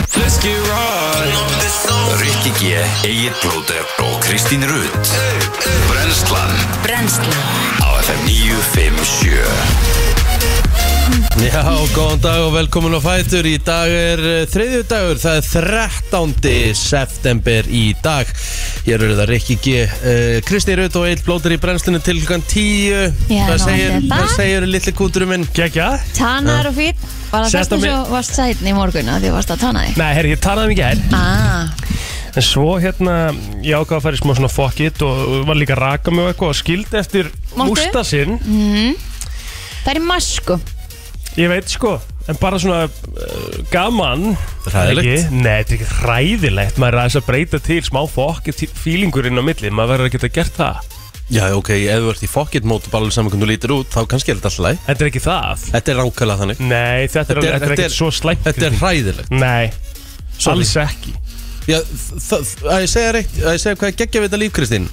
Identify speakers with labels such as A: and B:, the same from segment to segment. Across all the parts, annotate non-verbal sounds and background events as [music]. A: ekki ráð
B: Rikki G, Egil Blóter og Kristín Rutt Brenslan
C: Brennslan
B: á FM 957
A: Já, góðan dag og velkomin á Fætur Í dag er eh, þriðju dagur Það er 13. september í dag Hér eru það Rikki G uh, Kristi Rutt og Eil Blóter í brennslinu til klukkan 10
D: Já,
A: Hvað
D: ná,
A: segir,
D: þetta.
A: hvað segir litli kúturum minn?
E: Gekja?
D: Tannar og fýtt Var það
E: Sett á
D: þess að
E: mig-
D: þú varst sætn í morgun að því þú varst að tanna þig
E: Nei, herri, ég talaði mikið hær
D: Ah,
E: En svo hérna, ég ákvað að fara í smá svona fokkitt og var líka að raka mig og eitthvað og skildi eftir
D: Máttu?
E: músta sinn
D: Mhm. það er í masku
E: Ég veit sko, en bara svona uh, gaman
A: Hræðilegt.
E: Ekki? Nei, þetta er ekki hræðilegt, maður er aðeins að breyta til smá fokkitt fílingurinn á milli, maður verður að geta gert það
A: Já, ok, ef þú ert í fokkitt mót og bara alveg saman hvernig þú lítir út þá kannski er þetta alltaf læg
E: Þetta er ekki það
A: Þetta er rákala þannig
E: Nei, þetta er,
A: Þetta er-
E: þetta er
A: þetta er-
E: ekkert svo slæmt
A: Þetta er hræðilegt
E: Nei,
A: Sorry.
E: alls ekki
A: Já, það, að ég segja reitt, að ég segja hvað geggja við þetta líf, Kristín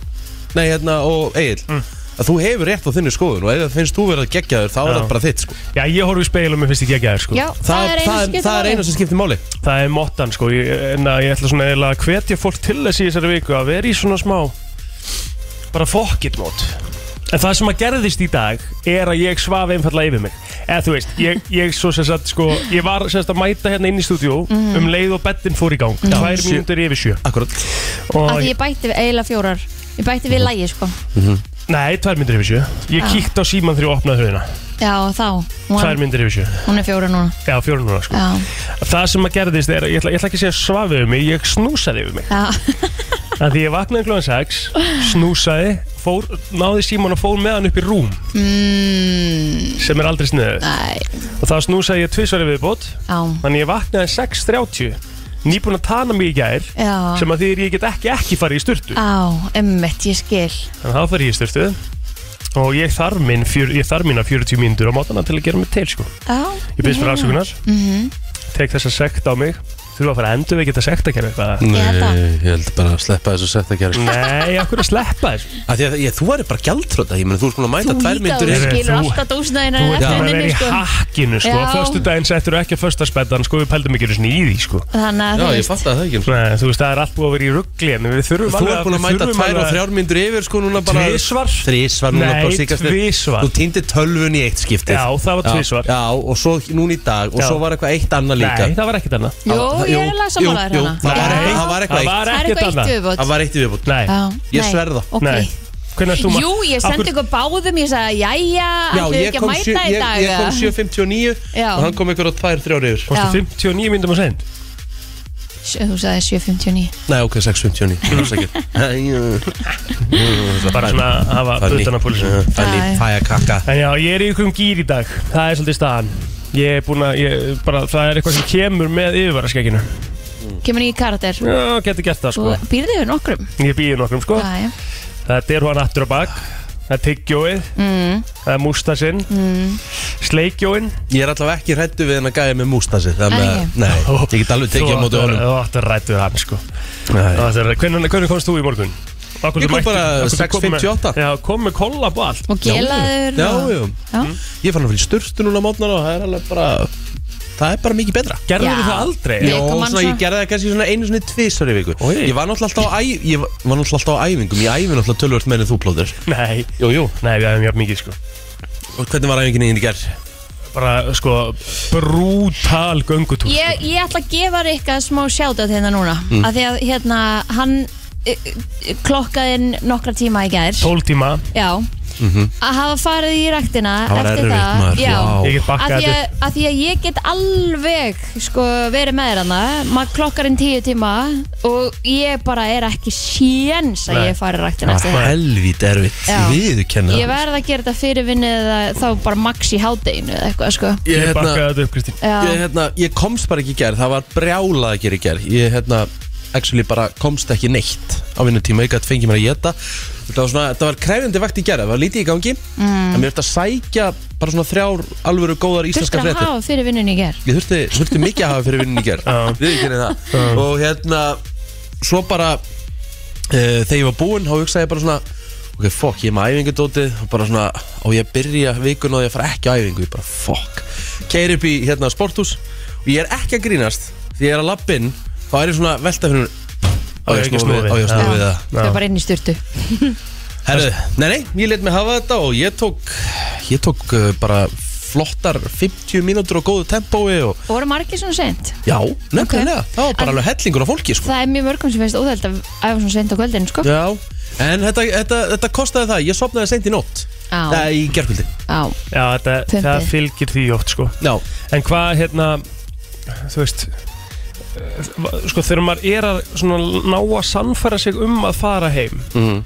A: Nei, hérna, og Egil
E: Mm.
A: Að þú hefur rétt á þinni skoðun og ef það finnst þú verið að geggja þér, þá er
E: Já.
A: það bara þitt, sko
E: Já, ég horfi í speil og mér finnst ekki ekki aðeins sko
D: Já, það, er einu
A: það,
D: skipti
A: það er einu sem skiptir máli
E: Það er mottan sko, ég, en að ég ætla svona eiginlega að hvetja fólk til þess í þessari viku að vera í svona smá bara fokkitt mót En það sem að gerðist í dag er að ég svaf einfallega yfir mig Eða þú veist, ég, ég svo sem sagt sko, ég var sem sagt að mæta hérna inn í stúdíu
D: Mhm.
E: um leið og beddinn fór í gang Tvær
A: Sjö.
E: mínútur yfir sjö
A: Akkurat
D: Af
E: og, Mhm.
D: því ég bætti við eiginlega fjórar Ég bætti við lægi sko
E: Nei, tvær mínútur yfir sjö
D: Ah.
E: Ég kíkti á síman þegar ég opnaði hurðina
D: Já, þá,
E: Tvær
D: hún,
E: mínútur yfir sjö
D: hún er fjórar núna
E: Já, fjórum núna sko
D: Já,
E: Það sem að gerðist er, að- ég ætla, ég ætla ekki að segja svaf yfir mig, ég snúsaði yfir mig
D: já,
E: að því ég vaknaði klóðan 6 snúsaði, fór, náði síman og fór með hann upp í rúm
D: mm,
E: sem er aldrei sniðu
D: æ,
E: og þá snúsaði ég tvisvari viðbót
D: já,
E: þannig ég vaknaði 6.30 nýbúin að tana mig í gær
D: já
E: sem að því er ég get ekki ekki farið í styrtu
D: Á, emmitt, ég skil
E: þannig að þá farið ég í styrtu og ég þarf minn, fjör, ég þarf minn að 40 mínútur á mótana til að gera mig til sko
D: Já,
E: ég byrst fyrir afsökunar, tek þessa sekt á mig þurfa að fara að endur við geta sekt að kæra eitthvað
D: Ég held að.
A: ég held bara að sleppa þessu sett að gera
E: Nei, akkur að sleppa þér
A: að að, ég, Þú væri bara gjaldröta, ég meni þú er sko að mæta
D: Þú
A: tvær myndur
D: líka, þú
E: yfir.
D: skilur
E: Þú-
D: alltaf dósnaðina
E: Þú ert bara
D: eftir
E: að vera
D: henni
E: í
D: sko
E: hakkinu sko
D: Já.
E: Föstu daginn settur ekki að fösta spettan sko Við pældum ekki einu sinni í því sko
D: Þannig
A: Já,
D: að þú
A: ég
D: veist
A: fatt að það ekki sko.
E: Nei, Þú veist það er allt búið að vera í ruggli En við þurfum
A: Þú er búin að mæta tvær og þrjár myndur yfir, sko, núna bara
E: Tvisvar?
A: Tvísvar núna
E: Nei,
A: bara síkast
E: tvisvar.
A: Þú týndi tölvun í eitt skiptið
E: Já, það var
A: Já,
E: tvisvar.
A: Já, og svo núna í dag, og
E: Já.
A: svo var eitthvað eitt annað líka
E: Nei, það var ekkert annað
D: Jú, ég er hérna. alveg sammálaður
A: jú, jú,
D: hana
A: það var
D: Já.
A: eitthvað- það var eitthvað
E: Það
A: eitt
E: var
D: Það er
E: ekkert
D: eitthvað eitt
E: annað
D: viðbót
A: Það var eitt í viðbútt
E: Nei,
D: Já,
A: Ég
D: nei,
A: sverð það.
D: ok.
E: nei Hvernig erst þú ma-
D: Jú, ég sendi
E: Akkur-
D: ykkur báðum, ég sagði jæja, ætlum við
A: ég
D: ekki að
A: kom
D: mæta
A: sjö-
D: í
A: ég-
D: dag
A: ég kom
D: eða?
A: 7.59
D: Já.
A: og hann kom ykkur á 2.3 yfir
E: Varstu
D: Já.
E: 59 myndum að segja
D: Sjö- Þú sagði 7.59
A: Nei, ok, 6.59 Það er sækir
E: Bara svona að hafa utan að púlsa
D: Æ.
A: Fanni, fæja kakka
E: En já, ég er í ykkur um gýr í dag Það er svolítið staðan Ég er búin að, ég, bara, það er eitthvað sem kemur með yfirvaraskeginu
D: Kemur í karakter
E: Já, getur gert það sko
D: Þú býrði yfir nokkrum
E: Ég býði nokkrum sko
D: Æ,
E: Þetta er hann aftur á bak Það er tyggjóið
D: mm,
E: Það er mústasinn mm. Sleikjóin
A: Ég er allavega ekki hrættu við henn að gæja með mústasi Þannig
D: Ekki?
A: að, nei, ég get alveg tekið á móti honum
E: Þú áttur rættu hann sko
A: Nei.
E: Áttur, hvernig, hvernig komst þú í morgun? Akkur
A: Ég kom bara 6.58.
E: Já, kom með kollab og allt
D: Og gelaður
A: Já,
D: og-
A: já,
D: Já.
A: ég fann að fyrir sturtu núna mótnar og það er alveg bara Það er bara mikið betra
E: Gerður
D: Já.
E: þú það aldrei?
D: Nei.
A: Jó,
D: kom hann
A: svona, ég
D: svo?
A: gerði það kannski svona einu svona tvisar í viku
E: Oj.
A: Ég var náttúrulega alltaf á, æ, ég var var náttúrulega alltaf á æfingum Ég æfi náttúrulega tölvöld með en þú plóður
E: Nei
A: Jú, jú
E: Nei, við hefum jafn mikið sko
A: Og hvernig var æfingin í gerð?
E: Bara sko Brútal göngutúr
D: ég, ég ætla að gefa Rikka smá sjáta til hérna núna mm. Því að hérna, hann eh, eh, klokkaði inn nokkra tíma í gær
E: 12 tíma
D: Já
A: Mhm.
D: Að hafa farið í ræktina
A: Það var
D: eftir
A: erfitt,
D: það
A: maður.
D: Já,
A: Vá.
E: Ég get bakkað
D: að því að, að því að ég get alveg sko, verið með þér hana maður klokkar inn tíu tíma og ég bara er ekki séns að
E: Nei.
D: ég fari sko. ræktin eftir það
A: Helvít Ah, erfitt,
D: Já.
A: viðu kenna
D: ég verð að gera þetta fyrir vinnu eða þá bara max í hádeginu eða eitthvað sko
A: Ég,
E: Ég bakkaði
A: hérna,
E: þetta upp Kristín
A: ég,
D: já,
A: hérna, ég komst bara ekki í gerð, það var brjálað að gera í gerð Ég hérna, actually bara komst ekki neitt á vinnu tíma Ég gæti fengið mér að geta Það var, svona, það var krefjandi vakt í gerð, það var lítið í gangi mm. En mér eftir að sækja bara svona þrjár alvöru góðar
D: þurfti
A: íslenska
D: að
A: fréttir
D: hafa fyrir vinnunni í ger
A: Ég þurfti, þurfti mikið að hafa fyrir vinninni gerð
E: Já.
A: Við ekki það Og hérna, svo bara uh, Þegar ég var búinn, þá hugsaði ég bara svona Ok, fokk, ég er með æfingudótið Og bara svona, og ég að byrja vikun Og ég að fara ekki á æfingu, ég bara fokk Keir upp í hérna sporthús Og ég er ekki að grínast Því ég er að lappin þá er ég svona að velta fyrir mér, á ég
E: ekki
A: að snúa við á ég að snúa við það
D: Þau bara inn
A: [laughs]
D: í styrtu
A: Herðu, nei, nei, ég let mig hafa þetta og ég tók ég tók uh, bara flottar 50 mínútur á góðu tempói og
D: Voru margir svona sent?
A: já, nefnilega, það var bara
D: En-
A: alveg hellingur á fólki sko.
D: Það er mjög mörgum sem finnst óþælt að æfa svona sent á kvöldin sko.
A: Já, en þetta, þetta, þetta kostaði það Ég sopnaði seint í nótt
D: Á.
A: Það er í gerkvöldi
D: Já,
E: Já, þetta,
D: Pumpið.
E: það fylgir því oft sko
A: Já,
E: En hvað hérna Þú veist eh, Sko þegar maður er að svona ná að sannfæra sig um að fara heim
A: Mhm.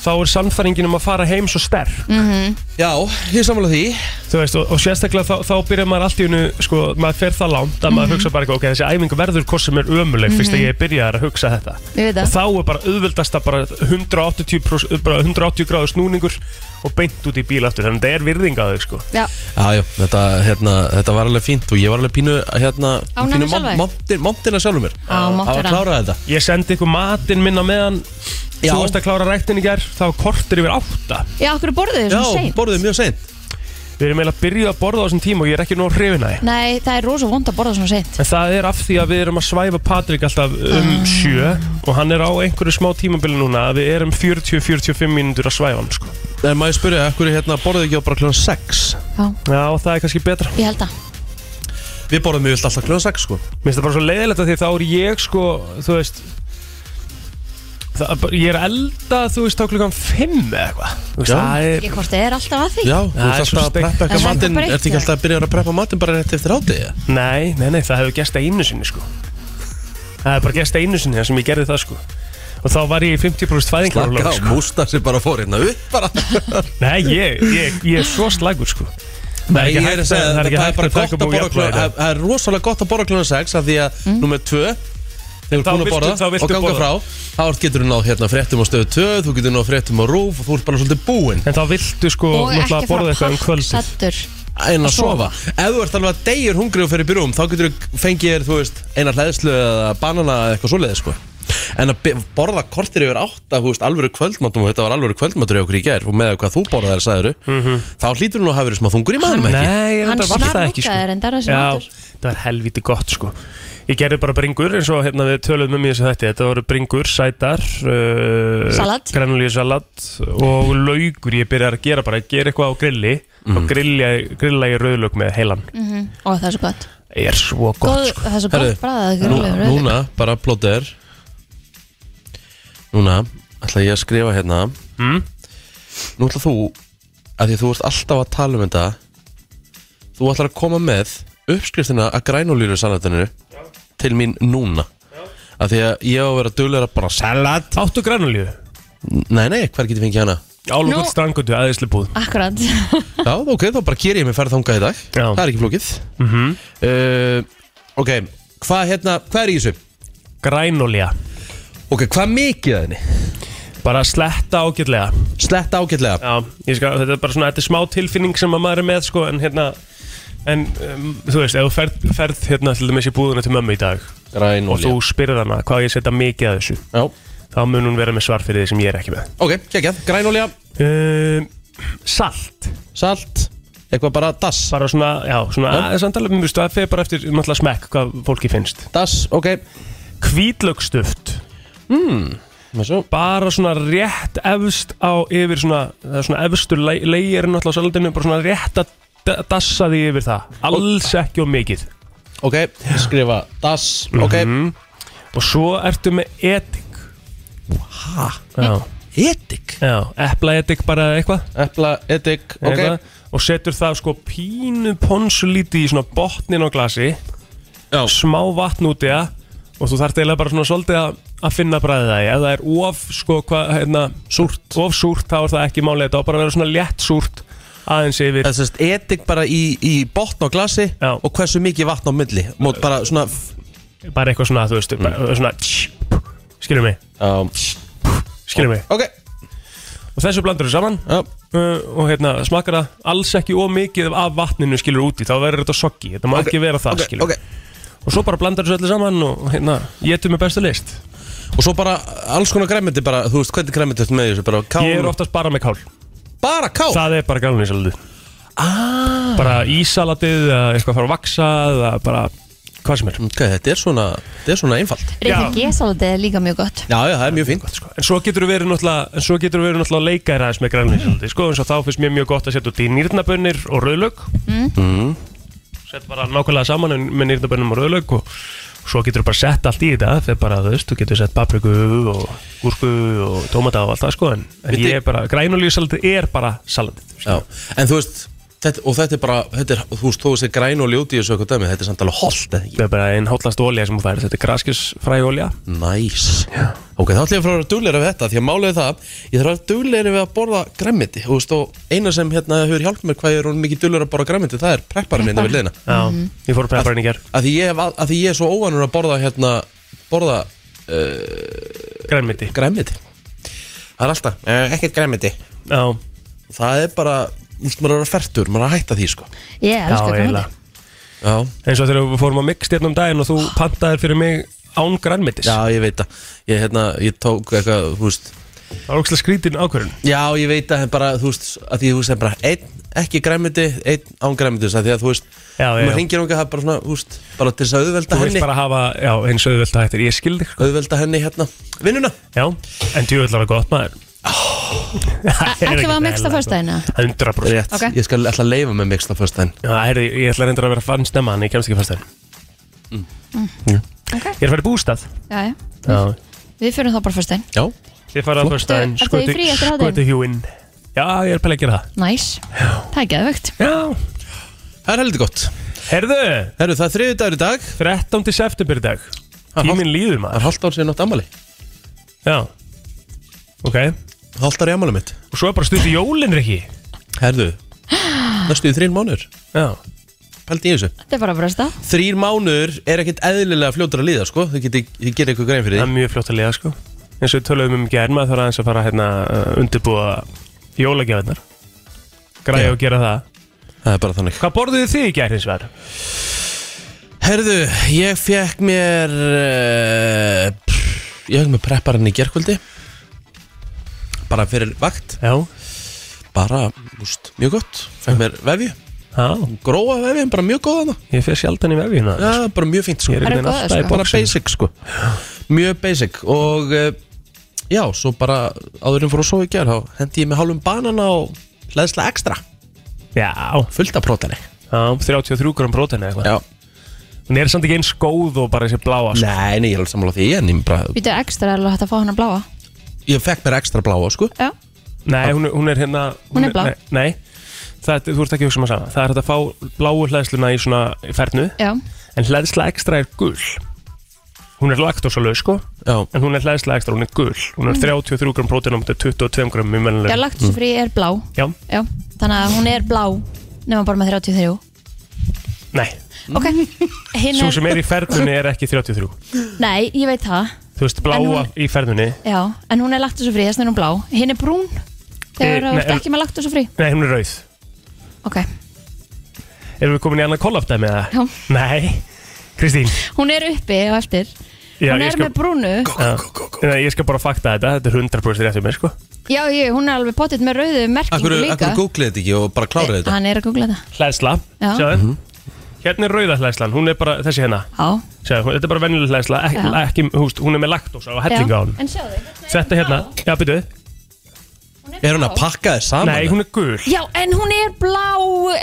E: Þá er sannfæringin um að fara heim svo sterk
D: Mhm.
A: já, ég samanlega því
E: Þú veist og, og sérstaklega þá, þá byrjar maður allt í hennu Sko maður fer það langt að
D: Mhm.
E: maður hugsa bara eitthvað Ok þessi æfingu verður hvort sem er ömuleg Fyrst að ég byrjar að hugsa þetta
D: ég veit
E: Og
D: það
E: þá er bara auðveldast að bara 180, pros- bara 180 gráður snúningur Og beint út í bíl aftur Þannig að þetta er virðing að þau sko
D: Já,
A: Já, já, þetta, hérna, þetta var alveg fínt og ég var alveg pínu hérna,
D: Ánægður
A: pínu
D: með sjálfa þig?
A: montin, montina sjálfur mér
D: Á,
A: Það
D: máttur
A: var
D: hann.
A: klárað þetta
E: Ég sendi ykkur matinn minna meðan
A: Já.
E: Þú varst að klára ræktin í gær Það var kortir yfir átta
D: Já, okkur borðu þau
A: Já,
D: svona sent
A: borðið mjög seint
E: Við erum eiginlega að byrja að borða á þessum tíma Og ég er ekki nú að hrifina því
D: Nei, það er rosa vond að borða svona sent
E: En það er af því að við erum að svæfa Patrik alltaf um
A: Ah.
E: sjö Og hann er á einhverju smá tímabili núna að Við erum 40-45 mínútur að svæfa hann sko.
A: En maður spyrja, hverju hérna borðið ekki á bara kljóðan 6
D: Já,
E: Já, og það er kannski betra
D: ég held að
A: Við borðum mjög alltaf kljóðan 6 sko
E: Mér finnst það bara svo leiðilegt að því þá er ég sko Þú veist það, er bara- Ég er að elda, þú veist, þá klukkan 5 eða eitthvað Þú veist,
A: Já.
E: það er-
D: Ég hvort það er alltaf að því
A: Já, þú
E: það
A: ert
E: er svo
A: alltaf að
E: steik.
A: preppa
D: Það
A: eitthvað
D: er
A: matinn
D: bara eitt,
A: Ertu ekki
D: eða?
A: alltaf að byrja að preppa matinn bara rétt eftir hátíð
E: Nei, nei, nei, það hefur gæst einu sinni sko Það hefur bara gæst einu sinni þar sem ég gerði það sko Og þá var ég í 50% fæðingarólöf
A: Slaka á,
E: sko.
A: músta sér bara fór hérna upp bara
E: Nei, ég, ég, ég er svo slagur sko Það er
A: Nei,
E: ekki
A: ég er
E: hægt
A: að
E: að-
A: segja
E: það er
A: að það
E: ekki
A: er
E: hægt
A: bara
E: að
A: gott
E: taka
A: að borða
E: búið
A: klukkan-
E: jafnvægi.
A: það það er rosalega gott að borða klunum 6 af því að mm. nummer 2 þegar þú
E: Þá
A: er búin að
E: viltu-
A: borða
E: þá viltu
A: og ganga
E: borða.
A: frá þá ert- getur þú náð hérna fréttum á stöðu 2 þú getur náð fréttum á rúf og þú ert bara svolítið búinn
E: En þá viltu sko
D: Og ekki
E: náttúrulega
D: að
E: að borða eitthvað
D: fara
E: um kvöldið
D: pakksattur
A: en að sofa ef þú ert alveg að deyjur hungri og fyrir byrjum þá getur þú fengið þér þú veist eina hlæðslu eða banana eða eitthvað svoleiðis sko en að be- borða kortir yfir átta þú veist alvöru kvöldmatum og þetta var alvöru kvöldmatur í okkur í gær og með hvað þú borðaðir sagður þá hlýtur hún að hafa verið smá þungur í maður með ekki
E: Nei,
D: Hann
E: þetta var það ekki sko
D: snarlúkaði reyndar þessi
E: Já,
D: matur.
E: það var helviti gott sko Ég gerði bara bringur eins og hérna við töluðum um í þessu þætti Þetta voru bringur, sætar uh,
D: Salat.
E: Granulíusalat og laugur Ég byrjaði að gera bara, ég gera eitthvað á grilli
A: Mhm.
E: mm. og grilla, grilla ég rauðlaug með heilan
D: Mhm. Ó, það er svo gott
E: Er svo gott
D: Góð,
E: sko
D: Það er svo
A: Herðu,
D: gott bræðað
A: Nú,
D: grjóðlega
A: núna, bara plóter Núna ætla ég að skrifa hérna
E: Mm.
A: Nú ætla þú að því þú ert alltaf að tala um þetta Þú ætlar að koma með uppskriftina að grænulíru salatinu til mín núna að því að ég á að vera duglegur að bara salat
E: Áttu granulíu?
A: Nei, nei, hver getur fengið hana?
E: Álugott no. strangutu, aðeinsli búð
A: [laughs]
D: Akkurat
A: Já, ok, þá bara ger ég mig ferð þangað í dag
E: Já. Mhm.
A: Það er ekki flókið uh, Ok, hvað hérna, hvað er í þessu?
E: Grænolía
A: Ok, hvað mikið að henni?
E: Bara sletta ágætlega
A: Sletta ágætlega
E: Já, ég skal, þetta er bara svona, þetta er smá tilfinning sem að maður er með sko En hérna, en um, þú veist, ef þú ferð, ferð hérna til dæmis í búðuna til mömmu í dag
A: Græn
E: Og þú spyrð hana hvað á ég að setja mikið að þessu
A: Já
E: Þá mun hún vera með svar fyrir því sem ég er ekki með
A: Ok, kekjað Græn olja
E: um, Salt,
A: Salt Eitthvað bara dass
E: bara svona, já, svona
A: Já.
E: aðeins andalum, þú veist, það fer bara eftir náttúrulega smekk hvað fólki finnst
A: Dass, ok Hmm,
E: Hvítlökstuft,
A: Með svo
E: bara svona rétt efst á yfir svona, það er svona efstur leirinn alltaf á salatinu, bara svona rétt að d- dassa því yfir það, alls ekki og mikið Mhm.
A: Ok, skrifa dass Ok
E: og svo ertu með etik Hæ? Já,
A: Edik
E: já, epla etik bara eitthvað
A: Epla, edik Ok
E: eitthvað, og setur það sko pínu ponsulíti í svona botnin á glasi
A: Já.
E: smá vatn út í það og þú þarft eiginlega bara svona svolítið að, að finna bræðið það í. ef það er of sko hvað hérna, súrt. of súrt þá er það ekki málið þetta á bara að vera svona létt súrt aðeins yfir
A: Það sést edik bara í, í botn á glasi
E: Já.
A: Og hversu mikið vatn á milli Mót bara svona Mm.
E: bara eitthvað svona þú veist bara, svona skilur mig
A: Já
E: skilur mig
A: Ok
E: og þessu blandur þú saman
A: Já
E: uh, og hérna smakkar það alls ekki of mikið af vatninu skilur úti þá verður þetta soggi þetta má
A: Ok,
E: ekki vera það
A: Ok,
E: skilur
A: ok
E: og svo bara blandar þessu öllu saman og og hérna getur með bestu list
A: Og svo bara alls konar græmiti bara Þú veist hvernig græmiti ertu með í þessu Bara kál
E: ég er oftast bara með kál
A: Bara kál
E: það er bara galvin í salatið ah. bara ísalatið eða eitthvað fara að vaksa eða bara hvað sem er
A: Ok, þetta er svona, þetta er svona einfalt
D: Reyðar G-salatið er líka mjög gott
A: Já, já, það er mjög fínt sko.
E: En svo getur þú verið náttúrulega, en svo getur þú verið náttúrulega leikæri aðeins með grænlýsaldi, sko, eins og þá finnst mér mjög gott að setja út í nýrnabönnir og rauðlaug. Mm. Sett bara nákvæmlega saman en- með nýrnabönnum og rauðlaug og svo getur þú bara sett allt í þetta, þegar bara, þú veist, þú getur sett papriku og gúrsku og tómata og allt það, sko, en, en
A: Vitið-
E: ég er bara, grænlýsaldi er bara salatið.
A: Já, en þú veist þetta, Og þetta er bara, þetta er, þú veist, þú veist græn og ljóti í þessu eitthvað dæmi, þetta er samt alveg holt eða ekki
E: Það er bara einn hóllast olja sem þú færi, þetta er graskisfræ olja.
A: Næs Ok, þá ætlum ég að fara að vera dugleira við þetta Því að málið er það, ég þarf að vera dugleira við að borða græmmiti Þú veist, og eina sem hérna hefur hjálpað mér hvað ég er orðinn mikið dugleira að borða græmmiti Það er prepparinn hérna við liðina
E: Já,
D: Mhm.
E: ég fór að preppa henni í gerð,
A: að því, ég hef, að því ég er svo óvanur að borða hérna, borða
E: grænmiti.
A: græmiti Það er alltaf, eh, ekkert græmiti
E: Já,
A: Það er bara, úst, maður er að fertur, maður er að hætta því sko
D: Ég
E: já,
D: elskar
E: eiginlega.
D: grænmeti
A: Já,
E: eins og þegar við fórum að mikst hérna um daginn og þú pantaðir fyrir mig án grænmetis
A: já ég veit að ég, hérna, ég tók eitthvað, þú veist
E: það var ógslag skrítin ákvörðun
A: Já, ég veit að bara, þú veist, að því þú veist það er bara einn, ekki græmiti, einn án græmiti því að þú veist,
E: Já, já, já.
A: maður hringir okkar það er bara svona, þú veist, bara til þess að auðvelda
E: þú vilt
A: henni
E: bara hafa, já, eins og auðvöld að hættir ég skildi,
A: auðvelda henni hérna, vinnuna
E: já, en djúvöld var gott maður
D: Ætlum við að miksta föstudaginn, eða?
E: 100%
A: Rétt,
D: Ok.
A: ég skal alltaf leifa með mixta fyrst henn
E: sko. já, heyrðu, ég ætla reyndar að vera fann stemma en ég kemst ekki fast þenn
D: Mm.
A: Mm.
D: Ok. Mm.
E: ég er farið bústað
D: Já, já.
E: já,
D: Við fyrir þá bara föstudaginn
A: Já,
E: ég farið að fyrst þenn
D: Ertu- ertu í frí eftir hádegi?
E: skoði hjúinn já, ég er pæli að gera það
D: Næs, það er geðvögt
E: já,
A: það er heldur gott
E: herðu,
A: Herru, það er þriði dagur í dag,
E: 13. september í dag
A: Ha,
E: tíminn líður
A: það
E: maður
A: er hálft ár síðan átt ammali
E: já, ok
A: Hálft ár í ammali mitt
E: og svo er bara stutt í jólinn, Rikki
A: Herðu, næstu í þrín mánuður
E: já
A: Pældi í þessu
D: Þetta er bara að bresta
A: Þrír mánuður er ekkert eðlilega fljótur að líða sko Þau geti, þið gerir eitthvað grein fyrir
E: Það er mjög flott að liða sko eins og við töluðum um gerð maður þarf aðeins að fara hérna uh, undirbúa jólagjafinnar græja
A: Já.
E: og gera það
A: því Það er bara þannig
E: Hvað borðuðu þið í gerð hins vegar?
A: Herðu, ég fekk mér uh, pff, Ég fekk mér prepparinn í gerkvöldi Bara fyrir vakt
E: Já
A: Bara, úst, mjög gott Fekk mér vefju,
E: Já,
A: gróa vefju, bara mjög góða hana
E: ég fyrir sjaldan í vefjuna
A: Já, bara mjög fínt sko
E: Ég er
D: Það er
E: einhvern veginn alltaf
D: góð, sko.
E: í
A: Bara
E: bóksinu
A: basic sko Mjög basic og uh, Já, svo bara áðurinn fór að sofa í gerð Þá hendi ég með hálfum banana og hlæðsla ekstra
E: Já,
A: Fullt af prótani
E: já, 33 gram prótein eða eitthvað
A: Já,
E: Hún er samt ekki eins góð og bara þessi bláa sko.
A: Nei, nei, ég er alveg sammála því en ég, bara,
D: Býtu ekstra alveg hægt að fá hann að bláa
A: ég fekk mér ekstra bláa sko
D: Já,
E: Nei, hún, er- hún er hérna
D: Hún er blá.
E: Nei, nei það, þú ert ekki að hugsa maður sama Það er hægt að fá bláu hlæðsluna í svona fernu
D: já,
E: En hlæðsla ekstra er gul Hún er laktósalaus sko
A: Já,
E: en hún er hlæðslega ekstra, hún er gul hún er 33 gram prótein og 22 gram í
D: Mm. já
E: mennilegu
D: laktusfrí er blá
E: Mm. já,
D: Já, þannig að hún er blá Nefnum bara með 33
E: Mm. nei,
D: Ok, hinn
E: svo
D: er,
E: sem er í ferðunni er ekki 33,
D: nei, ég veit það
E: þú veist bláa
D: En hún-
E: í ferðunni,
D: Já, en hún er laktusfrí, þess vegna er hún blá Hinn er brún,
E: Eh,
D: þegar þú
E: nei,
D: ert
E: er-
D: ekki með laktusfrí
E: nei hún er rauð
D: Ok,
E: erum við komin í annan kollafdæmi eða?
D: Já.
E: nei, Kristín
D: hún er uppi og eftir
E: já,
D: Hún
E: ég
D: er
E: skal,
D: með brúnu
E: já, Nei, ég skal bara fakta þetta, þetta er 100% rétt um mér sko.
D: Já, ég, hún er alveg pottitt með rauðu merkingu
A: akkur,
D: líka
A: akkur googlið þetta ekki og bara kláraði þetta Mhm.
D: Hann er að googla þetta
E: hlæðsla,
D: Já.
E: sjáðu hérna er rauða hlæðslan, hún er bara þessi hérna
D: Já,
E: sjáðu, hún- þetta er bara venjuleg hlæðsla, ekki,
D: Já.
E: ekki, húst, hún er með laktósa og
D: já.
E: hellinga á hún
D: En sjáðu hérna
E: þetta
D: er
E: hérna, já byrjuðu,
D: hún
A: Er hún
D: blá.
A: að pakka þið saman?
E: nei hún er gul
D: Já, en hún er blá,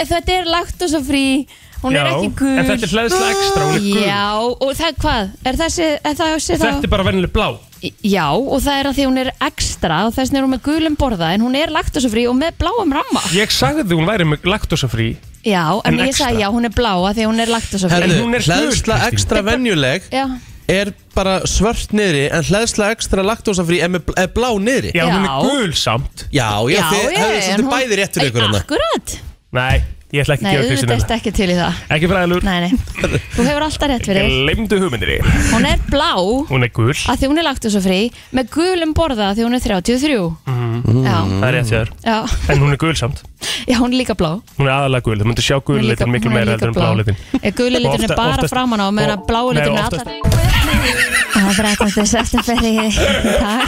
D: þetta er laktosafrí Hún er
E: Já,
D: ekki gul
E: en þetta er hleðsla extra, hún er gul.
D: Já, og það hvað? Er þessi, er það sé þá
E: þetta er bara venjuleg blá
D: Já, og það er að því hún er extra og þess vegna er hún með gulum borða en hún er laktosafrí og með bláum ramma
E: Ég sagði að hún væri með laktosafrí
D: Já,
E: En
D: en, ég
E: extra.
D: sagði já, hún er blá að því hún er
E: En
D: laktosafrí
E: hún
A: Herðu,
E: er gul,
A: hlæðsla
E: Kristín. [laughs]
A: ekstra venjuleg
D: Já,
A: er bara svört niðri en hlæðsla ekstra laktósafrí er, með bl- er blá niðri
E: Já, hún
D: Já.
E: er gul samt
A: Já, já, þið
D: ég,
A: hefðu
D: en
A: svolítið
D: hún-
A: bæði rétt fyrir ykkur
D: Ei,
A: hana
D: Akkurat
E: Nei, ég ætla ekki
D: Nei,
E: að gefa
D: auðvitað
E: Kristín
D: ertu ekki til í það
E: þetta Ekki fræðilur,
D: Nei, nei, þú hefur alltaf rétt fyrir þér.
E: glemdu hugmyndir
D: Hún er blá
E: Hún er gul,
D: að því hún er laktosafrí með gulum borða að því hún er 33 já,
E: Mhm. það er rétt sér
D: já,
E: En hún er gul samt,
D: já, hún er líka blá
E: hún er aðalega gul Þú myndir sjá
D: Hún er líka-
E: gulitin miklu
D: hún er
E: meira
D: líka
E: heldur en blálitin
D: Eh,
E: Og
D: guli litin er
E: ofta-
D: bara
E: oftast-
D: framan á meðan
E: og-
D: að blái
E: nei,
D: litin er
E: oftast-
D: allar það er 13. september í dag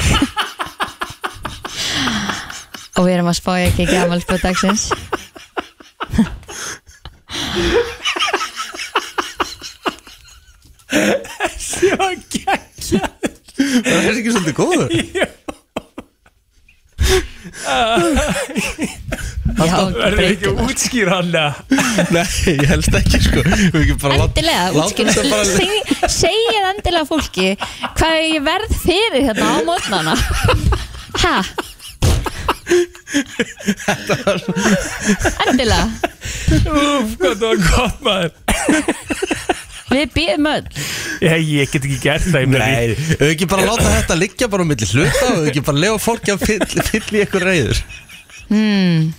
D: og við erum að spája ekki ekki afmælsbúð dagsins
E: Gekja
A: Það er ekki svolítið
E: [laughs]
A: góður
D: Já,
E: Verður ekki að
D: breytum
E: útskýra hann eða?
A: Nei, ég helst ekki sko Við ekki bara lát-
D: Endilega,
A: látum
D: útskýra,
A: þetta bara-
D: seg- segið endilega fólki hvað ég verð fyrir hérna á mótnana Hæ? Endilega,
E: Úf, hvað það var gott maður
D: við býðum öll
E: Ég, ég get ekki gert það ég meina,
A: Nei, við ekki bara láta þetta liggja bara á milli hluta og við ekki bara lefa fólki að fyll, fyll í eitthvað reyður
D: Hmm,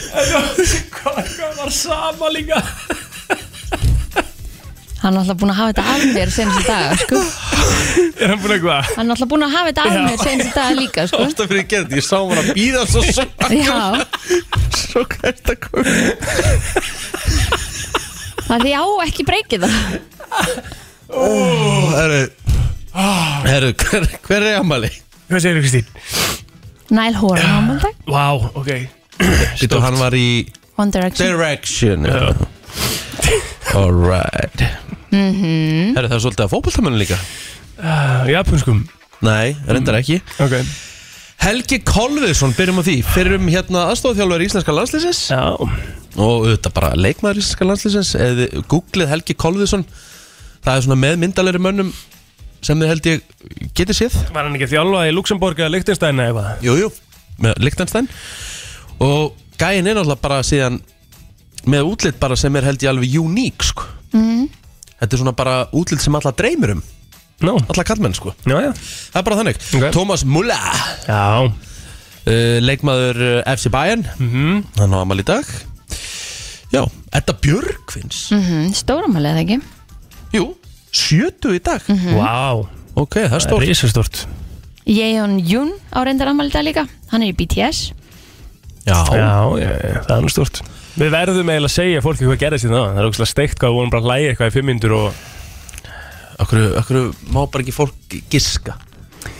E: Hvað hvað var sama líka
D: Hann er alltaf búin að hafa þetta af mér senast í dag sko.
E: Er hann búin að hvað?
D: Hann er alltaf búin að hafa þetta af
E: Já.
D: mér senast í dag líka sko.
A: Ástæð fyrir að gera þetta, ég sá hann að býða svo svart
D: Já,
A: Svo hvert að koma
D: það er því á ekki breykið það
A: Herru, herru, hver, hver er ammali?
E: Hvað segir þú Kristín?
D: Næl Horan ámaldag
E: [laughs] Vá, ok
A: Býttu hann var í
D: One Direction
A: Direction Alright
D: Mhm.
A: Herru, það er svolítið að fótboltamönu líka
E: Ah, Japanskum
A: Nei, reyndar ekki
E: Ok
A: Helgi Kolviðsson, byrjum á því Fyrir um hérna aðstofþjálfur íslenska landslýsins
E: Já
A: og auðvitað bara leikmaður íslenska landsliðsins eða þið googlið Helgi Kolviðsson það er svona með myndalegri mönnum sem þið held ég getið séð
E: Var hann ekki að þjálfa í Luxemburg eða Lichtenstein eða eitthvað?
A: jújú jú. með Lichtenstein og gæin er náttúrulega bara síðan með útlit bara sem er held ég alveg uník sko þetta er svona bara útlit sem alla dreymir um
E: Nó,
A: alla kallmenn sko
E: já, já
A: það er bara þannig
E: Ok.
A: Thomas Muller
E: Já,
A: uh, leikmaður uh, FC Bayern
E: Mhm.
A: hann á amal í dag já Edda Björkvins
D: mm -hmm, Stóramæli eða ekki
A: jú 70 í dag
E: vá
A: ok það er stórt
E: Rísastort
D: Yeon Yoon á reyndar ámaldag líka Hann er í BTS
A: Já,
E: Já, já, já, það er nú stort Við verðum eiginlega að segja fólki hvað gerðist í það Það er ógæslega steikt hvað við vorum bara að hlæja eitthvað í fimm myndur og
A: okkur, okkur má bara ekki fólk giska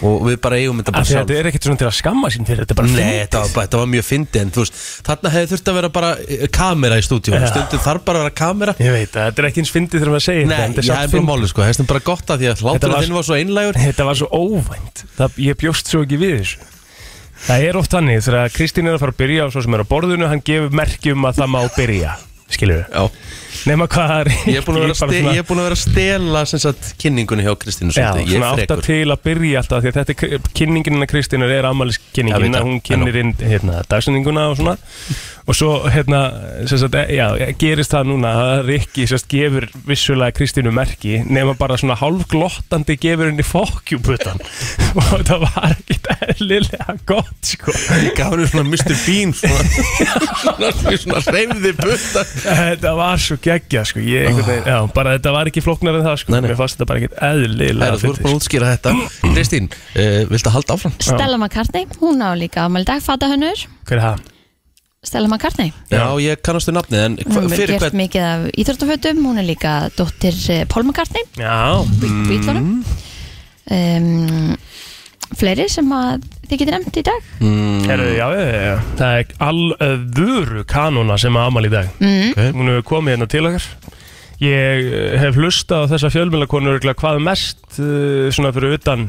A: Og við bara eigum þetta
E: Af
A: bara
E: því að
A: sjálf
E: Þetta er ekkert svona til að skamma sín fyrir Þetta er bara
A: Nei, þetta var, bara- þetta var mjög fyndi En þú veist, þarna hefði þurft að vera bara eh, kamera í stúdíu
E: Já.
A: Stundum þarf bara að vera kamera
E: Ég veit að þetta er ekki eins fyndið þegar maður segir
A: Nei,
E: þetta en
A: ég
E: þetta
A: er
E: samt
A: bara
E: fyndið.
A: máli sko Það er bara gott að því að
E: Þetta
A: hlátur
E: var-
A: þinn var svo einlægur
E: Þetta var svo óvænt það, Ég bjóst svo ekki við þessu Það er oft þannig þegar að Kristín er að fara að byrja og svo sem er á borðinu, hann gefur merki um að það má byrja skilur við,
A: Já,
E: nema hvað það er
A: ég er búin að vera,
E: bara
A: ste
E: svona-
A: ég er búin að vera að stela sem sagt, kynningunni hjá Kristínu
E: Já,
A: svolítið. Ég
E: svona
A: er
E: átta
A: frekur [laughs]
E: til að byrja alltaf því að þetta er kynningin hennar Kristínar er
A: Já, veit
E: afmæliskynningin
A: það.
E: að hún kynnir inn hérna, dagsendinguna og svona og svo hérna sem sagt, e- já, gerist það núna að Rikki sérst, gefur vissulega Kristínu merki nema bara svona hálfglottandi gefur henni fokkjúbutan [laughs] og það var ekkit eðlilega gott sko
A: Ég gaf henni svona Mr. Bean sko.
E: [laughs]
A: [laughs] Svona, svona, svona reyfði butta
E: þetta var svo geggja sko ég, einhvern veginn, já, bara þetta var ekki flóknar en það sko
A: Ah. Nei, nei.
E: mér fannst þetta bara ekkit eðlilega
A: Æra, þú ert
E: fyndið, sko.
A: bara að útskýra þetta Kristín, uh, viltu að halda áfram?
D: Stella McCartney, hún á líka ámaldag Fatahönnur,
E: sko. hver er það?
D: Stella McCartney
A: Já, ég kannast við nafnið En hva,
D: Hún er
A: fyrir
D: gert
A: hvern
D: mikið af íþróttafötum Hún er líka dóttir eh, Paul McCartney
E: Já,
D: Bítlunum um, Fleiri sem að þið getur nefnt í dag
A: Mm.
E: Heru, já, já, já, já. Það er alvöru kanóna sem að amal í dag
D: mm.
A: Ok.
E: Hún hefur komið hérna til okkar Ég eh, hef hlustað á þessa fjölmjölakonur hvað mest eh, svona fyrir utan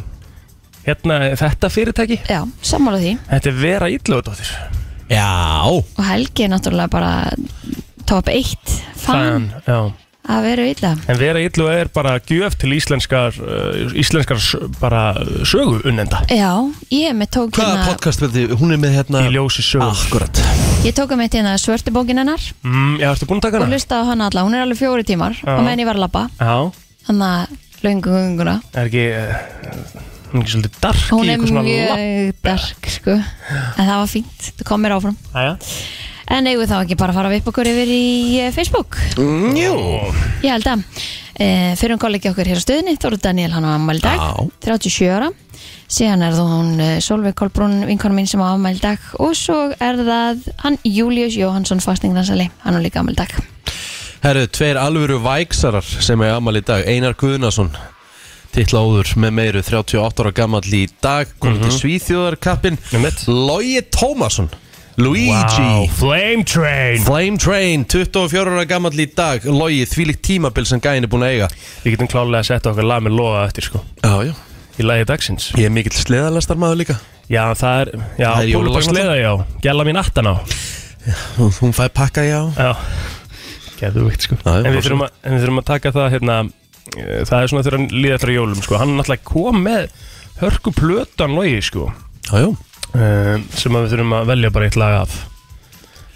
E: hérna þetta fyrirtæki
D: Já, sammála því
E: Þetta er Vera Íllöðdóttir
A: Já,
D: Og Helgi er náttúrulega bara top 1 fan
E: já.
D: að vera illa
E: En Vera Íllöð er bara gjöf til íslenskar eh, íslenskar s- bara eh, sögu unnenda
D: Já, ég með tók
A: hvaða
D: hérna
A: podcast vil þið? Hún er með hérna
E: í ljósi sögu
A: Akkurat
D: Ég tók um eitt hérna svörtu bókin hennar
E: mm, Já, ertu búin að taka
D: og
E: hana?
D: hlustaði á hana alla, hún er alveg fjóri tímar
E: Já.
D: og meðan ég var að labba,
E: Já,
D: þannig að löngu gunguna
E: er ekki eh, hún er ekki svolítið dark í
D: Hún er
E: eitthvað svona lapp-
D: mjög dark sko En það var fínt, það kom mér áfram
E: Jæja.
D: En eigum við þá ekki bara að fara að vipa okkur yfir í eh, Facebook
A: Jú
D: Ég held að e, Fyrir um kollegi okkar hér á stöðinni Þóru Daniel, hann á afmæli í dag
A: Já.
D: 37 ára Síðan er þú hún eh, Solveig Kolbrún, vinkonu mín sem á afmæli í dag Og svo er það hann Július Jóhansson Fastingdansali Hann á líka afmæli í dag
A: Herru, tveir alvöru væksarar sem er amal í dag Einar Guðnason Titla áður með meiru 38 ára gamall í dag Komið til Svíþjóðarkappin
E: Mhm. Einmitt.
A: Logi Tómasson Luigi
E: Wow, Flame Train
A: Flame Train, 24 ára gammal í dag Logið, þvílíkt tímabil sem gæin er búin að eiga
E: Við getum klálega að setja okkar lag með loða eftir sko
A: Já, já
E: Í lagi dagsins
A: Ég er mikill sleðalastar maður líka
E: Já, það er, já,
A: Það er jólalagið.
E: pólupakksleða, já Gjalla mín aftan á
A: Hún, hún fæ pakka, já
E: Já, geðu veikt sko
A: Já, já,
E: en, við
A: absolutt.
E: þurfum að, en við þurfum að taka það hérna eh, Það er svona þegar hann líða eftir jólum sko Hann náttúrulega kom með hörku plötan logi sko
A: Já, já
E: um, Sem að við þurfum að velja bara eitt lag af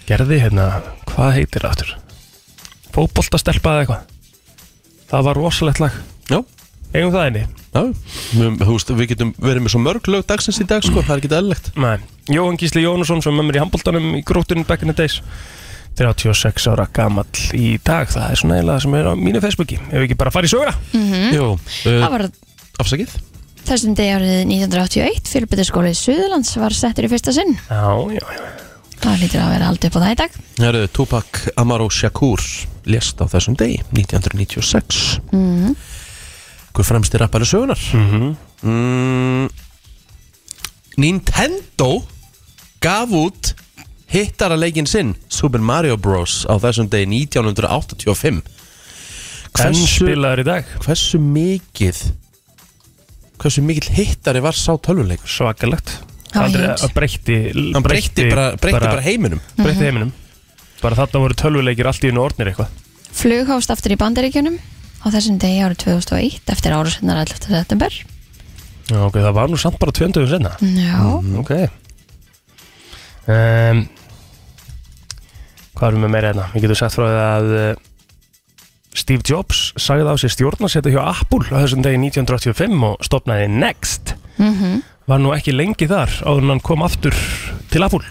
E: Gerði hérna, hvað heitir aftur? Fótboltastelpa eða eitthvað Það var rosalegt lag
A: Já,
E: Eigum það einni?
A: já Við- Þú veist, við getum verið með svo mörg lög dagsins í dag, sko Það er ekki eðlilegt
E: Nei, Jóhann Gísli Jónusson sem er með mér í handbóltanum í grótunum back in the days 36 ára gamall í dag það er svona eiginlega sem er á mínu Facebooki ef ekki bara farið í söguna Mhm.
A: Jú,
D: Mm. Það
A: uh,
D: var
A: afsakið
D: þessum degi árið 1981 Fyrirbyrðaskólið Suðurlands var settur í fyrsta sinn
E: Já, já, já
D: Það lítur að vera haldið upp á það í dag
A: Það eru Tupac Amaro Shakur Lést á þessum degi, 1996 mm. Hver fremsti rappari sögunar? Mm mm, Nintendo gaf út hittaraleikin sinn Super Mario Bros. á þessum degi 1985
E: Hvern
A: Hversu,
E: spilaður í dag?
A: hversu mikið hversu mikill hittari var sá tölvuleikur?
E: Svakalegt
D: Það var
E: Andri-
D: heimsins.
E: að breytti
A: Hann breytti bara, breytti bara heiminum
D: Mhm.
E: breytti heiminum Bara þarna voru tölvuleikir allt í einu orðnir eitthvað
D: Flug hófst aftur í bandaríkjunum á þessum degi árið 2001 eftir árusinnar 11. september
E: Já, ok, það var nú samt bara 20 senna
D: Já,
E: Mhm, Ok um, Hvað erum við meira hérna? Við getum sagt frá því að uh, Steve Jobs sagði á sér stjórnarsetta hjá Apple á þessum degi 1985 og stopnaði Next Var nú ekki lengi þar áður en hann kom aftur til Apple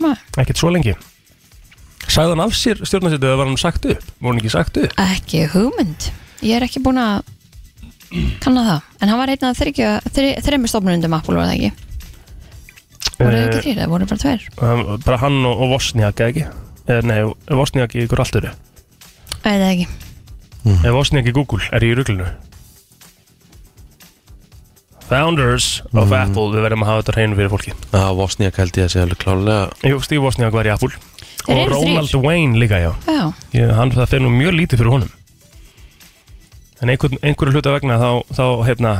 D: Nei.
E: Ekkert svo lengi Sagði hann af sér stjórnarsetta eða var hann sagt upp? Var hann ekki sagt upp?
D: ekki hugmynd Ég er ekki búin að kanna það En hann var einn af þryggja, þri, þreymur stofnunundum Apple var það ekki Voru það ekki þrýr, það voru bara tveir
E: Uh, bara Eh, hann og, og Vosniak, eða ekki? Eh, nei, Vosniak í ykkur allt öru
D: Eða ekki
A: Mhm.
E: Ef Vosniak í Google er ég í ruglunu Founders of Apple Við verðum að hafa þetta hreinu fyrir fólki
A: Það Vosniak Mhm. held ég að sé alveg klálega
E: Jú, Steve Vosniak var í Apple
D: Þeir
E: Og
D: eru
E: Ronald Wayne líka, já
D: Já,
E: ég, hann, Það fer nú mjög lítið fyrir honum En einhver, einhverju hluta vegna Þá, þá hérna,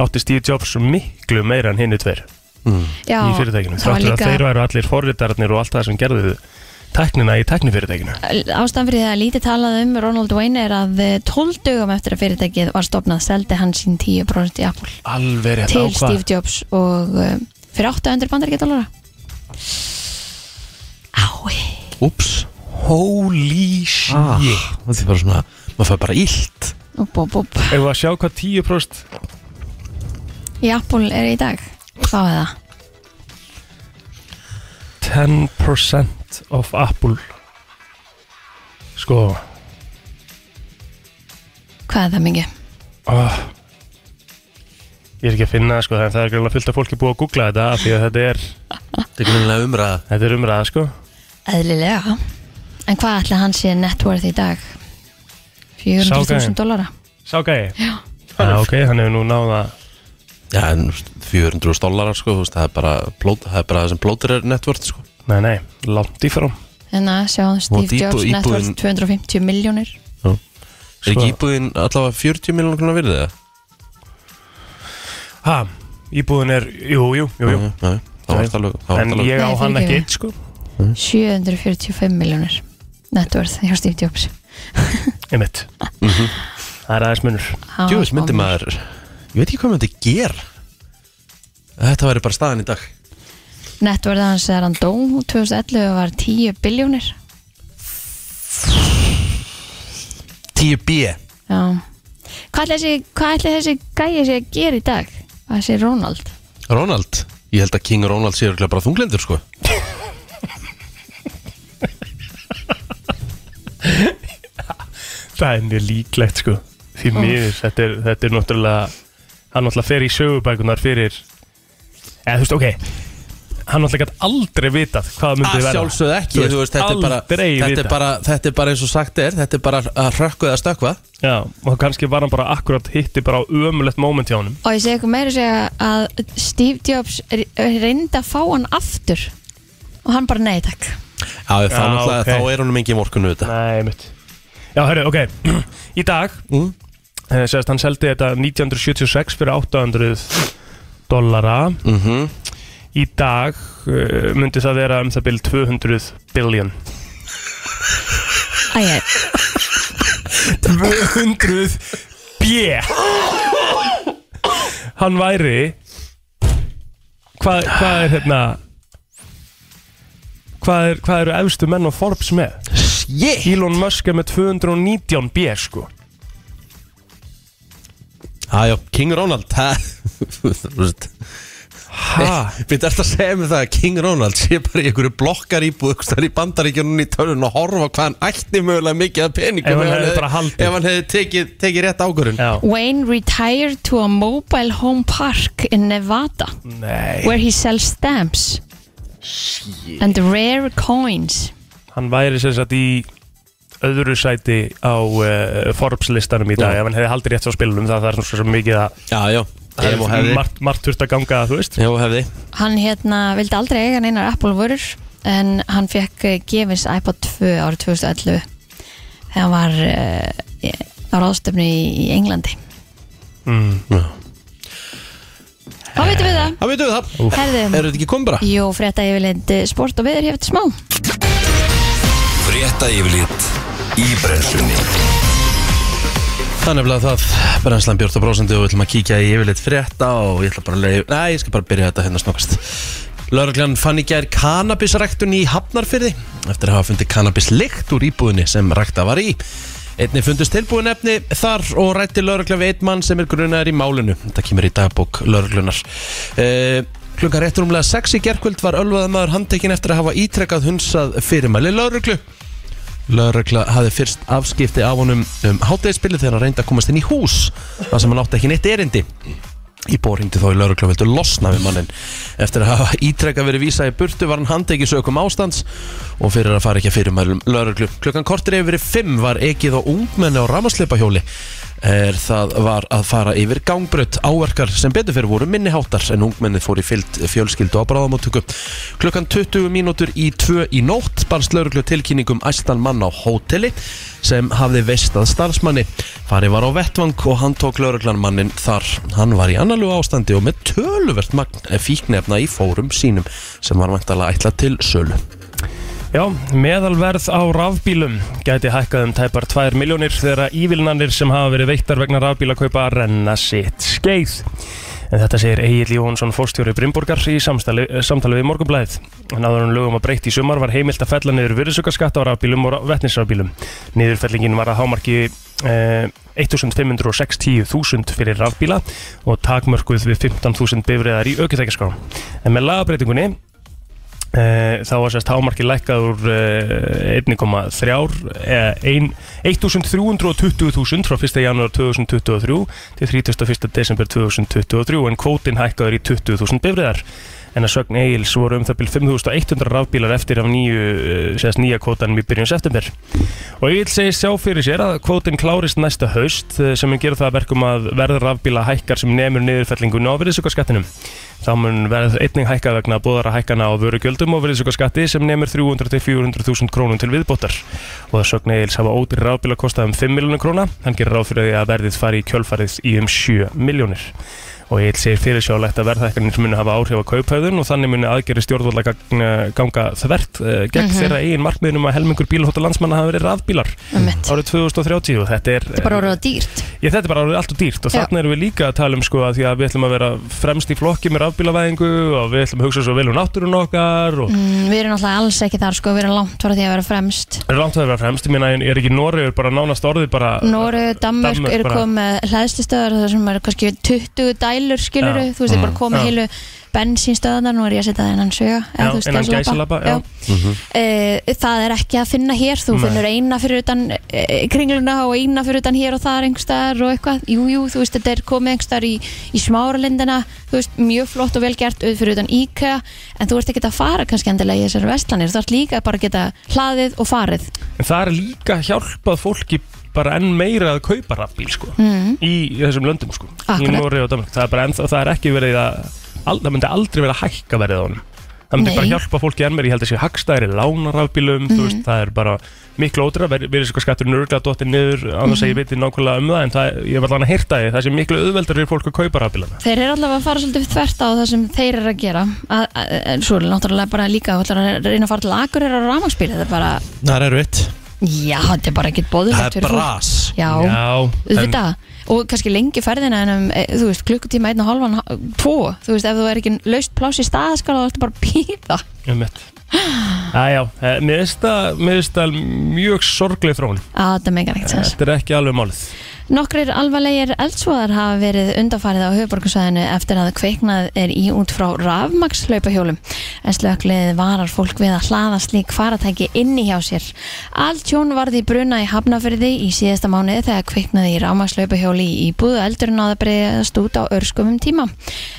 E: átti Steve Jobs miklu meira en hinni tveir
A: Mhm.
D: já
E: Í fyrirtækinu
D: Það var
E: Þráttur að
D: líka
E: þeir væru allir forritarnir og allt það sem gerðu Tæknina í tæknifyrirtækinu
D: ástæðan fyrir það að lítið talað um Ronald Wayne er að 12 dögum eftir að fyrirtækið var stopnað seldi hann sín 10% í Apple
E: Alveg rétt
D: til Steve Jobs og uh, fyrir 800 bandaríkjadólara Ái
A: Úps
E: Holy shit
A: ah, Það er bara svona, maður fær bara illt
D: Upp, upp, upp
E: Ef við að sjá hvað 10%
D: Í Apple er í dag Hvað er það?
E: 10% of Apple sko
D: Hvað er það mingi?
E: oh, ég er ekki að finna það, sko en það er greinlega fullt af fólki búið að googla þetta af því að þetta er,
A: Þetta er grunnilega umræða
E: þetta er umræða sko
D: Eðlilega En hvað ætla hann sé net worth í dag?
E: Sá gæinn.
D: 400.000 dólara
E: sá gæi já Ah, ok, hann hefur nú náða
A: Já, en 400 stólarar sko, þú veist, það er bara, plót, það er bara það sem plótur er netvört sko
E: nei, nei, langt í frá
D: En að Hérna, sjá
A: Og
D: Steve
A: íbú-
D: Jobs net worth
A: íbúðin-
D: 250 miljónir
A: Er ekki íbúðin allavega 40 miljonar krónar virðið það?
E: ha, íbúðin er, jú, jú, jú, jú.
A: Nei, það var alveg, það var
E: en
A: alveg
E: ég á
D: Nei,
E: hann
D: fyrirgefðu.
E: ekki eitt sko
D: 745 miljónir net worth hjá Steve Jobs
E: ég mitt
A: Mhm.
E: það er aðeins munur
D: Hann
A: Jú,
D: var
A: þess myndi
D: spámaður.
A: maður, ég veit ekki hvað myndi ger Þetta væri bara staðan í dag
D: Net worth hans þegar hann dó 2011 var 10 biljónir
A: 10B
D: Já Hvað ætli þessi, hvað ætli þessi gæi sé að gera í dag? Hvað sé Ronald?
A: Ronald, ég held að King Ronald sé örugglega bara þunglindur sko
E: Það er mjög líklegt sko Því miður, þetta er, þetta er náttúrulega Hann náttúrulega fer í sögubækunar fyrir Eða þú veist, ok Hann náttúrulega gætt aldrei vitað hvað myndi
A: Að
E: vera
A: sjálfsögðu ekki, þú veist, þetta er bara
E: Aldrei
A: þetta er
E: vitað
A: bara, þetta er bara eins og sagt er, þetta er bara að hrökkuð að stökkva
E: Já, og kannski var hann bara akkurat hitti bara á ömulegt moment hjá honum
D: Og ég segi eitthvað meira að segja að Steve Jobs re- reyndi að fá hann aftur og hann bara nei takk
A: Já, þá,
E: Já,
A: náttúrulega,
E: ok.
A: þá er honum engin vorkun auðvitað
E: Nei, mitt Já, hörru, ok [clears throat] Í dag
A: Mm.
E: eh, Sérst, hann seldi þetta 1976 fyrir 800 dollara
A: Mhm.
E: Í dag uh, myndi það vera um það bil 200
A: [laughs]
E: billion
D: Æ, æ,
E: 200
A: [gasps]
E: B Hann væri Hvað hva er hérna Hvað, er, hvað eru efstu menn á Forbes með?
A: Shit
E: Elon Musk er með 219 B sko
A: Já, já, King Ronald það- [laughs] Þú veist
E: Hæ?
A: [laughs] Við þetta að segja mér það að King Ronald sé bara í einhverju blokkar íbúð Það er í bandaríkjunum í törun og horfa hvað hann ætti mögulega mikið að peningum
E: Ef hann hefði bara haldið.
A: Ef hann hefði tekið, tekið rétt águrinn
E: Já
D: Wayne retired to a mobile home park in Nevada
E: Nei
D: where he sells stamps and rare coins
E: Hann væri sem sagt í öðru sæti á uh, Forbes listanum í dag
A: Já.
E: ef hann hefði haldið rétt á spilunum það, það er svona svo mikið að
A: Já, já,
E: það
A: ef og
E: er
A: hefði
E: margt, margt þurft að ganga þú veist
A: Ef og hefði
D: hann hérna vildi aldrei eiga neinar Apple vörur en hann fekk eh, gefins iPod 2 árið 2011 þegar hann var uh, á ráðstöfnu í, í Englandi
E: Mm.
A: Já.
D: Þá veitum við það
A: Það veitum við það
D: Herðum,
A: Er þetta ekki komið bara?
D: jú, frétta yfirleitt eh, sport og veður hér eftir smá
B: Frétta yfirlit í brennslunni
A: Þannig að það brennslan björta brósandi og við ætlum að kíkja í yfirleitt frétta og ég ætla bara að leiða Nei, ég skal bara byrja þetta hérna snokast Lörglann fann í gær kannabisræktun í Hafnarfyrði eftir að hafa fundið kannabislykt úr íbúðinni sem rækta var í Einni fundist tilbúin efni þar og rætti lörglann við einn mann sem er grunaður í málinu Þetta kemur í dagbók lörglannar e Klukkan réttur umlega 6 í gerkvöld var ölvaðamaður handtekinn eftir að hafa ítrekkað hunsað fyrirmæli lörglu Lörgla hafði fyrst afskipti af honum um hátegisbili þegar hann reyndi að komast inn í hús þar sem hann átti ekki neitt erindi í bóringdi þá í lörgla vildu losna við mannin eftir að hafa ítrekka verið vísað í burtu var hann handekið sögum ástands og fyrir að fara ekki að fyrirmælum lörglu klukkan kortir yfir í fimm var ekið á ungmenni á ramasleipahjóli er það var að fara yfir gangbrödd áverkar sem betur fyrir voru minni háttar en ungmennið fór í fylgd fjölskyldu á bráðamóttöku. Klukkan 20 mínútur í 2 í nótt barst lauruglu tilkynningum æstan mann á hóteli sem hafði veistað starfsmanni. Fari var á vettvang og hann tók lauruglan mannin þar. Hann var í annarlu ástandi og með töluvert magn fíknefna í fórum sínum sem var vantalega ætla til sölu.
E: Já, meðalverð á rafbílum gæti hækkað um tæpar 2 miljónir þegar ívilnanir sem hafa verið veittar vegna rafbíla kaupa renna sitt skeið. En þetta segir Egil Jónsson fórstjóri Brimborgar í samstali, eh, samtali við Morgunblæðið. Náður hann lögum að breytt í sumar var heimilt að fella niður virðsökaskatt á rafbílum og vetnisrafbílum. Niðurfellingin var að hámarki eh, 1.560.000 fyrir rafbíla og takmörkuð við 15.000 bifriðar í aukutækjaskám. En með lagabreitingunni Eh, þá var sérst hámarki lækkað úr eh, 1,3 eða eh, ein- 1.320.000 frá 1. janúar 2023 til 31. desember 2023 en kvótin hækkaður í 20.000 bifriðar en að sögn Egil's voru um það byrjum 5.100 rafbílar eftir af nýju, eh, sérst, nýja kvótanum í byrjun september og Egil segir sjá fyrir sér að kvótin klárist næsta haust eh, sem er gera það að verkum að verður rafbíla hækkar sem nemur niðurfellingun á virðisökkarskattinum Þá mun verð einning hækka vegna bóðara hækkana á vörugjöldum og virðisökkaskatti sem nemur 300-400.000 krónum til viðbótar. Og að sögn Egil's hafa ódýr rafbíla kostað um 5 miljónir króna, hann gerir ráð fyrir því að verðið fari í kjölfarið í um 7 miljónir. Og Egil segir fyrirsjálegt að verðhækkanir muni hafa áhrif á kauphauðun og þannig muni aðgerri stjórnvöldla eh, ganga þvert eh, gegn
D: Mhm.
E: þeirra eigin markmiðnum að helmingur bílhóta landsmanna hafa verið rafbílar
D: um mitt,
E: árið 2030 og þetta er, eh,
D: þetta er bara orðið dýrt
E: Ég, þetta er bara alveg allt og dýrt og
D: Já.
E: þarna erum við líka að tala um sko að því að við ætlum að vera fremst í flokki með rafbílavæðingu og við ætlum að hugsa svo vel um náttúrun okkar og
D: mm, Við erum náttúrulega alls ekki þar sko, við erum langt frá því að vera fremst
E: er langt að vera fremst, ég meina en er ekki Noregur bara nánast orðið bara
D: Nóru, Danmörk
E: Danmörk
D: eru
E: bara.
D: komið með hlæðslistöðar þar sem eru kannski 20 dælur skilur
E: Já. Mm.
D: þú veist, þeir bara komið
E: Já.
D: heilu bensínstöðanar, nú er ég að setja það innan söga
E: Já, innan gæsalappa, já.
D: e, Það er ekki að finna hér þú
E: Nei.
D: finnur eina fyrir utan e, kringluna og eina fyrir utan hér og þar einhverstaðar og eitthvað, jú, jú, þú veist, þetta er komið einhverstaðar í, í smáralindina þú veist, mjög flott og vel gert auð fyrir utan IKEA, en þú ert ekki að fara kannski endilega í þessar vestlanir, þú ert líka bara að geta hlaðið og farið
E: en það er líka hjálpað fólki bara enn meira að kaupa rafbíl sko
D: mm.
E: í þessum löndum sko
D: Akkurat.
E: í Noregi og Danmark, það er bara ennþá, það er ekki verið að al, það myndi aldrei verið að hækka verið á honum það myndi
D: Nei. Mhm.
E: bara hjálpa fólki enn mér, ég held að sé hagstæðir lánar af bílum, þú veist, það er bara miklu ótrúlega, verið verið sko skattur nörgla dottir niður,
D: Mhm.
E: annars að ég veit nákvæmlega um það en það, ég var alveg að heyrta því, það sé miklu auðveldar fyrir fólk að kaupa rafbílana.
D: Þeir eru allavega að fara svolítið þvert á það sem þeir eru að gera að, að, en Svo er náttúrulega bara líka Það er að reyna að fara til akur á rafmagnspíl Það er bara,
A: Það er erfitt
D: já, þetta er bara ekkert
A: Það
D: bóðulegt
A: er bras
D: Já,
E: Já, en,
D: auðvitað Og kannski lengi ferðina en um, e, þú veist, klukkutíma einn og halvan, h- tvo Þú veist, ef þú er ekki laust pláss í staðskala þá ertu bara að píða
E: um [gasps] mitt. Æjá, eh, mér finnst það- mér finnst það mjög sorgleg þróun.
D: að það megar ekkert sens.
E: Þetta er ekki alveg málið.
D: Nokkrir alvarlegir eldsvoðar hafa verið undarfarið á höfuborgarsvæðinu eftir að kveiknað er í út frá rafmakslaupahjólum. En slökliðið varar fólk við að hlaða slík faratæki inni hjá sér. Allt tjón varði í bruna í Hafnafyrði í síðasta mánuði þegar kveiknaði í rafmakslaupahjóli í búðu eldurinn á það breyðast út á örskumum tíma.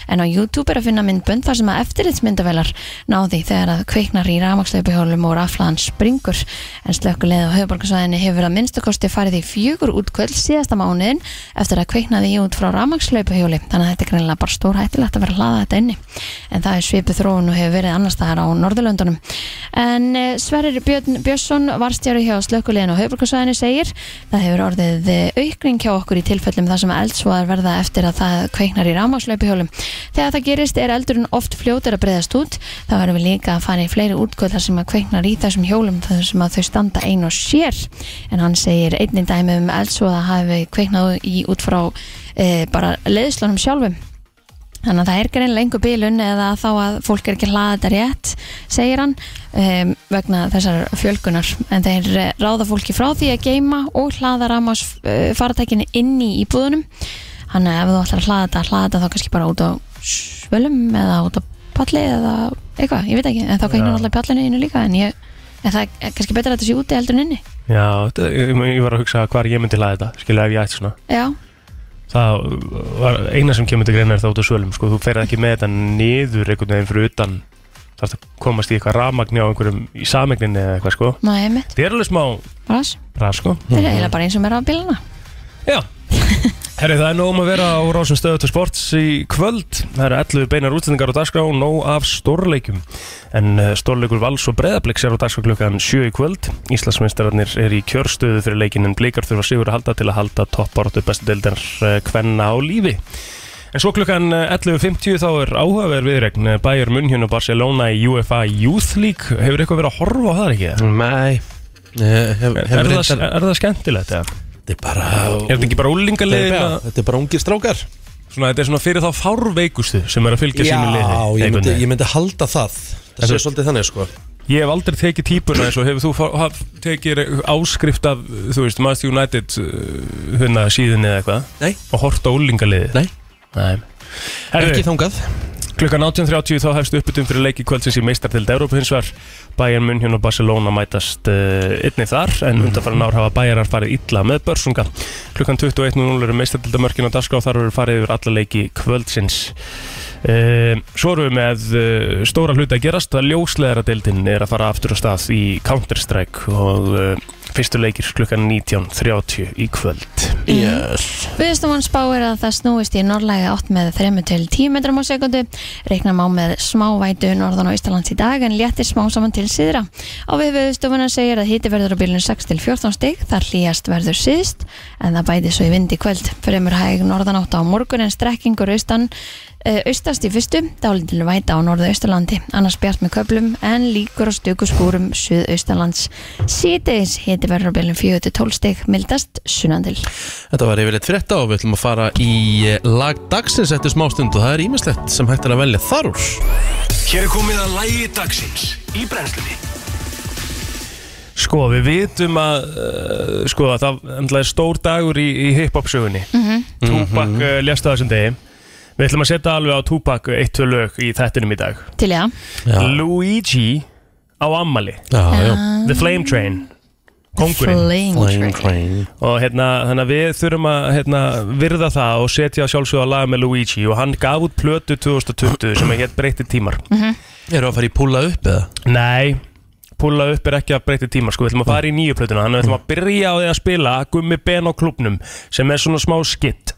D: En á YouTube er að finna myndbönd þar sem að eftirlitsmyndavelar náði þegar að kveiknar í rafmakslaupahjólum og raflaðan springur. En slökkuleið á höfuborgarsvæðinu hefur að minnstakosti farið í fjögur útkvöld síðasta mánuðin eftir að kveiknaði í út frá rafmakslaupuhjóli. Þannig að þetta er greinlega bara stór hættilegt að vera að hlaða þetta inni. En það er svipu þróun og hefur verið annars staðar á Norðurlöndunum. En eh, Sverrir Björn Björnsson, varstjári hjá slökkuleiðin og höfuborgarsvæðinu segir það hefur orðið eh, aukning hjá okkur í tilfellum þar sem eldsvoðar verða eftir að það kveiknar í rafmakslaupuhjólum. Þegar það gerist er eldurinn oft fljótur að breyðast út þá verðum við líka að fara í fleiri útkvöldar sem að kveiknar í þessum hjólum þar sem að þau standa ein og sér en hann segir einnig dæmi um eldsvoða hafi kveiknað í út frá e, bara leiðslunum sjálfum Þannig að það er greinlega einhver bílun eða þá að fólk er ekki að hlaða þetta rétt, segir hann, um, vegna þessar fjölgunar. En þeir eh, ráða fólki frá því að geima og hlaða rámas uh, faratækinu inni í búðunum. Þannig að ef þú ætlar að hlaða þetta, hlaða þetta þá kannski bara út á svölum eða út á palli eða eitthvað, ég veit ekki. En þá
E: Já.
D: kveiknar alltaf pallinu innu líka, en ég... En það er kannski betra að þetta sé úti heldur en inni
E: Já, þetta- ég, ég var að hugsa hvar ég myndi laða þetta, skilja ef ég ætti svona.
D: Já,
E: það var eina sem kemur til greina er það út á svölum sko, þú ferð ekki með þetta niður einhvern veginn fyrir utan þarf að komast í eitthvað rafmagni á einhverjum í samegninni eða eitthvað sko
D: maður er mitt
E: það er alveg smá
D: Ras,
E: ræð sko
D: þeir
E: [laughs]
D: eru eiginlega bara eins og mér á bílana
E: já Herri, það er nóg um að vera á rásum stöðu til sports í kvöld. Það eru 11 beinar útsendingar á dagskrá og nóg af stórleikum. En eh, stórleikur vals og breðabliks er á dagskrá klukkan 7 í kvöld. Íslandsmeistararnir er í kjörstöðu fyrir leikinn en blikar þurfa sigur að halda til að halda topparötu bestu deildar eh, kvenna á lífi. En svo klukkan eh, 11.50 þá er áhugaverð viðregn Bayern München og Barcelona í UEFA Youth League. Hefur eitthvað verið að horfa á það ekki?
A: Nei Eh, hef-
E: Er,
A: hefur
E: er, það,
A: reyndar-
E: er það skemmtilegt? eða?
A: Þetta er bara
E: Er þetta ekki bara úlingalegin að...
A: Þetta er bara ungir strákar
E: Svona, þetta er svona fyrir þá fárveikustu sem er að fylgja sínu
A: ég
E: liði.
A: myndi,
E: einhvern
A: ég
E: veginn.
A: myndi halda það Það sé svolítið þannig sko
E: Ég hef aldrei tekið típuna eins og hefur þú fá- haf, tekið áskrift af, þú veist, Manchester United uh, hérna síðinni eða eitthvað
A: Nei.
E: og hort á úlingaliði.
A: Nei.
E: Nei.
A: Ekki
E: Herru,
A: þangað
E: klukkan 18.30 þá hefst uppbytum fyrir leiki kvöldsins í meistartild Európa hins var Bayern München og Barcelona mætast uh, einni þar en undanfæran ár hafa Bayarar farið illa með börsunga. Klukkan 21.00 eru meistartildamörkin á dagskrá og þar eru farið yfir alla leiki kvöldsins. Uh, svo erum við með uh, stóra hluti að gerast að ljósleðara deildin er að fara aftur á stað í Counter-Strike og uh, fyrstu leikir klukkan 19.30 í kvöld
A: Yes
D: Viðstofan spáir að það snúist í norðlæga 8 með 3 til 10 metrum á sekundu. Reikna má með smávætu norðan og austalands í dag en léttir smá saman til síðra. Á við viðstofuna segir að hiti verður á bílunum 6 til 14 stig, þar hlýjast verður síðst en það bæti svo í vind í kvöld. Fremur hæg norðan 8 á morgun en strekkingur austan eh, austast í fyrstu, dálítil væta á norðaustalandi, annars bjart með köplum en líkur á stöku skúrum suðaustalands. Síðdeis hiti verður á bílunum 4-12 stig, mildast sunnandil.
A: Þetta var yfirleitt frétta og við ætlum að fara í eh, lag dagsins eftir smástund og það er ímislegt sem hægt er að velja þar úr.
B: Hér er komið að lægi dagsins í brennslunni
E: Sko, við vitum að uh, sko, að það endla er stór dagur í, í hip-hop sögunni mm
D: Mhm.
E: Tupac
A: Mhm.
E: uh, lést á þessum degi Við ætlum að setja alveg á Tupac eitt tvö lög í þettinum í dag
D: Til ég að?
E: Luigi á Ammali
A: Já, já.
E: The Flame Train Kongurinn
D: Flame Train
E: og hérna, þannig að við þurfum að hérna, virða það og setja sjálfsögða að laga með Luigi og hann gaf út plötu 2020 sem er hér breytti tímar
A: Eru að fara í púla upp eða?
E: Nei, pulla upp er ekki að breytti tímar sko, við ætlum að fara í nýju plötuna þannig að við ætlum að byrja á því að spila Gummi Ben á klubnum sem er svona smá skitt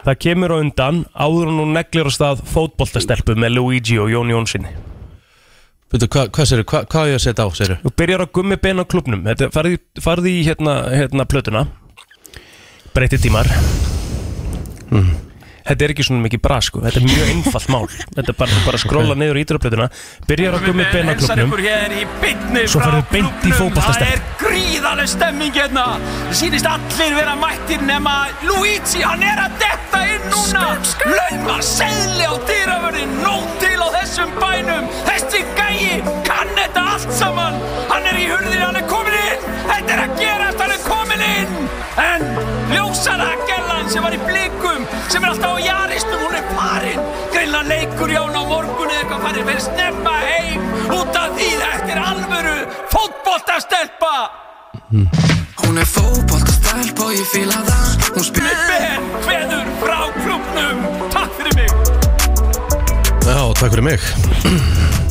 E: Það kemur á undan áður en hún neglir á stað fótboltastelpu með Luigi og Jón Jónssoni
A: Veitu, hva, hvað sérðu, hva, hvað á ég að setja á, sérðu?
E: Þú byrjar á gummi beina klubnum Þetta er- farðu, í- farðu í hérna, hérna plötuna Breyti tímar
A: Mm.
E: Þetta er ekki svona mikið bra sko Þetta er mjög einfalt mál Þetta er bara, bara skróla niður í ídraplötuna Byrjar á gummi beina klubnum Svo ferðu beint
C: Það
E: í
C: er
E: fótballtastemning
C: gríðarlega stemming hérna Sýnist allir vera mættir nema Luigi, hann er að detta inn núna Lauma seðli á dýravörðin Nót til á þessum bænum Þessi gæi kann þetta allt saman Hann er í hurðin, hann er komin inn Þetta er að gerast, hann er komin inn En ljósara gerðan sem var í blikum Sem er alltaf á jaristum, hún er farin Greinlega leikur hjá hún á morgun eða eitthvað farin Fyrir snemma heim út af því þetta er alvöru fótboltastelpa
F: Hún er fókbólt að stelp og ég fíla það Hún spyr
C: Ben Kveður frá klubnum Takk fyrir mig
A: Já, takk fyrir mig [clears throat]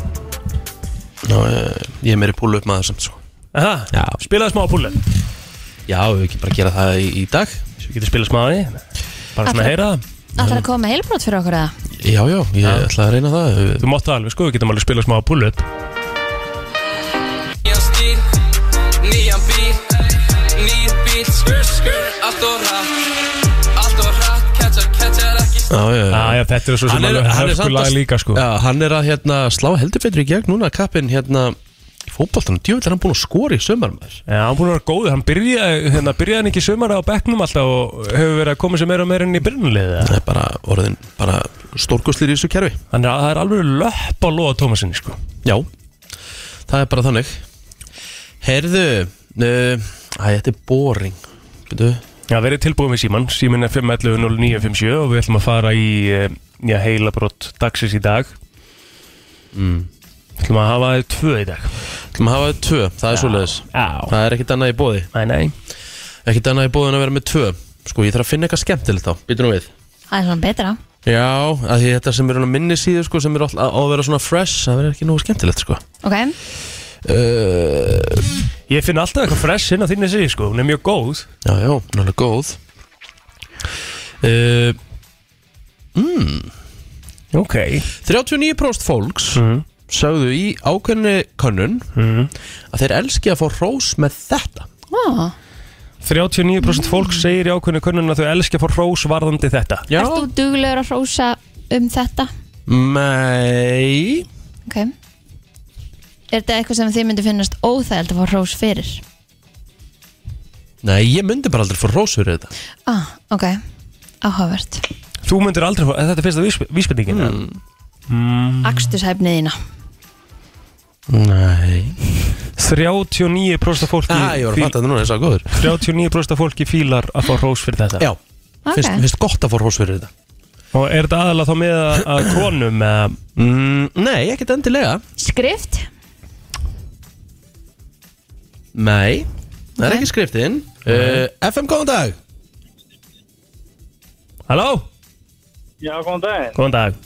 A: Ná, eh, ég er meiri púlu upp maður samt, sko Já.
E: Spilaðu smá púlið
A: Já, við ekki bara gera það í, í dag
E: Svo getur spilað smá að því Bara svona
D: Allra-
E: heyra það
D: Það að koma með heilbrot fyrir okkur eða?
A: Já, já, ég ætla að reyna það
E: Þú mátt það alveg sko, við getum alveg spilað smá púlið
F: Nýjan stíl, nýjan bíl Nýr bíl, skur skur Allt og hratt Allt og hratt, catcher, catcher ekki
A: Já, já, já
E: Já, já, þetta er svo sem alveg hörku lag líka sko
A: já, hann er að hérna, slá heldur betur í gegn núna kappin hérna í fótboltanum, djúvill er hann búin að skora í sömar maður
E: Já, hann búin að vera góður, hann byrjaði, hérna, byrjaði hann ekki sumara á bekknum alltaf og hefur verið að koma sér meira og meira inn í byrjunliðið
A: Það er bara orðin, bara stórkostlir í þessu kerfi
E: Þannig að það er alveg löpp á loða Tómasinni sko
A: Já, það er bara þannig Herðu uh, Æ, þetta er boring Býtu,
E: Já, verið tilbúin við síman, símin er 511-0957 og við ætlum að fara í eh, já, heilabrott dagsins í dag mm. Við ætlum að hafa þið tvö í dag
A: Mm. ætlum að hafa tvö, það er svoleiðis
E: Já,
A: Það er ekkit annað í bóði
E: næ, næ
A: Ekkit annað í bóði en að vera með tvö Sko, ég þarf að finna eitthvað skemmtilegt þá, býtu nú við
D: Það er svona betra
A: Já, að því þetta sem eru á minni síðu sko, sem eru all- á að vera svona fresh það verður ekki nógu skemmtilegt sko
D: Ok,
A: uh,
E: Ég finn alltaf eitthvað fresh inn á þínni sig sko, hún er mjög góð
A: Já, já, hún er alveg góð uh,
E: Mm. Ok
A: 39% fólks
E: Mhm.
A: sögðu í ákveðinni könnun að þeir elski að fá rós með þetta
D: Ó,
E: 39% fólk segir í ákveðinu könnun að þau elski að fá hrós varðandi þetta
A: mm. Já
D: ert þú duglegur að hrósa um þetta?
A: Nei
D: Ok Er þetta eitthvað sem þið myndi finnast óþægild að fá hrós fyrir?
A: Nei, ég myndi bara aldrei fá rós fyrir þetta
D: Ah, ok Áhugavert
E: Þú myndir aldrei fá, þetta er fyrsta vísb- vísbendingin mm.
D: Hmm. Akstushæfniðina
A: Nei
E: 39% af fólki
A: ah, Ég var að
E: fíl-
A: fatta þetta núna, ég sá góður
E: 39% af fólki fílar að fá hrós fyrir þetta
A: Já,
D: Ok.
A: finnst, finnst gott að fá rós fyrir þetta
E: Og er þetta aðalega þá með að, að konum eða
A: mm, Nei, ekkert endilega
D: Skrift?
A: Nei, það er
D: Nei.
A: ekki skriftin uh, FM, góðan dag
E: Halló,
G: Já, góðan daginn.
E: góðan dag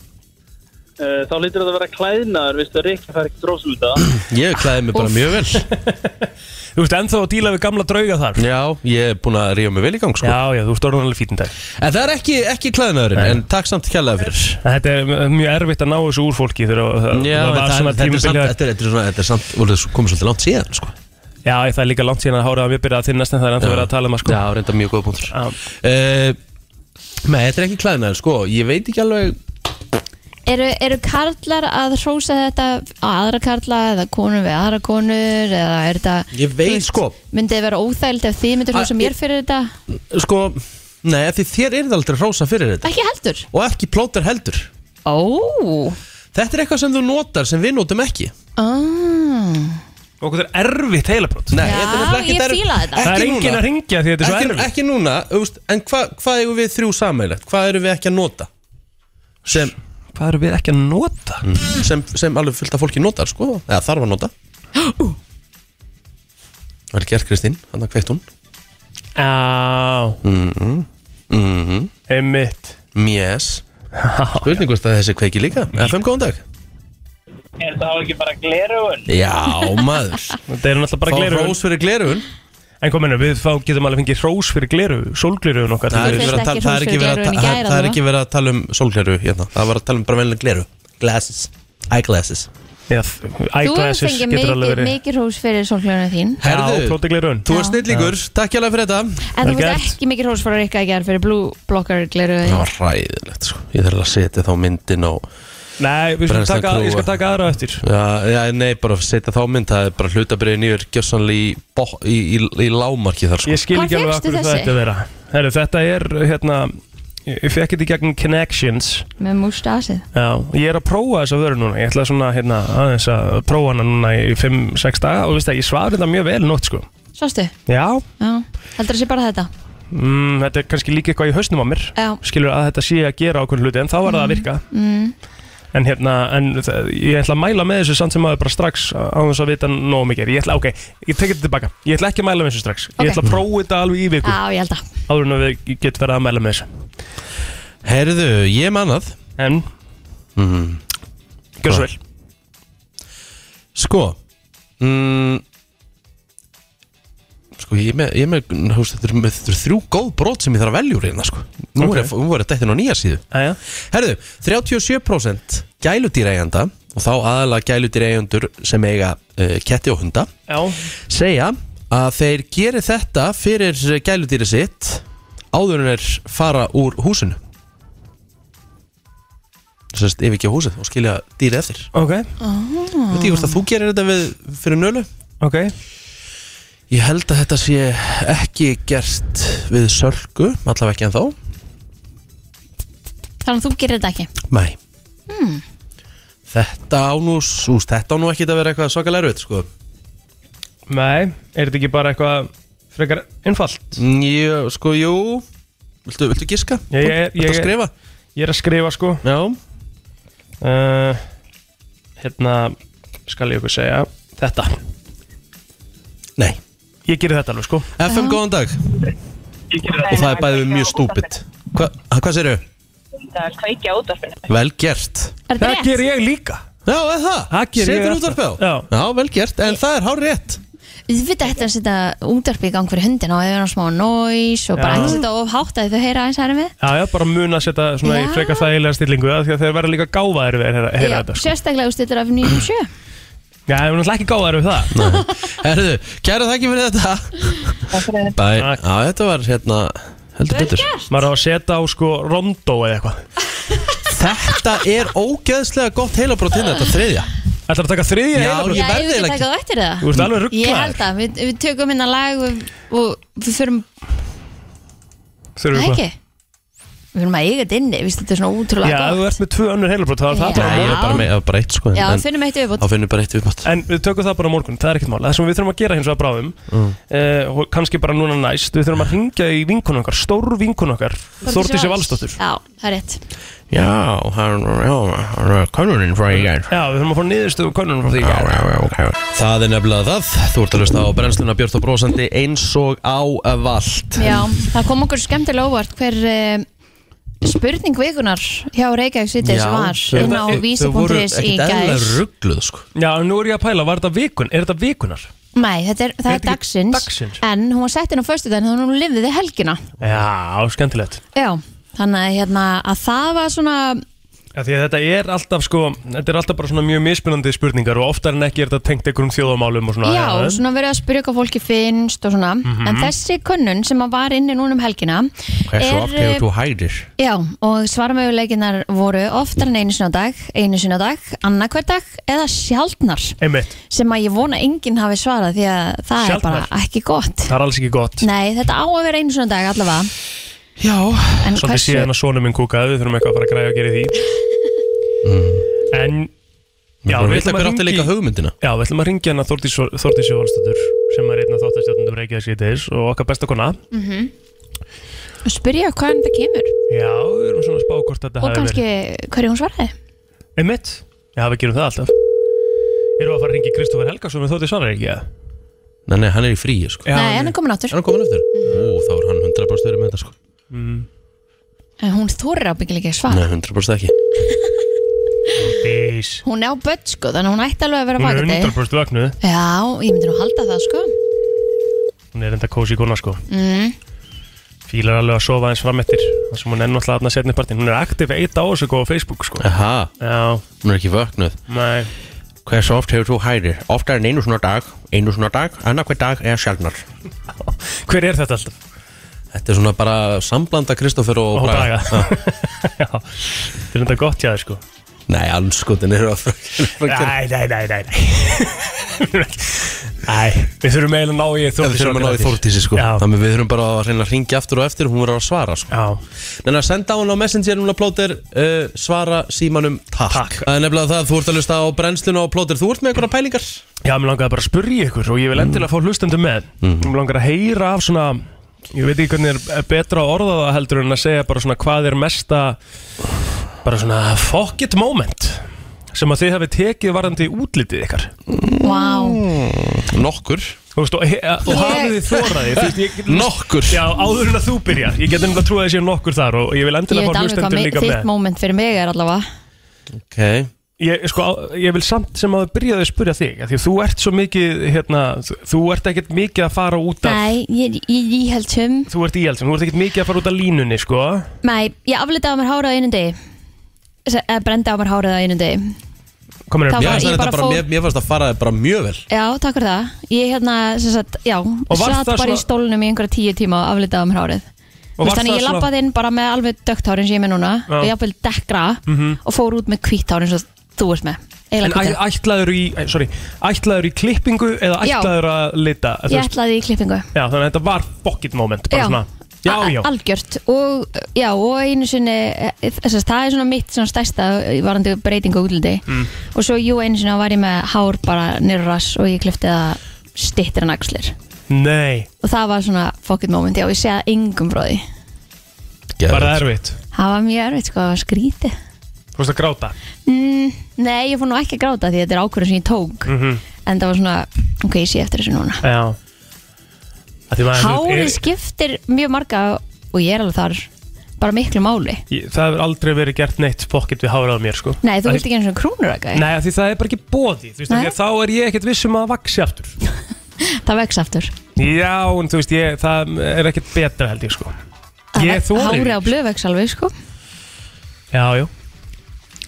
G: Uh, þá lítur þetta að vera klæðnaður, veistu, Rikki fær ekkert rósum þetta.
A: Ég klæði mig bara
D: Úff.
A: mjög vel
E: [laughs] Þú ert ennþá að díla við gamla drauga þar
A: Já, ég er búin að ríða mig vel í gang sko.
E: Já, já, þú ert orðan alveg fítin dag
A: En það er ekki, ekki klæðnaðurinn, en takk samt kjærlega fyrir
E: Þetta er mjög erfitt að ná þessu úr fólki þegar það-
A: Já,
E: það
A: en það- þetta er
E: var svona
A: samt-
E: tímubilja
A: þetta er- þetta er svona- þetta er samt, voruð þið komið svolítið langt síðan sko.
E: Já, það er líka langt síðan að hárið að mér byrjaði að þinnast en það er ennþá verið að tala um að sko
A: Já, reynda mjög góða punktur
E: Já.
A: uh, Nei, þetta er ekki klæðnaður, sko Ég veit ekki alveg
D: Eru, eru karlar að hrósa þetta á aðra karla eða konur við aðra konur eða er þetta
A: Ég veit, sko.
D: myndið vera óþægild ef þið myndir hrósa
A: Að-
D: mér fyrir þetta
A: Sko, nei, af því þér er það aldrei hrósa fyrir þetta
D: ekki heldur
A: Og ekki plóter heldur
D: ó
A: Þetta er eitthvað sem þú notar sem við notum ekki
D: ah.
E: Okkur er erfitt heilabrót
A: Nei,
D: Já,
A: þetta er nefnilega ekki
D: ég fíla þetta.
E: Það er engin að ringja því þetta er svo
A: ekki,
E: erfitt
A: ekki núna, úst, en hva, hvað eigum við þrjú sammeilegt? Hvað erum við ekki að nota? Sem, Mm.
E: Hvað erum við ekki að nota?
A: sem, sem alveg fullt af fólki notar sko, eða þarf að
D: [gasps]
A: nota Vel gert Kristín, hann að kveikt hún
E: Já
D: Mhm.
E: Einmitt [laughs]
A: Mjess Spurning hvort að þessi kveiki líka FM góðan dag
G: Er þetta hafa ekki bara glerugun?
A: Já
E: [laughs]
A: maður
E: Þetta er náttúrulega bara
A: Fá
E: gleru
A: rós fyrir glerugun
E: En hvað mennum, við fá, getum alveg fengið hrós fyrir gleru Sólgleruðun okkar
A: Það er
D: Þú
A: ekki
D: fékkst
A: verið að tala-
D: ekki
A: það er ekki verið að ta- það
D: hrós fyrir gleraugun í gær
A: er
D: allavega.
A: ekki verið að tala um sólgleru hérna. Það var að tala um bara venlega gleru Glasses Eyeglasses
E: Eða
D: Þú hefur
E: eyeglasses
D: fengið
E: getur alveg
D: mikið,
E: verið
D: mikið hrós fyrir solglöðunum þín
E: Já,
A: Herðu,
E: flótiglirun
A: þú er snillíkur, takk hjá fyrir þetta
D: En
E: Vel
D: þú
E: gert.
D: veist ekki mikið hrós fyrir Rikka að gera fyrir Blue Blocker gleruðu
A: Það var ræðilegt sko, ég þarf að setja þá myndin á
E: Nei, við skulum
A: Brennslan
E: taka, ég
A: Crew.
E: skal taka aðra á eftir
A: Já, já, nei, bara að setja þá mynd Það er bara hlutabriðin yfir gjössanlega í, bo- í, í, í lámarki þar sko
E: Ég skil
D: Hvar
E: ekki alveg
D: fékkstu
E: akkur það
D: þessi?
E: ætti að vera Heru, Þetta er, hérna Ég ég fekk þetta í gegnum Connections
D: með mústasið
E: Já, ég er að prófa þessa vöru núna Ég ætla svona, hérna, aðeins að prófa hana núna í 5-6 daga og veist það, ég svar þetta mjög vel í nótt, sko
D: Svastu?
E: Já,
D: Já, heldur það sé bara þetta
E: mm, þetta er kannski líka eitthvað í hausnum á mér
D: Já,
E: skilur að þetta sé að gera ákveðin hluti en þá var það að virka
D: mm,
E: en hérna, en það- ég ætla að mæla með þessu samt sem maður bara strax á þess að vita nóg mikið, ég ætla, ok, ég tekið þetta tilbaka ég ætla ekki að mæla með þessu strax, ég
D: Ok.
E: ætla að prófa þetta alveg í viku
D: já ég held að
E: áður en að við getum verið að mæla með þessu
A: Herðu, ég mannað
E: en, Mhm. gjör svo vel
A: Sko mm, Sko, ég er með, ég er með, húst, þetta eru með- þetta eru þrjú góð brot sem ég þarf að velja úr hérna sko Nú
E: Ok.
A: okay. voru, voru þetta á nýja síðu
E: Æja.
A: Herðu, 37% gæludýrægjanda og þá aðalega gæludýrægjandur sem eiga uh, ketti og hunda
E: já,
A: segja að þeir geri þetta fyrir gæludýri sitt áður en þeir fara úr húsinu Sérst, ef ekki á húsið og skilja dýrið eftir
E: ok,
A: Veit ég hvort að þú gerir þetta við, fyrir nölu?
E: ok
A: Ég held að þetta sé ekki gert við sölku, allavega ekki en þá
D: Þannig að þú gerir þetta ekki
A: Nei
D: Hmm.
A: Þetta á nú, súst, þetta á nú ekki að vera eitthvað svakalega erfitt, sko
E: nei, er þetta ekki bara eitthvað frekar einfalt
A: Mm, Ég, sko, jú Viltu, viltu giska?
E: Ég- ég-
A: Viltu
E: ég-
A: að skrifa?
E: ég er að skrifa sko
A: Já
E: uh, hérna skal ég ykkur segja þetta,
A: Nei
E: ég gerir þetta alveg sko
A: FM, góðan dag Og það er bæðið mjög stúpid Hva, ha, Hvað sérðu?
H: Það er kveikja útvarpinu.
A: Vel gert
D: Er þetta rétt?
E: ger ég líka
A: Já, eða það?
E: Það geri ég
A: Setur
E: alltaf.
A: útvarpið á?
E: Já.
A: vel gert, en það er hár rétt
D: Ég veit að þetta er að setja útdarpi í gang fyrir hundina og það er hann smá noise og bara
E: Já.
D: ekki setja of hátt að þau heyra aðeins hægri með
E: Já, já, bara mun að setja svona í
D: Já.
E: frekar þægilega stillingu af því að þeir verða líka gáfaðir við að heyra- heyra þetta sko.
D: sérstaklega úr stillir af
E: Já,
D: 97
E: þeir verða náttúrulega ekki gáfaðir við það
A: Herðu, kæra þakki fyrir þetta Bæ,
E: Takk.
A: já, þetta var hérna heldur betur
E: Maður á að setja á sko rondó eða
D: [laughs]
E: eitthvað
A: Þetta er ógeðslega gott heilabrót hérna, þetta þriðja
E: Ætlar að taka þriðja
A: Já, ég- verð
E: heila
D: Já, ef við
A: eiginlega
D: ekki taka það eftir það
E: Þú ert alveg
D: Ég held
E: rugglaður
D: að, við, við tökum hérna lag og, og við förum,
E: Þurfum
D: það
E: við
D: ekki Við förum að eiga þetta inni, við þetta er svona
E: hvað? Já,
D: útrúlega
E: ef þú ert með tvö önnur heilabrót þá er það
D: Já.
A: Já,
E: bara
A: ég er bara með, ég er bara eitt sko en-
D: Já,
A: en,
D: finnum eitt viðbót
A: Þá finnum við bara eitt viðbátt
E: En við tökum það bara á morgun, það er ekkert mál Það sem við þurfum að gera hins vegar bráðum mm. og kannski bara núna næst Við þurfum að hringja í vinkun okkar, stór vinkun okkar Þórdísi Valstóttur
D: Já, það er rétt
A: Já, hann, já, hann, konurinn frá í gær
E: Já, við þurfum að fá niðurstöðu konunum frá því
A: Já, já, já, ok. Það er nefnilega það, þú ert að hlusta á brennsluna Björn og brosandi eins og á vald
D: Já, það kom okkur skemmtilega óvart hver eh, spurning vikunar hjá Reykjavík Sittis var inn á vísi.is í gæs
A: ruggluð sko
E: Já, en nú er ég að pæla, var þetta vikun? Er þetta vikunar?
D: Nei, þetta er, það
E: Er
D: er
E: þetta ekki
D: dagsins,
E: dagsins? sko.
D: en hún var sett inn á föstudaginn þannig að hún lifði helgina
E: Já, skemmtilegt
D: Já, þannig að, hérna, að það var svona
E: Já, því að þetta er alltaf sko, þetta er alltaf bara svona mjög mismunandi spurningar og oftar en ekki er þetta tengt einhverjum þjóðamálum og svona Mhm.
D: Já,
E: eða-
D: svona verið að spyrja hvað fólki finnst og svona En þessi könnun sem að var inni núna um helgina eh,
A: hæðir?
D: Já, og svarmöguleikinar voru oftar en einu sinna dag, einu sinna dag, annarkver dag eða sjaldnar
E: Einmitt,
D: sem að ég vona enginn hafi svarað því að það
E: Sjaldnar?
D: er bara ekki gott
E: það er alls ekki gott
D: Nei, þetta á að vera einu sinna dag allavega
A: Já
D: En
E: Svolítið
D: hversu,
E: síðan að sonum minn kúkaði, við þurfum eitthvað að fara að græja að gera í því En
A: Mm. Við
E: Já, við
A: veitum
E: ætlum
A: hver
E: að
A: átti
E: ringja
A: líka
E: í-
A: hugmyndina
E: Já, við ætlum að ringja hana Þórdís Þórdísi Valstættur sem er einn af þáttastjórnundum Reykjavík síðdeis og okkar besta kona
D: Mhm. spyrja hvaðan það kemur
E: Já, við erum svona að spá hvort þetta
D: og
E: hafi
D: kannski hverju hún svaraði
E: verið Einmitt, já við gerum það alltaf Erum við að fara að ringja Kristófer Helgason með Þórdís Valstættur, ekki?
A: Nei, nei, hann er í fríi sko
E: Já,
D: Nei, hann er komin áttur
A: Er hann komin aftur? Ó, þá er hann 100% verið með þetta sko
E: Mhm.
D: En hún þorir ábyggilega ekki að svara
A: Nei, 100% ekki
E: Þórdís
D: Hún er á börn sko, þannig að hún ætti alveg að vera
E: Hún er
D: vakandi
E: 100% vögnuð
D: Já, ég myndi nú halda það sko Mhm.
E: Hún er enda kósi kona sko mm. Fílar alveg að sofa aðeins fram eftir Það sem hún er náttúrulega aðna setni partinn Hún er aktiv eitt á þessu góða á Facebook sko
A: Aha,
E: Já,
A: hún er ekki vöknuð
E: nei
I: Hversu oft hefur þú hæri? Oftar en einu svona dag, einu svona dag, annar hver dag eða sjálfnar.
E: [laughs] Hver er þetta alltaf?
A: Þetta er svona bara samblanda Kristoffer og
E: Og
A: Braga.
E: daga
A: [laughs]
E: [laughs] Já, þetta er þetta gott jáður sko
A: Nei, anskotin eru að frækja
E: Nei, nei, nei, nei Nei, Nei, við þurfum eiginlega að ná í
A: Við
E: Þórdís
A: þurfum að ná í
E: Ragnhildi.
A: Þórdísi sko
E: Já.
A: Þannig við þurfum bara að reyna að ringja aftur og eftir og Hún verður að svara sko
E: Já,
A: Neina, senda hún á Messenger núna plóter uh, Svara símanum takk.
E: Takk.
A: Það er nefnilega það, þú ert að lusta á brennsluna á plóter Þú ert með einhverja pælingar
E: já, mér langaði bara að spyrja ykkur og ég vil endilega fá hlustandi með
A: Mhm.
E: Mér langar að heyra af svona ég veit ekki hvernig er betra að orða það heldur en að segja bara svona hvað er mesta bara svona fuck it moment sem að þið hafi tekið varandi útlitið ykkar
D: Vá,
E: Mm.
A: Nokkur
E: Þú veist, og, eh, og hafið þið þóraði Þú veist, ég get
A: Nokkur
E: Já, áður en að þú byrjar Ég get nefnilega trúið að sé nokkur þar og ég vil
D: ég
E: endilega
D: veit
E: fá
D: alveg hvað
E: hlustendur
D: mi-
E: líka
D: þitt
E: með
D: moment fyrir mig er allavega
A: okay.
E: ég, sko, á- ég vil samt sem að byrjaði að spyrja þig af Því að þú ert svo mikið hérna, þú- Þú ert ekkert mikið að fara út af
D: Nei, ég, ég, ég held um
E: Þú ert í eldsum, þú ert ekkert mikið að fara út af línunni sko.
D: Nei, ég aflitaði á mér hárið á einu degi Se- eða brendi á mér hárið á einu degi
E: Komin
D: Þá
E: upp
A: Já,
D: var-
A: það
D: ég
A: er
D: bara
A: þetta bara,
D: fór-
A: mér, mér fannst að fara þér bara mjög vel
D: Já, takk fyrir það Ég hérna, sem sagt, já
E: var
D: Satt
E: það
D: bara í
E: svona-
D: stólnum í einhverja tíu tíma og aflitaði á mér hárið
E: Og
D: Þú veist,
E: var
D: Þannig
E: það
D: ég
E: svona-
D: labbaði inn bara með alveg dögt hárið sem ég er með núna
E: Já. Mhm.
D: og jafnvel dekkra og fór út með hvítt hárið eins og þú ert með
E: En
D: Eiginlega hvítt hár.
E: ætlaður í, æ, sorry, ætlaður í klippingu eða
D: Já.
E: ætlaður að lita Þú
D: Ég
E: veist,
D: ætlaði í klippingu
E: Já, þannig að þetta var fokkit moment bara
D: Já.
E: svona, Já,
D: A-
E: já,
D: algjört og, já, og einu sinni e, þess að það er svona mitt svona stærsta varandi breytingu útliti mm. og svo jú einu sinni var ég með hár bara nýrur rass og ég klifti það stittir en axlir
E: nei,
D: og það var svona fuck it moment já, ég segja engum frá því
E: bara erfitt
D: það var mjög erfitt sko, það var skrítið
E: Þú veist að gráta
D: mm, nei, ég fór nú ekki að gráta því þetta er ákvörðum sem ég tók
E: Mhm.
D: en það var svona, ok, ég sé eftir þessu núna
E: Já Af því maður-
D: hárið
E: er-
D: skiptir mjög marga og ég er alveg þar bara miklu máli
E: Ég- Það hefur aldrei verið gert neitt fokkit við hárið á mér sko
D: Nei, þú
E: Af því-
D: vilt ekki einu svona krúnur ekki?
E: Nei, af því það er bara ekki bóði Þú veist, af því
D: Nei.
E: að þá er ég ekkert vissum að það vaksi aftur
D: Það vex aftur
E: Já, en þú veist, ég, það er ekkert betra held ég sko Ég þóri
D: Hári á blöðvex alveg sko
E: Já, já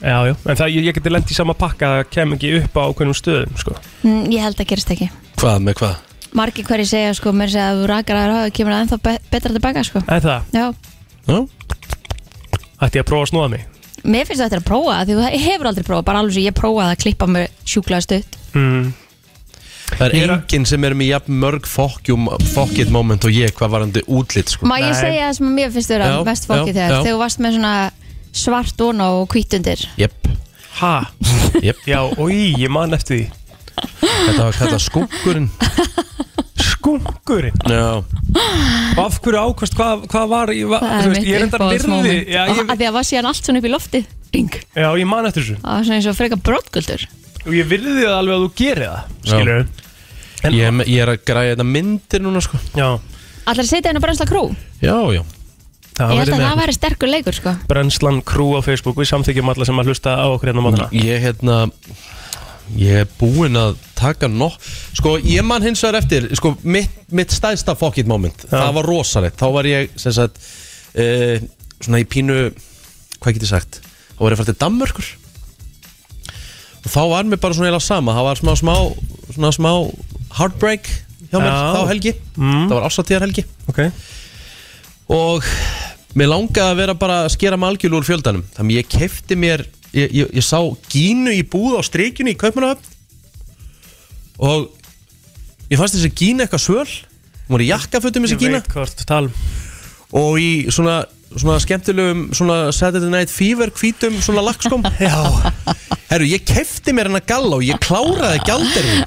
E: Já, já, en það, ég, ég geti lent í sama pakka að kem ekki upp á ákveðnum stöðum sko
D: mm, Ég held að gerist ekki
A: Hvað með hvað?
D: Margi hverju segja sko Mér segja að þú rakar aðra hafa Kemur það ennþá be betra tilbaka sko
E: En það,
D: Já
A: Já,
E: ætti ég að prófa að snúa mig
D: Mér finnst þetta að prófa það, Því að ég hefur aldrei prófað Bara alveg sem ég prófaði að klippa mér sjúklaða stutt
E: mm.
A: Það er
E: Ég er að-
A: enginn sem er með jafn mörg fokkjum, fokkjum moment og ég hvað varandi útlit sko.
D: Má ég
E: Nei.
D: segja það sem mér finnst vera
A: Já,
D: mest fokkið
A: já,
D: þegar
A: já.
D: Þegar þú varst með svona svart óna og hvítundir
A: Jep,
E: Ha,
A: jep,
E: já, oi, ég man eftir því
A: þetta var kallað skúkurinn
E: Skunkurinn,
A: Já,
E: Og af hverju ákvæmst hvað, hvað var, í- va, Ah, þú
D: Það er
E: veist, ég
D: mitt
E: er enda virði
D: uppáhaldsmoment
E: já,
D: Af
E: ég,
D: Því að það var síðan allt svona upp í lofti Ring
E: já, ég man eftir þessu
D: Það var svona eins og freka brotgöldur
E: Og ég virði það alveg að þú gerir það, skilur En,
A: ég, er með- ég er að græja þetta myndir núna sko
E: já,
D: Allar að setja henni að brensla krú
A: Já, já
D: Ég held
E: verið
D: að
E: með
D: það væri sterkur leikur sko
E: Brennslan Crew á Facebook Við samþykjum alla sem að hlusta á okkur hérna á mótana
A: Ég hérna Ég er búinn að taka nokk Sko, ég man hins vegar eftir Sko, mitt, mitt stæðsta fuck it moment Það var rosalegt, þá var ég sem sagt uh, Svona í pínu Hvað get ég sagt? Þá var ég fælt til Danmörkur Og þá var mér bara svona eða sama Það var smá, smá, svona smá Heartbreak hjá mér,
E: Já. Mm.
A: þá helgi Það var ásatíðar helgi
E: Ok
A: og mér langaði að vera bara að skera malgjul úr fjöldanum þannig ég kefti mér ég, ég, ég sá gínu í búð á streikjunni í Kaupmannahöfn og ég fannst þessi gínu eitthvað svöl hún var í jakkafutum þessi
E: Ég
A: gína
E: veit hvort um. tal
A: og í svona, svona skemmtilegum svona Saturday Night Fever hvítum svona lagskom
E: [laughs]
A: Já Herru, ég kefti mér hennar galla og ég kláraði gjaldirinn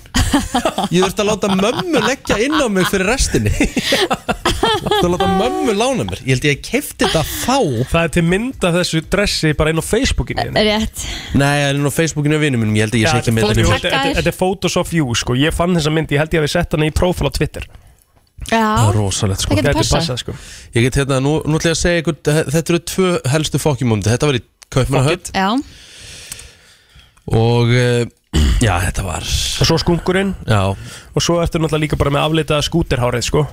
A: Ég þurfti að láta mömmu leggja inn á mig fyrir restinni Ég þurfti að láta mömmu lána mér Ég held ég kefti þetta þá
E: Það er til mynda þessu dressi bara inn á Facebookinu þínu.
D: Rétt
A: Nei, en á Facebookinu og vinum mínum, ég held að ég sé ekki með
E: þetta
A: þetta
E: er-
A: nýjum
E: þetta er- þetta er Photos of You sko Ég fann þessa mynd, ég held ég hafi sett hana í prófál á Twitter
D: Já,
A: Rosalegt sko
D: Það getur
E: Gæti
D: passað.
E: passað, sko
A: Ég get hérna, nú, nú ætla ég að segja ykkur Þetta eru tvö helstu fokkjumóndi Þetta var í Kaupmannahöfn
D: já,
A: Og eh, [clears throat] já, þetta var
E: Og svo skunkurinn
A: Já,
E: Og svo ertu náttúrulega líka bara með afleitað skúterhárið sko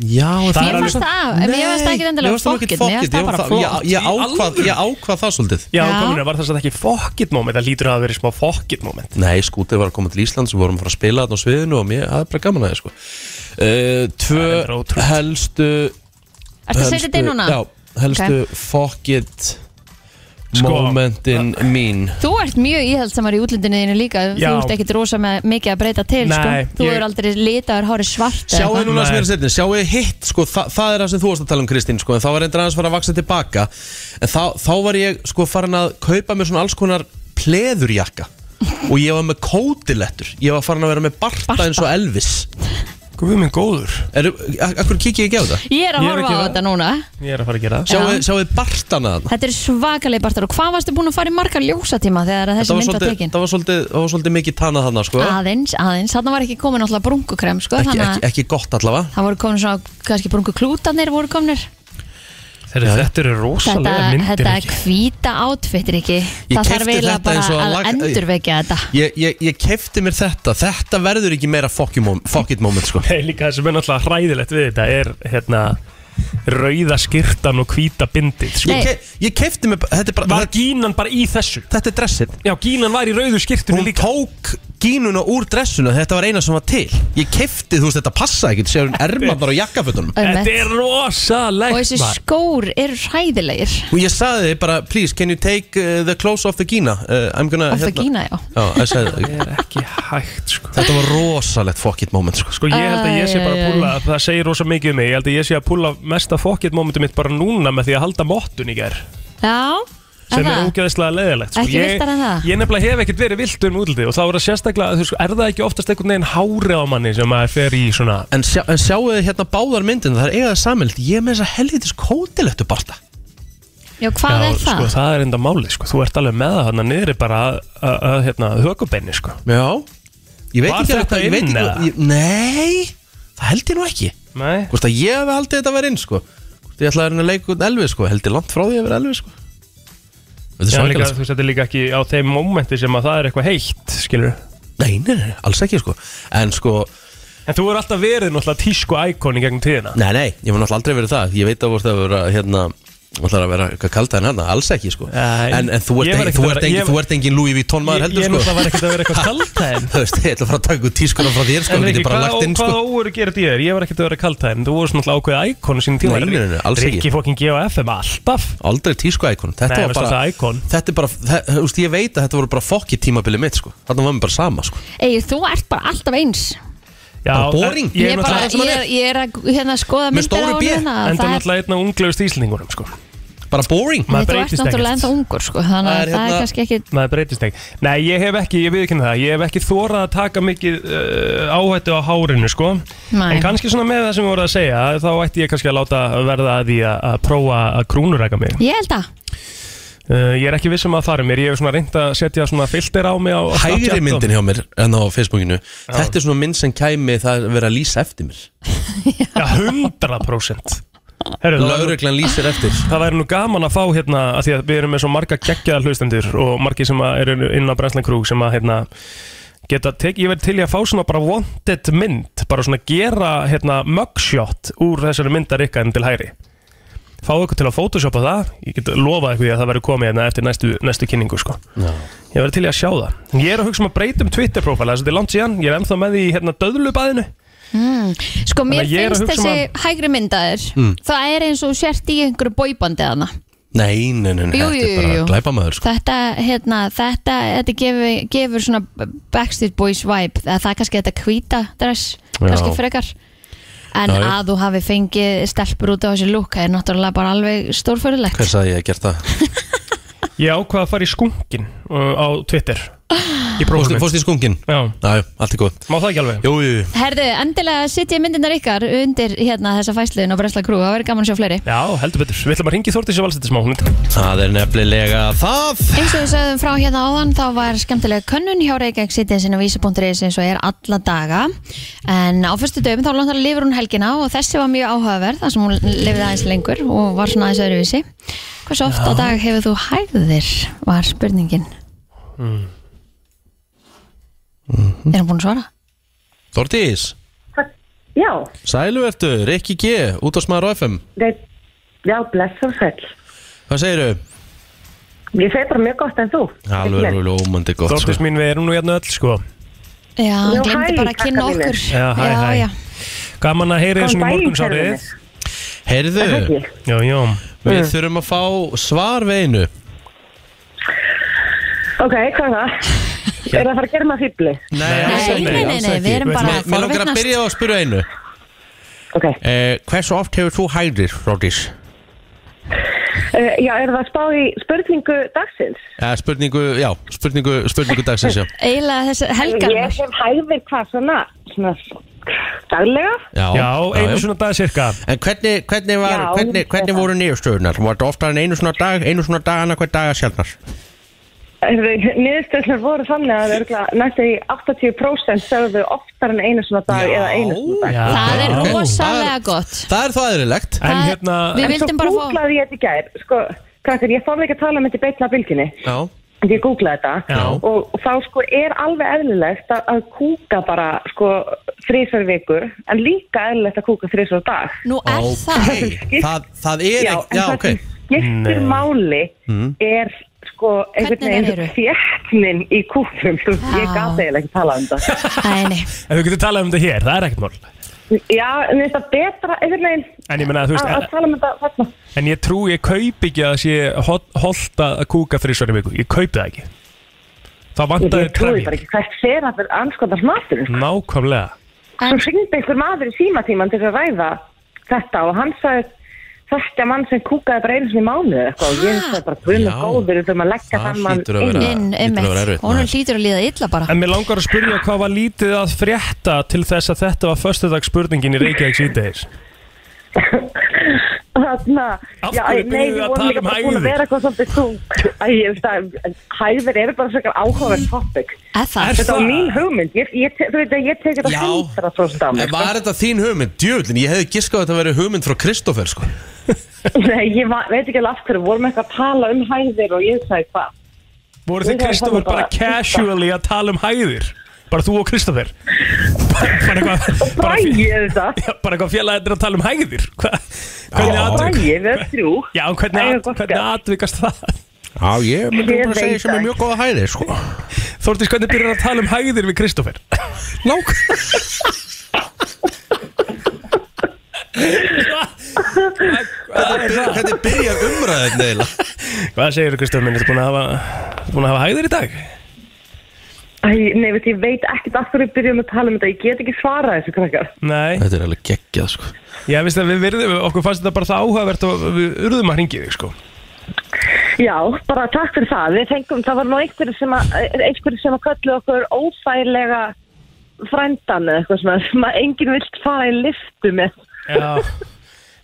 A: Já, en
E: Það
A: það er
E: er alveg-
A: alveg
D: fannst það- mér fannst það ekkit endilega fuck it, mér fannst það bara flott.
A: Ég ákvað- ég ákvað það svolítið
E: Já,
D: Já.
E: kominu, var það satt ekki fokkit moment Það lítur að hafa verið smá fokkit moment
A: Nei, skútið var að koma til Íslands við vorum að fara að spila þarna á sviðinu og mér, það er bara gaman að það sko. uh,
E: Það er
A: Tvö
E: ótrúlegt.
A: helstu
D: Ertu að setja þetta inn núna?
A: Já, helstu fuck it
E: Sko.
A: momentin mín
D: Þú ert mjög íhaldsamar í útlendinu þínu líka
E: Já.
D: Þú ert ekkit rosa með mikið að breyta til
E: Nei,
D: sko. Þú
E: ég-
D: ég... er aldrei litaður hári svart eða
A: Sjáðu
D: eitthvað.
A: núna sem ég er
E: Nei.
A: að setja, sjáðu hitt sko, þa það er það sem þú varst að tala um Kristín sko, en þá var reyndar aðeins fara að vaksa tilbaka en þá, þá var ég sko farin að kaupa mér svona alls konar pleðurjakka og ég var með kótilettur ég var farin að vera með barta,
D: Barta.
A: eins og Elvis
E: Guð minn góður
A: Eru, akkur kikið ekki á það?
D: Ég
E: Ég
D: er að
E: er að
D: horfa á
E: gera-
D: þetta núna
E: Ég er að fara að gera það
A: Sjáðu, sjáðu bartana þarna
D: Þetta er svakalega bartar og hvað varstu búin að fara í marga ljósatíma þegar að
A: Þetta
D: þessi
A: var
D: mynd var
A: svolítið,
D: tekin?
A: það var svolítið, það var svolítið mikið tanað þarna sko
D: Aðeins, aðeins, þarna var ekki komin alltaf brungukrem sko,
A: ekki,
D: þannig
A: ekki,
D: að
A: ekki gott allavega
D: það voru komin svona, kannski brunguklútanir voru komnir
E: Þetta, þetta eru
D: Þetta,
E: rosalega myndir
D: þetta
E: ekki
D: hvíta átfittir ekki Það
A: keypti
D: þarf eiginlega
A: þetta
D: bara
A: eins og
D: að
A: lag-
D: endurvekja þetta
A: Ég, ég, ég kefti mér þetta, þetta verður ekki meira fuck, you mom, fuck it moment sko
E: Nei, líka það sem er náttúrulega hræðilegt við þetta er hérna rauða skirtan og hvíta bindið
A: Ég,
E: sko.
D: Nei.
A: ke, ég kefti mér, bara- þetta er bara
E: Var gínan bara í þessu?
A: Þetta er dressið
E: Já, gínan var í rauðu skirtunni
A: Hún
E: líka
A: tók gínuna úr dressuna Þetta var eina sem var til Ég kefti, þú veist, þetta passa ekkert Sér hún ermarnar á jakkafötunum
E: Þetta
D: Ömmett.
E: er
D: Og
E: rosalegt
D: þessi
E: maður.
D: skór eru hræðilegir
A: Og ég sagði þið bara, please, can you take uh, the clothes off the gína uh, I'm gonna
D: Of the Gína, já
A: Já, ég sagði,
E: Það er ekki hægt sko
A: Þetta var rosalegt fuck it moment sko.
E: Sko ég held að ég sé bara
D: Æ, æ,
E: að
D: æ.
E: púla Það segir rosa mikið um mig Ég held að ég sé að púla mesta fokkett momentum mitt bara núna með því að halda mottun í ger
D: Já,
E: sem
D: er
E: er
D: það?
E: ógeðslega leiðilegt
D: Ekki villtara en það?
E: Ég, ég nefnilega hef ekkert verið viltur um útliti og þá er það sérstaklega þú, veist, er það ekki oftast einhvern veginn hári á manni sem maður fer í svona
A: En, sjá, en sjáu þið hérna báðar myndin Það er eiga það samild Ég er með þess að helvitis kótilettu barta
D: Já, hvað er það?
E: sko, það er enda málið sko. þú ert alveg með það hann niður bara að- að að, hérna, hökubenni sko.
A: Já Ég veit
E: Var
A: ekki alveg
E: þetta
A: hvað- ég veit
E: inn
A: ekki-
E: eða?
A: ég- Nei, það held ég nú ekki
E: Nei,
A: Hvort að ég hef haldið þetta að vera inn sko Hvort ég ætlaði að reyna að leika út Elvis sko Held ég langt frá því að vera Elvis sko Þetta er
E: Já, líka,
A: svakalegt
E: þú veist, þetta er líka ekki á þeim momenti sem að það er eitthvað heitt, skilur
A: Nei, nei, nei, alls ekki sko En sko,
E: En þú er alltaf verið náttúrulega tísku íkoni gegnum tíðina
A: nei, nei, ég var náttúrulega aldrei verið það Ég veit að voru það að vera, hérna Það er að vera eitthvað kalda en hérna, alls ekki sko
E: Nei.
A: En, en þú,
E: Ég
A: ert ein,
E: var ekkert
A: þú,
E: að
A: ert
E: vera-
A: engin,
E: ég-
A: þú ert engin Louis Vuitton maður heldur
E: Ég er
A: sko
E: náttúrulega var ekkert að
A: [laughs]
E: vera eitthvað kaldhæðin
A: Þú veist, ég ætla að fara að taka út tískuna frá þér sko
E: En
A: Þetta
E: Rikki,
A: er bara
E: hvað,
A: lagt inn
E: hvað
A: sko
E: óveru gerði ég þér? Ég var ekkert að vera kaldhæðin Þú voru svona ákveðið íkonu sín tíma
A: Nei, nei, nei, nei, alls ekki.
E: Rikki fokkin GFM alltaf
A: Aldrei tísku íkon Þetta
E: Nei,
A: var
E: veistu,
A: bara
E: það er íkon.
A: Þetta er bara þe- Þú veist, ég veit að þetta voru bara fokki tímabili mitt sko Þarna var mér bara sama sko
D: Egil, þú ert bara alltaf eins
E: Já,
A: Bara boring.
E: en- Ég
D: Ég,
E: er
D: bara,
E: náttúrulega
D: ég, er, ég er að hérna, skoða
A: Með
D: myndir
A: stóru
D: á
A: B.
D: hérna
E: Enda
D: Það er
E: náttúrulega einn af unglegust íslendingunum sko.
A: Bara boring
E: maður
D: Þú ert
E: breytist
D: náttúrulega
E: ekkert.
D: ennþá ungur sko,
A: Það
D: þannig að
A: er
D: það
A: hérna-
D: er kannski ekki
E: Maður breytist ekki Nei, ég hef ekki, ég viðkynna það Ég hef ekki þórað að taka mikið uh, áhættu á hárinu sko.
D: Nei.
E: En kannski svona með það sem við vorum að segja Þá ætti ég kannski að láta verða að því að, að prófa að krúnuræka mig
D: Ég held að
E: uh, Ég er ekki viss um að fara mér Ég hef svona reynd að setja svona filter á mig á, á Snapchat
A: hægri
E: og-
A: myndin hjá mér en á Facebookinu þetta er svona mynd sem kæmi það að vera að lýsa eftir mér
E: [laughs] Já, 100% Herru, það væri-
A: lauruglan lýsir eftir
E: Það væri nú gaman að fá hérna að því að við erum með svo marga geggjaða hlustendur og margi sem að eru inn á Brenslan Krúg sem að hérna geta tekið, ég verð til í að fá svona bara wanted mynd, bara svona gera hérna mugshot úr þessari myndar ykkar en til hægri. Fá ykkur til að photoshopa það, ég get lofað ykkur því að það verður komið hérna eftir næstu, næstu kynningu sko.
A: Já.
E: Ég verð til í að sjá það. Ég er að hugsa um að breyta um Twitter profile, þess að þetta er langt síðan, ég er ennþá með því hérna döðlubæðinu.
D: Sko
E: Þannig
D: mér
E: að ég er að
D: finnst
E: hugsa um
D: þessi hægri myndaðir
A: Mm.
D: Það er eins og þú sért í einhverju bóibandi þarna
A: nei, nei, nei, nei,
D: Jú,
A: þetta
D: jú,
A: er bara
D: jú.
A: að glæpa maður sko.
D: Þetta, hérna, þetta, þetta gefur, gefur svona Backstreet Boys vibe Það, það er kannski þetta hvíta dress Kannski frekar En
A: Já, já.
D: að þú hafi fengið stelpur út á þessi lúk er náttúrulega bara alveg stórförulegt
A: hver sagði ég að gert það?
E: Ég ákvað að fara í skunkin uh, á Twitter. Í
A: fórst,
E: prófuminn.
A: fórst í skungin?
E: Já,
A: já, allt er góð
E: má það ekki alveg?
A: jú, jú, jú.
D: Herðu, endilega sitt ég myndirnar ykkar undir hérna þessa fæsliðin og Bresla Krú Það verður gaman að sjá fleiri
E: Já, heldur betur. Við ætlum að ringi Þórtísi Valsættis má hún. Já,
A: það er nefnilega það
D: Eins og við sögðum frá hérna áðan þá var skemmtilega könnun hjá Reykjavík sittinsinn á vísi.is eins og er alla daga en á fyrstu döfum þá langt að lifur hún helgina og þessi var mjög áhugaverð þar sem hún lifið aðeins lengur og var svona aðeins öðruvísi Hversu oft á dag hefur þú hægðir var spurningin Er hann búin að svara?
A: Þortís,
J: Já,
A: Sælu ertu, Rikki G, útásmaður á FM
J: nei, já, bless og sæl.
A: Hvað segiru?
J: Ég segi bara mjög gott en þú.
A: Alveg lómandi gott sko.
E: Dóttis mín, við erum nú hérna öll sko
D: Já, hann
J: Já,
D: glemdi
J: hæ,
D: bara að kynna
J: krakkar mínir.
D: okkur
E: Já, hæ,
D: já,
E: hæ.
D: já.
E: Gaman að heyri
J: Góðan
E: þessum í
J: daginn,
E: morgunsárið
J: kærumir.
A: Herðu,
E: Já, já
A: við
D: Mm.
A: þurfum að fá svar við einu
J: Ok, hvað er það? Er það að fara að gera maður fýbli?
A: Nei,
D: alls ekki, nei, nei, alls nei, við ekki. erum bara
A: Mér- Mér langar að
D: forvitnast.
A: byrja á að spyrja einu
J: Ok,
I: Eh, hversu oft hefur þú hægðir, Ródís?
J: uh, já, er það að spá í spurningu dagsins?
A: Ja, spurningu, já, spurningu, spurningu dagsins, já
D: Eiginlega þessi helgar
J: Ég sem hægðir hvað svona, svona daglega?
E: Já, einu svona dag cirka
I: En hvernig, hvernig, var,
J: Já,
I: hvernig, hvernig
J: þetta.
I: voru niðurstöðunar? Var þetta oftar en einu svona dag, einu svona dag, annað hver dag að sjálfnar?
J: Niðurstöðslar voru þannig að örgla, næstu í 80% sögðu oftar en einu svona dag eða einu svona dag.
E: Já,
D: Það er
E: ok.
D: rosalega gott
A: Það er þá aðrilegt
E: En
D: Það-
E: hérna,
D: Við
J: En
D: vildum
J: svo
D: bara fá-
J: googlaði ég þetta í gær, sko, krakkar, ég þarf ekki að tala um þetta í beitna bylginni,
A: Já,
J: en ég googlaði þetta
E: Já.
J: og þá sko er alveg eðlilegt að, að kúka bara sko þrísar vikur, en líka eðlilegt að kúka þrísar dag.
D: Nú er það
A: okay. það, það er
J: Já,
A: ekki,
J: en
A: já,
J: það Mm.
A: ok
J: sem skiptir
E: Nei.
J: máli
I: Mm.
J: er sko einhvern
D: Hvernig þær
J: veginn
D: eru?
J: þjættnin í kúkum, þú veist, ég
D: Já.
J: gaf eiginlega ekki tala um þetta.
D: Nei, nei,
E: ef við getum talað um þetta hér, það er ekkert mál
J: Já, en þetta betra, einhvern veginn,
E: En ég menna, þú
J: að, að
E: veist,
J: tala um þetta þarna.
E: en, en ég trú, ég kaup ekki að það sé holdt að kúka þrísvar í viku Ég kaup það ekki Það
J: Ég,
E: vantar
J: ég trúi bara
E: trefjum
J: ekki hvert fer að vera anskotast maturinn, sko.
E: Nákvæmlega
J: Svo syngdi einhver maður í símatíman til að ræða þetta og hann sagði þetta mann sem kúkaði bara einu sinni í mánuð eitthvað og ég sagði bara guðn og
A: Já.
J: góður við þurfum að leggja
A: Það
J: þann mann
A: hlýtur að
J: inn.
A: vera-
D: inn,
A: hlýtur að vera
D: einmitt
A: erfitt,
D: Hún
A: maður.
D: hlýtur að líða illa bara
E: En mér langar að spyrja hvað var lítið að frétta til þess að þetta var föstudags spurningin í Reykjavík síðdeis
J: Þarna,
E: Af
J: já,
E: hverju
J: nei,
E: byrjuðu
J: við
E: að
J: vorum
E: tala
J: líka
E: um
J: bara búin að
E: hæðir?
J: vera eitthvað svolítið tung. Æ, ég veist að hæðir eru bara svona áhugaverð topic.
D: Er
E: Mm.
D: það?
E: Er-
J: Þetta var mín hugmynd, ég, ég, te- þú veit að ég teki
A: Já.
J: þetta hundra frá
A: En
J: stammur.
A: var þetta þín hugmynd, djöfullin, ég hefði giskað að þetta verið hugmynd frá Kristoffer, sko
J: [laughs] Nei, ég va- veit ekki alveg af hverju, vorum eitthvað að tala um hæðir og ég sagði hvað.
E: Voru þið
J: Ég var
E: Kristoffer
J: þannig
E: bara
J: bara-
E: casually að tala um hæðir? Bara þú og Kristoffer? Bara bara eitthvað bara
J: Bræði
E: fé-
J: þetta,
E: Já, bara eitthvað félagið er að tala um hæðir? Hva? Hvernig atvik?
J: bræði, við erum þrjú.
E: Já, en
J: Æ,
E: hvernig, at,
J: gott
E: hvernig
J: gert.
E: atvikast það?
I: Já, ég myndi
J: Ég
I: bara að segja
J: veit
I: sem er
J: það.
I: mjög góða hæðir, sko.
E: Þórtís, hvernig byrjar að tala um hæðir við [laughs] Kristoffer?
A: Lák
J: [laughs]
A: Þetta byrjar umræðin neila
E: Hvað segir Kristoffer minn? Þú búin að hafa, búin að hafa hæðir í dag?
J: Æ, nei, veit, ég veit ekkert af hverju við byrjum að tala um þetta, ég get ekki svarað þessu krakkar.
E: Nei,
A: Þetta er alveg geggjað, sko
E: ég veist að við virðum, okkur fannst þetta bara það áhugavert og við urðum að hringið þig, sko.
J: Já, bara takk fyrir það. Við fengum, það var nú einhverju sem að, einhverju sem að köllu okkur ófælega frændan eða eitthvað svona, sem að enginn vilt fara í liftu með.
E: Já,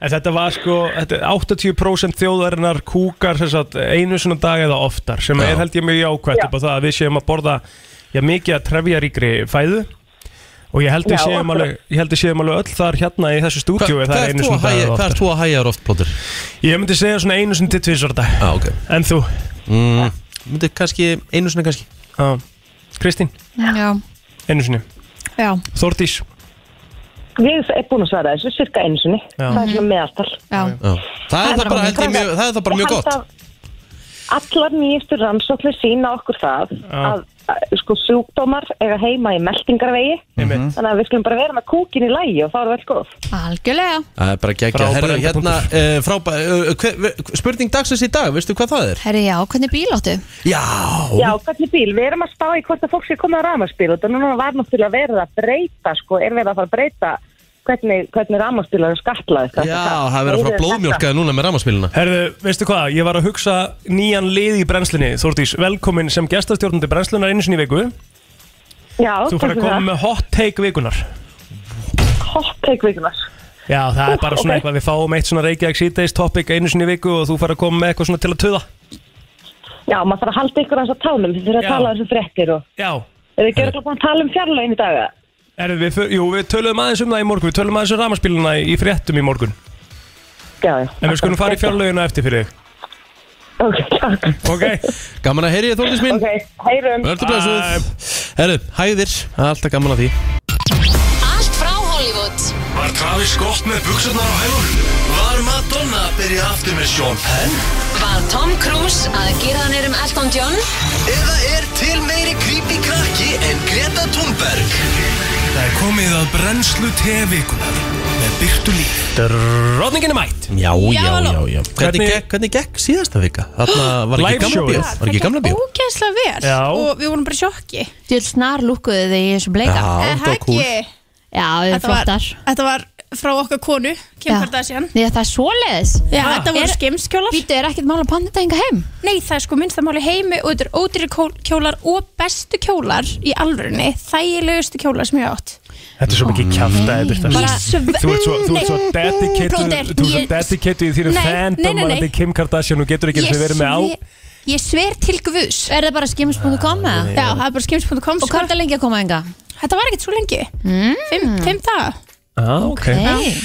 E: en þetta var sko þetta, 80% þjóðarinnar kúkar sem sagt, einu svona dag eða oftar sem er held ég mjög jákvæmt
J: Já.
E: upp á það að við séum að borða já, mikið að trefja ríkri fæðu og ég held við
J: Já,
E: séum
J: akkurat.
E: alveg, ég held við séum alveg öll þar hérna í þessu
A: Hva-
E: stúdíu
A: Hvað ert þú að hægja- hvað ert þú að hægja þér oft, Plóter?
E: Ég myndi segja svona einu svona til tvisvar á dag
A: Já, Ah, ok
E: En þú,
A: Mm, Myndi kannski, einu sinni kannski
E: á, Kristín,
D: Já,
E: einu sinni
D: já,
E: Þórdís,
J: Ég er búin að svara þessu, cirka einu sinni.
E: Já.
J: Það er svona meðaltal.
D: já
A: Já. Það er
D: er
A: það
D: bara
A: bara, held ég, mjög- það er það bara
J: Ég
A: mjög
J: held
A: gott
J: að Allar nýjastu rannsóknir sína okkur það að, að sko sjúkdómar eiga heima í meltingarvegi
E: einmitt
J: þannig að við skulum bara vera með kúkin í lægi og þá er vel góð.
D: Algjörlega
A: Það er bara geggja
E: Frábær
A: Herru, hérna,
E: endapunktur.
A: uh, frábæ, uh, hver, hver- spurning dagsins í dag, veistu hvað það er?
D: Herri, já, hvernig bíl áttu?
A: Já,
J: Já, hvernig bíl? Við erum að spá í hvort að fólk sé komið á rafmarsbíl og þetta núna var náttúrulega verið að breyta, sko, er verið að fara að breyta hvernig, hvernig rafmarsbílar eru skatlaði.
A: það verður að fara blóðmjólkaði núna með rammaspilina
E: Herðu, veistu hvað, ég var að hugsa nýjan lið í brennslinni, Þórdís, velkomin sem gestastjórnandi brennslunar einu sinni í viku
J: Já,
E: Þú fær að koma með hot take vikunar
J: Hot take vikunar.
E: Já, það er bara svona
J: ok.
E: eitthvað, við fáum eitt svona Reykjavík síðdeis topic einu sinni í viku og þú fær að koma með eitthvað svona til að töða
J: Já, maður þarf að halda ykkur aðeins á tánum þið þurfa
E: Já.
J: að tala þessu fréttir og
E: Já,
J: er þið ekki örugglega búin að tala um fjárlegin í dag? eða?
E: Herðu, við, för- jú, við töluðum aðeins um það í morgun, við töluðum aðeins um ramaspíluna í, í fréttum í morgun
J: Já, já.
E: En við skulum fara í fjárlaugina eftir fyrir þig
J: Ok, takk. [laughs]
E: Ok,
A: Gaman að heyri þóldis mín
J: Ok, um, heyrum.
A: Verður blessuð Herru, hæðir, það er alltaf gaman að því
K: Allt frá Hollywood
B: Var Travis Scott með buksunar á hælunum? Var Madonna að byrja aftur með Sean Penn?
K: Var Tom Cruise að gera hann erum Elton John?
B: Eða er til meiri creepy krakki en Greta Thunberg? Það er komið að brennslu tevikunar með Byrtu Líf.
E: Rodningin er mætt
A: Já, já, já, já. Hvernig,
E: Hvernig-
A: gekk, hvernig gekk síðasta vika? Þarna var ekki
E: Live
A: gamla
E: showið.
A: bíó Var ekki gamla bíó
L: Ógæslega vel
A: Já.
L: og við vorum bara í sjokki
D: Þú vil snar lúkkuðu þig í þessu
A: Já,
D: bleika
L: Eh,
A: þetta var
L: heggi.
A: cool.
D: Já, þau
L: Þetta
D: eru
L: var-
D: flottar
L: Þetta var frá okkar konu Kim
D: Já.
L: Kardashian
D: Nei, það er svoleiðis
L: Já, þetta voru
D: skimskjólar Vítu, er ekkert mál að panta þetta enga heim?
L: Nei, það er sko minnst að máli heimi og þetta er ódýri kjólar og bestu kjólar í alvörunni, þægilegustu kjólar sem ég átt
E: Þetta er svo mikið kjæft að byrta
L: Bara sve-
E: Þú ert svo, þú ert svo
L: Nei. Bróðir,
E: dedicated Þú ert svo
L: ég-
E: dedicated í þínu
L: Nei, nei,
E: fandom
L: nei,
E: að
L: nei.
E: þetta er Kim Kardashian og getur ekki eins og verið með á
L: sve- ég sver til guðs Er það bara skims.com
E: eða?
L: Já, það er bara skims.com Og hvað er
D: þetta sko. lengi að koma enga?
L: Þetta var ekkert svo lengi mm. Fimm, fimm dagar
E: ah, ok
L: Já.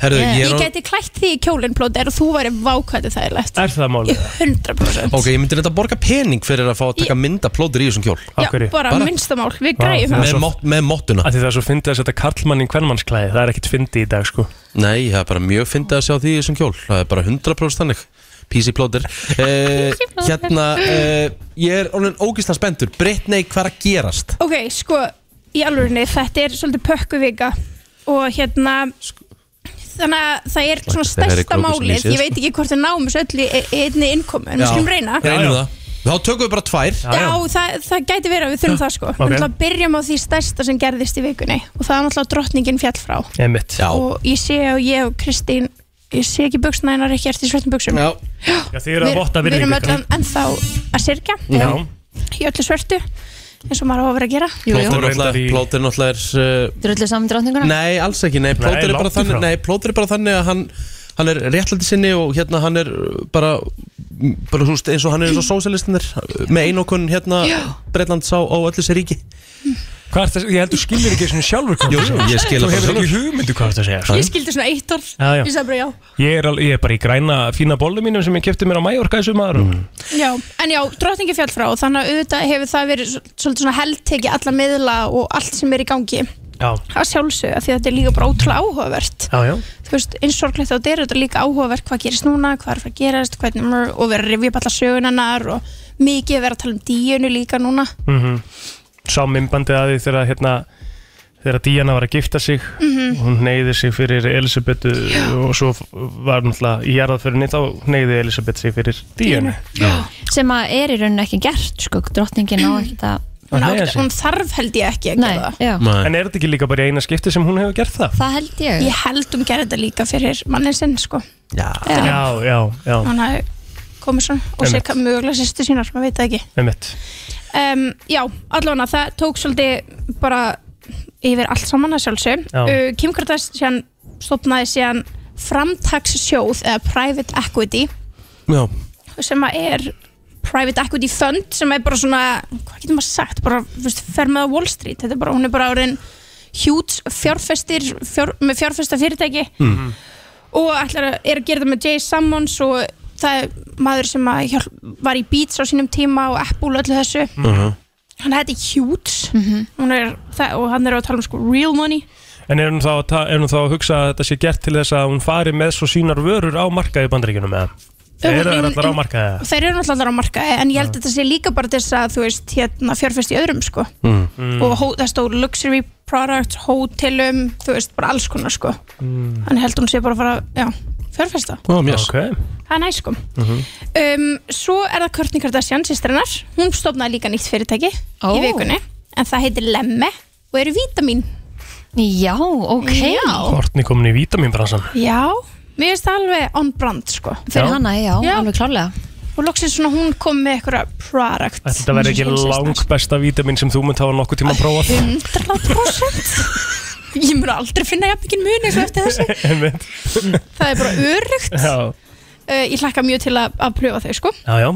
A: Herðu,
L: Ég,
A: ég er á
L: gæti klætt því í kjólinn plóter og þú væri vákvæði þægilegt
E: Er það málið?
L: 100%
A: Ok, ég myndi reynda að borga pening fyrir að fá að taka mynda plótur í þessum kjól
L: Já, bara, bara minnstamál, við græjum
A: Með mott- með mottuna
E: Það er svo fyndið að setja karlmann í hvernmannsklæði Það er ekkert fyndið í dag sko
A: Nei, það er bara mjög fyndið að sjá því í þessum kjól Það er bara 100% þannig PC
E: [laughs]
A: plótur eh, Hérna, eh, ég er orðin ógisla spendur Brittany, hvað er að gerast?
L: Ok, sko, í alvörinni, þetta er svolítið pökkuvika og hérna
A: Sko.
L: þannig að það
A: þeir
L: er svona
A: eru
L: stærsta
A: krókur sem
L: málið
A: lýsir.
L: ég veit ekki hvort þau náum þessu öllu í í einni innkomu en við skulum reyna
A: Reynum það Þá tökum við bara tvær
L: Já, það, það gæti verið að við þurfum það sko
A: Ok.
L: Við ætlum að byrjum á því stærsta sem gerðist í vikunni og það er náttúrulega drottningin fjall frá
E: Emitt
A: Já,
L: og ég sé og ég og Kristín ég sé ekki buksna hennar ekki eftir svörtum buksum
A: Já,
E: Já, þið eru að
L: Við-
E: votta
L: Við
E: virðingu,
L: erum
E: Kristín.
L: öll ennþá að sirkja
A: Já.
L: í öllu svörtu eins og maður á að vera að gera
A: plótur náttúrulega Plótur náttúrulega er uh,
D: Drullu saman drótninguna?
A: Nei, alls ekki, nei, plótur er bara
E: langt í
A: þannig
E: frá.
A: Nei, plótur er bara þannig að hann Hann er réttlæti sinni og hérna hann er uh, bara, bara húst, eins og hann er eins og sósjálistinir með einokun hérna Breitlands á, á öllu sér ríki
E: Hvað er það, ég heldur skilur ekki svona sjálfur hvað
A: Jú,
E: þú
A: jú,
E: segir.
A: ég skil
E: Þú
A: það
E: hefur
A: bara
E: ekki
A: sjálfur.
E: hugmyndu hvað það segja
L: Ég skildi svona eitt orð
E: Já, já.
L: Ég sagði bara já
E: Ég er, al- ég er bara í græna fína bollu mínum sem ég kefti mér á Mallorca í sumar mm.
L: Já, en já, drottningi fjall frá þannig að auðvitað hefur það verið svol- svolítið svona heldteki alla miðla og allt sem er í gangi
E: Já,
L: að sjálfsögja því að þetta er líka bara ótrúlega áhugavert
E: já, já
L: þú veist, eins sorglegt þá er þetta líka áhugavert hvað gerist núna, hvað er að fara að gerast hvernig, mör- og vera að rifja upp alla sögunarnar og mikið að vera að tala um díunu líka núna
E: mm Sá mymbandið að því þegar hérna þegar Díana var að gifta sig
L: Mhm.
E: hún neyði sig fyrir Elisabetu og svo var náttúrulega í jarðaförinni þá neyði Elisabet sig fyrir Díanu
D: Sem að er í rauninni ekki gert, sko Drottningin
L: Mm.
D: á ekkert að
E: Hún á ekkert- hún
L: þarf held ég ekki að
D: gera það
E: En er þetta ekki líka bara í eina skipti sem hún hefur gert það?
D: Það held ég
L: Ég held hún gerði þetta líka fyrir mannin sinn sko.
A: Já,
L: Já.
E: já, já, já.
L: hann hafi komið svona og
E: Einmitt.
L: sér mjögulega sýstu sínar, maður veit það ekki
E: Einmitt.
L: um, Já, allavega það tók svolítið bara yfir allt saman að sjálfsög
E: Já.
L: uh, Kim Kardashian stopnaði síðan framtakssjóð eða private equity
A: Já,
L: sem að er private equity fund sem er bara svona, hvað getur maður sagt bara, þú veist, fer með á Wall Street þetta er bara, hún er bara orðin hjúts fjárfestir, fjár, með fjárfesta fyrirtæki
E: Mhm.
M: Mm.
L: og ætlar að, er að gera það með Jay Sammons og það er maður sem að hjálp, var í Beats á sínum tíma og Apple og öllu þessu hann hætti Hughes
D: Mhm.
L: mm er, það, og hann er að tala um sko real money
E: En er hún, þá, að ta- er hún þá að hugsa að þetta sé gert til þess að hún fari með svo sínar vörur á markaði í bandaríkjunum eða?
L: Jú,
E: Er það
L: en-
E: allar á
L: en-
E: markaði?
L: þeir eru náttúrulega allar á markaði en ég held að þetta sé líka bara til þess að þú veist hérna fjárfest í öðrum sko
E: Mm.
L: og hó, það stóð luxury products, hótelum þú veist bara alls konar sko
E: Mm.
L: hann held hún sé bara að fara já, fjárfesta
A: Ó, mjöss.
E: Ok. Mhm.
L: það er næ sko um, svo er það Kourtney Kardashian sýstrinnar hún stofnaði líka nýtt fyrirtæki
D: Ó.
L: í vikunni en það heitir Lemme og eru vítamin
D: já, ok
L: já,
E: Hortni komin í vítaminbransan.
L: já. mér finnst það alveg on brand sko
D: Fyrir hana, já, alveg klálega
L: og loksins svona hún kom með eitthvað product
E: Ætli Þetta verði ekki
L: Hún sýstrinnar.
E: lang besta vítamin sem þú munt hafa nokkuð tíma að prófa
L: 100% Ég mun aldrei finna jafn mikið mun eins og eftir þessu
E: Einmitt.
L: Það er bara örugt
E: Já,
L: uh, Ég hlakka mjög til að, að pröfa þau sko
E: já, já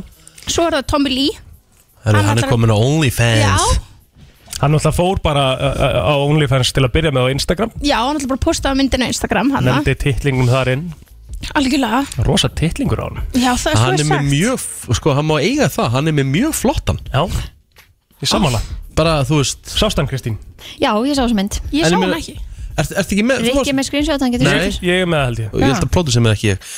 L: Svo er það Tommy Lee
A: hann,
L: Hann
A: hann er
L: ætlar-
A: komin á OnlyFans
L: Já,
E: Hann náttúrulega fór bara uh, uh, á OnlyFans til að byrja með á Instagram
L: já, hann ætla bara að posta á myndinu á Instagram hana
E: Nefndi titlingum þar inn
L: Algjörlega,
E: Rosa titlingur á hann
L: já það er svo
A: Hann er
L: sagt
A: með mjög, sko, hann má eiga það Hann er með mjög flottan Ah.
E: Já, ég sammála
A: Bara, þú veist
E: Sástan, Kristín
D: Já, ég sá þessu mynd
A: En ég meina- Ertu ertu ekki með? þú varst-
D: Rikki er með screenshot, hann getur
A: Nei,
D: sendt.
A: ég er með held ég Ég held að plótu sem með ekki ég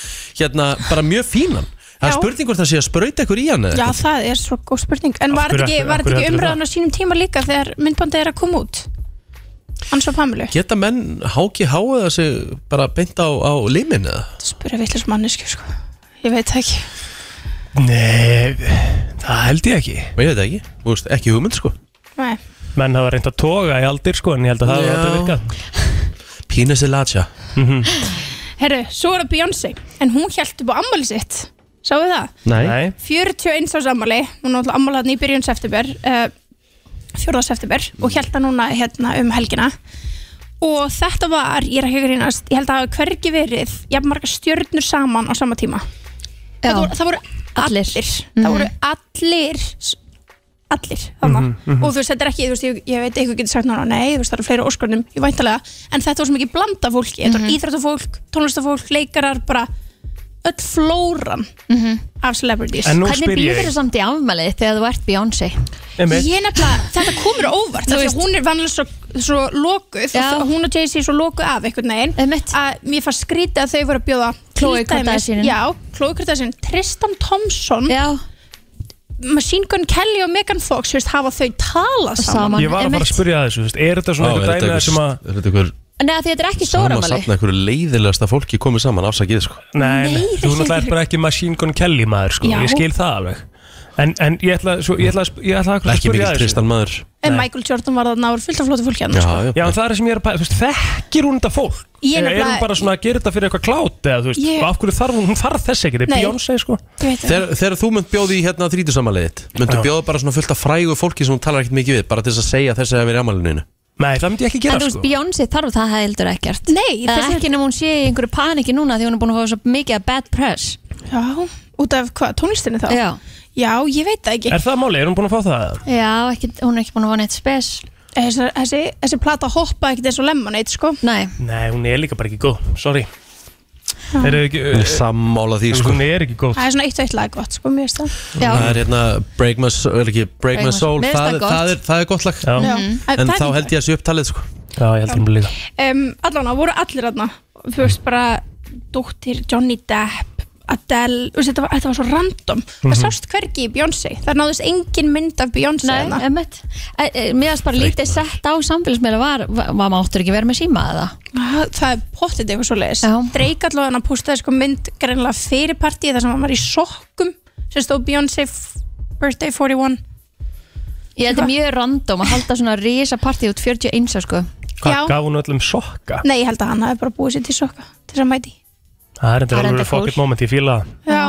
A: Hérna, bara mjög fínan Það er
L: Já.
A: spurning hvort það sé að sprauta ykkur í hann eða
L: Já,
A: eitthvað.
L: það er svo góð spurning En var
A: sko. Af hverju
L: þetta ekki,
A: ætli-
L: var
A: af
L: þetta
A: hverju
L: ekki
A: ætli
L: umræðan á sínum tíma líka þegar myndbandið er að koma út Hans og Pamilu
A: Geta menn háki háið þessi bara beint á, á limin eða?
L: Spura vitlis mannesku sko Ég veit það ekki
E: Nei, það held ég ekki
A: Ég veit það ekki, þú veist, ekki hugmynd sko
L: Nei.
E: Menn hafa reynd að toga í aldir sko En ég held að
A: Já.
E: það hafa aldrei virkað
A: Pínus er latja
L: Herru, svo er það Beyoncé En hún held upp á ammali sitt Sáuð það?
A: Nei
L: 41 árs ammali Hún er alltaf ammali hann í byrjun september uh, 4. september Og held það núna hérna um helgina Og þetta var, ég er ekki að grínast Ég held að það hafi hvergi verið Jafn marga stjörnur saman á sama tíma
D: Já.
L: Það voru, það voru allir,
D: Mhm.
L: Það voru allir Allir þarna.
E: Mhm,
L: Og þú veist, þetta er ekki, þú veist, ég, ég veit eitthvað getur sagt núna, nei, þú veist, það eru fleiri óskornum, ég væntalega, en þetta var svo mikið blanda fólki, þetta var
D: Mhm.
L: íþrættafólk, tónlistafólk, leikarar, bara öll flóran af celebrities.
E: Mhm. En nú
D: Hvernig
E: spyr ég-
D: býður þú samt í afmælið þegar þú ert Beyoncé?
E: Einmitt.
L: Ég nefnilega, þetta komur á óvart
D: Þú
L: af því
D: veist-
L: að hún er vanlega svo, svo lokuð
D: Já.
L: og hún og Jay-Z er svo lokuð af einhvern veginn að mér fannst skrítið að þau voru að bjóða
D: Khloe
L: til dæmis-
D: Kardashianin.
L: Já, Khloe Kardashian, Tristan Thompson Já Machine Gun Kelly og Megan Fox þú veist, hafa þau talað saman
E: Ég var að fara að spyrja að þessu þú veist, Er þetta
A: Ó,
E: svona
A: er
E: eitthvað
A: þetta
E: dæmi
A: einhver-
E: sem að
A: Er þetta ykkur
D: Nei, því þetta er ekki stóra
A: Sama
D: afmæli
A: safna ykkur leiðilegasta fólki komið saman afsakið sko
E: Nei, nei, þú náttúrulega ert bara ekki Machine Gun Kelly maður sko,
L: Já.
E: ég skil það alveg En, en ég ætla, svo, ég ætla, að sp- ég ætla akkurat að
A: Ekki
E: spyrja
A: mikill
E: að þessu.
A: tristan maður
L: en Michael Jordan var það náður fullt af flóti fólki hérna. hann sko.
E: Já, já, en það er það sem ég er að pæla, þú veist, þekkir hún þetta fólk?
L: Ég
E: Eða er
L: nefnilega-
E: hún bara svona að gera þetta fyrir eitthvað klát eða þú veist,
L: Ég-
E: og af hverju þarf hún, hún þarf þess ekki, þetta
L: Nei.
E: er Beyoncé sko
L: Ég veit það.
A: Þegar, þegar þú mynd bjóði í hérna þrítusamaliðið Myndu bjóða bara svona fullt af frægu fólki sem hún talar ekkert mikið við Bara til þess að segja þess að það verið amalinu
E: Nei, það myndi ég ekki sko.
D: En þú
A: sko.
D: veist, Beyoncé þarf það heldur ekkert
L: Nei,
D: Það
L: þess
D: er ekki nema hún sé í einhverju paniki núna því hún er búin að fá svo mikið að bad press
L: Já, út af hvað, tónlistinni þá?
D: Já,
L: Já, ég veit það ekki
E: Er það máli, er hún búin að fá það?
D: Já ekki, hún er ekki búin að fá neitt spes
L: Þessi, þessi, þessi plata hoppa ekkert eins og Lemonade, sko
D: Nei
E: Nei, hún er líka bara ekki góð, sorry Er ekki,
A: Ég sammála því sko
E: Hún er ekki góð
L: Það er svona eitt og eitt lag gott, sko, mér finnst það
A: Það er hérna Break My Soul, er ekki, Break my soul.
L: Mér finnst
A: Það,
L: það
A: er-
L: gott.
A: það, er, það er gott lag
L: Já. Já. En
A: En
L: það er
A: þá
L: líka-
A: held ég að sé upptalið sko
E: Já, ég held hún líka
L: um, allan á voru allir aðna þú veist bara dóttir Johnny Depp Adele, þú veist, þetta, var, þetta var svo random það
D: Mhm.
L: sást hvergi í Beyoncé það náðist engin mynd af Beyoncé hérna?
D: Nei,
L: þarna.
D: emmitt Mér varst bara lítið sett á samfélagsmiðla var, var, var máttur ekki vera með síma eða
L: Ah, það er pottit eitthvað svo leiðis Drake allavega hann postaði sko mynd greinlega fyrir partíð þar sem hann var í sokkum sem stóð Beyoncé f- birthday 41
D: Ég held að mjög random að halda svona risa partí út 41 árs, sko
E: Hvað,
L: Já.
E: gaf hún öllum sokka?
L: nei, ég held að hann hafi bara búið sér til sokka til þess að mæti
E: Það er
L: Það er Um,
E: þetta alveg
L: enda
E: fokkett moment, ég fíla það
L: Já.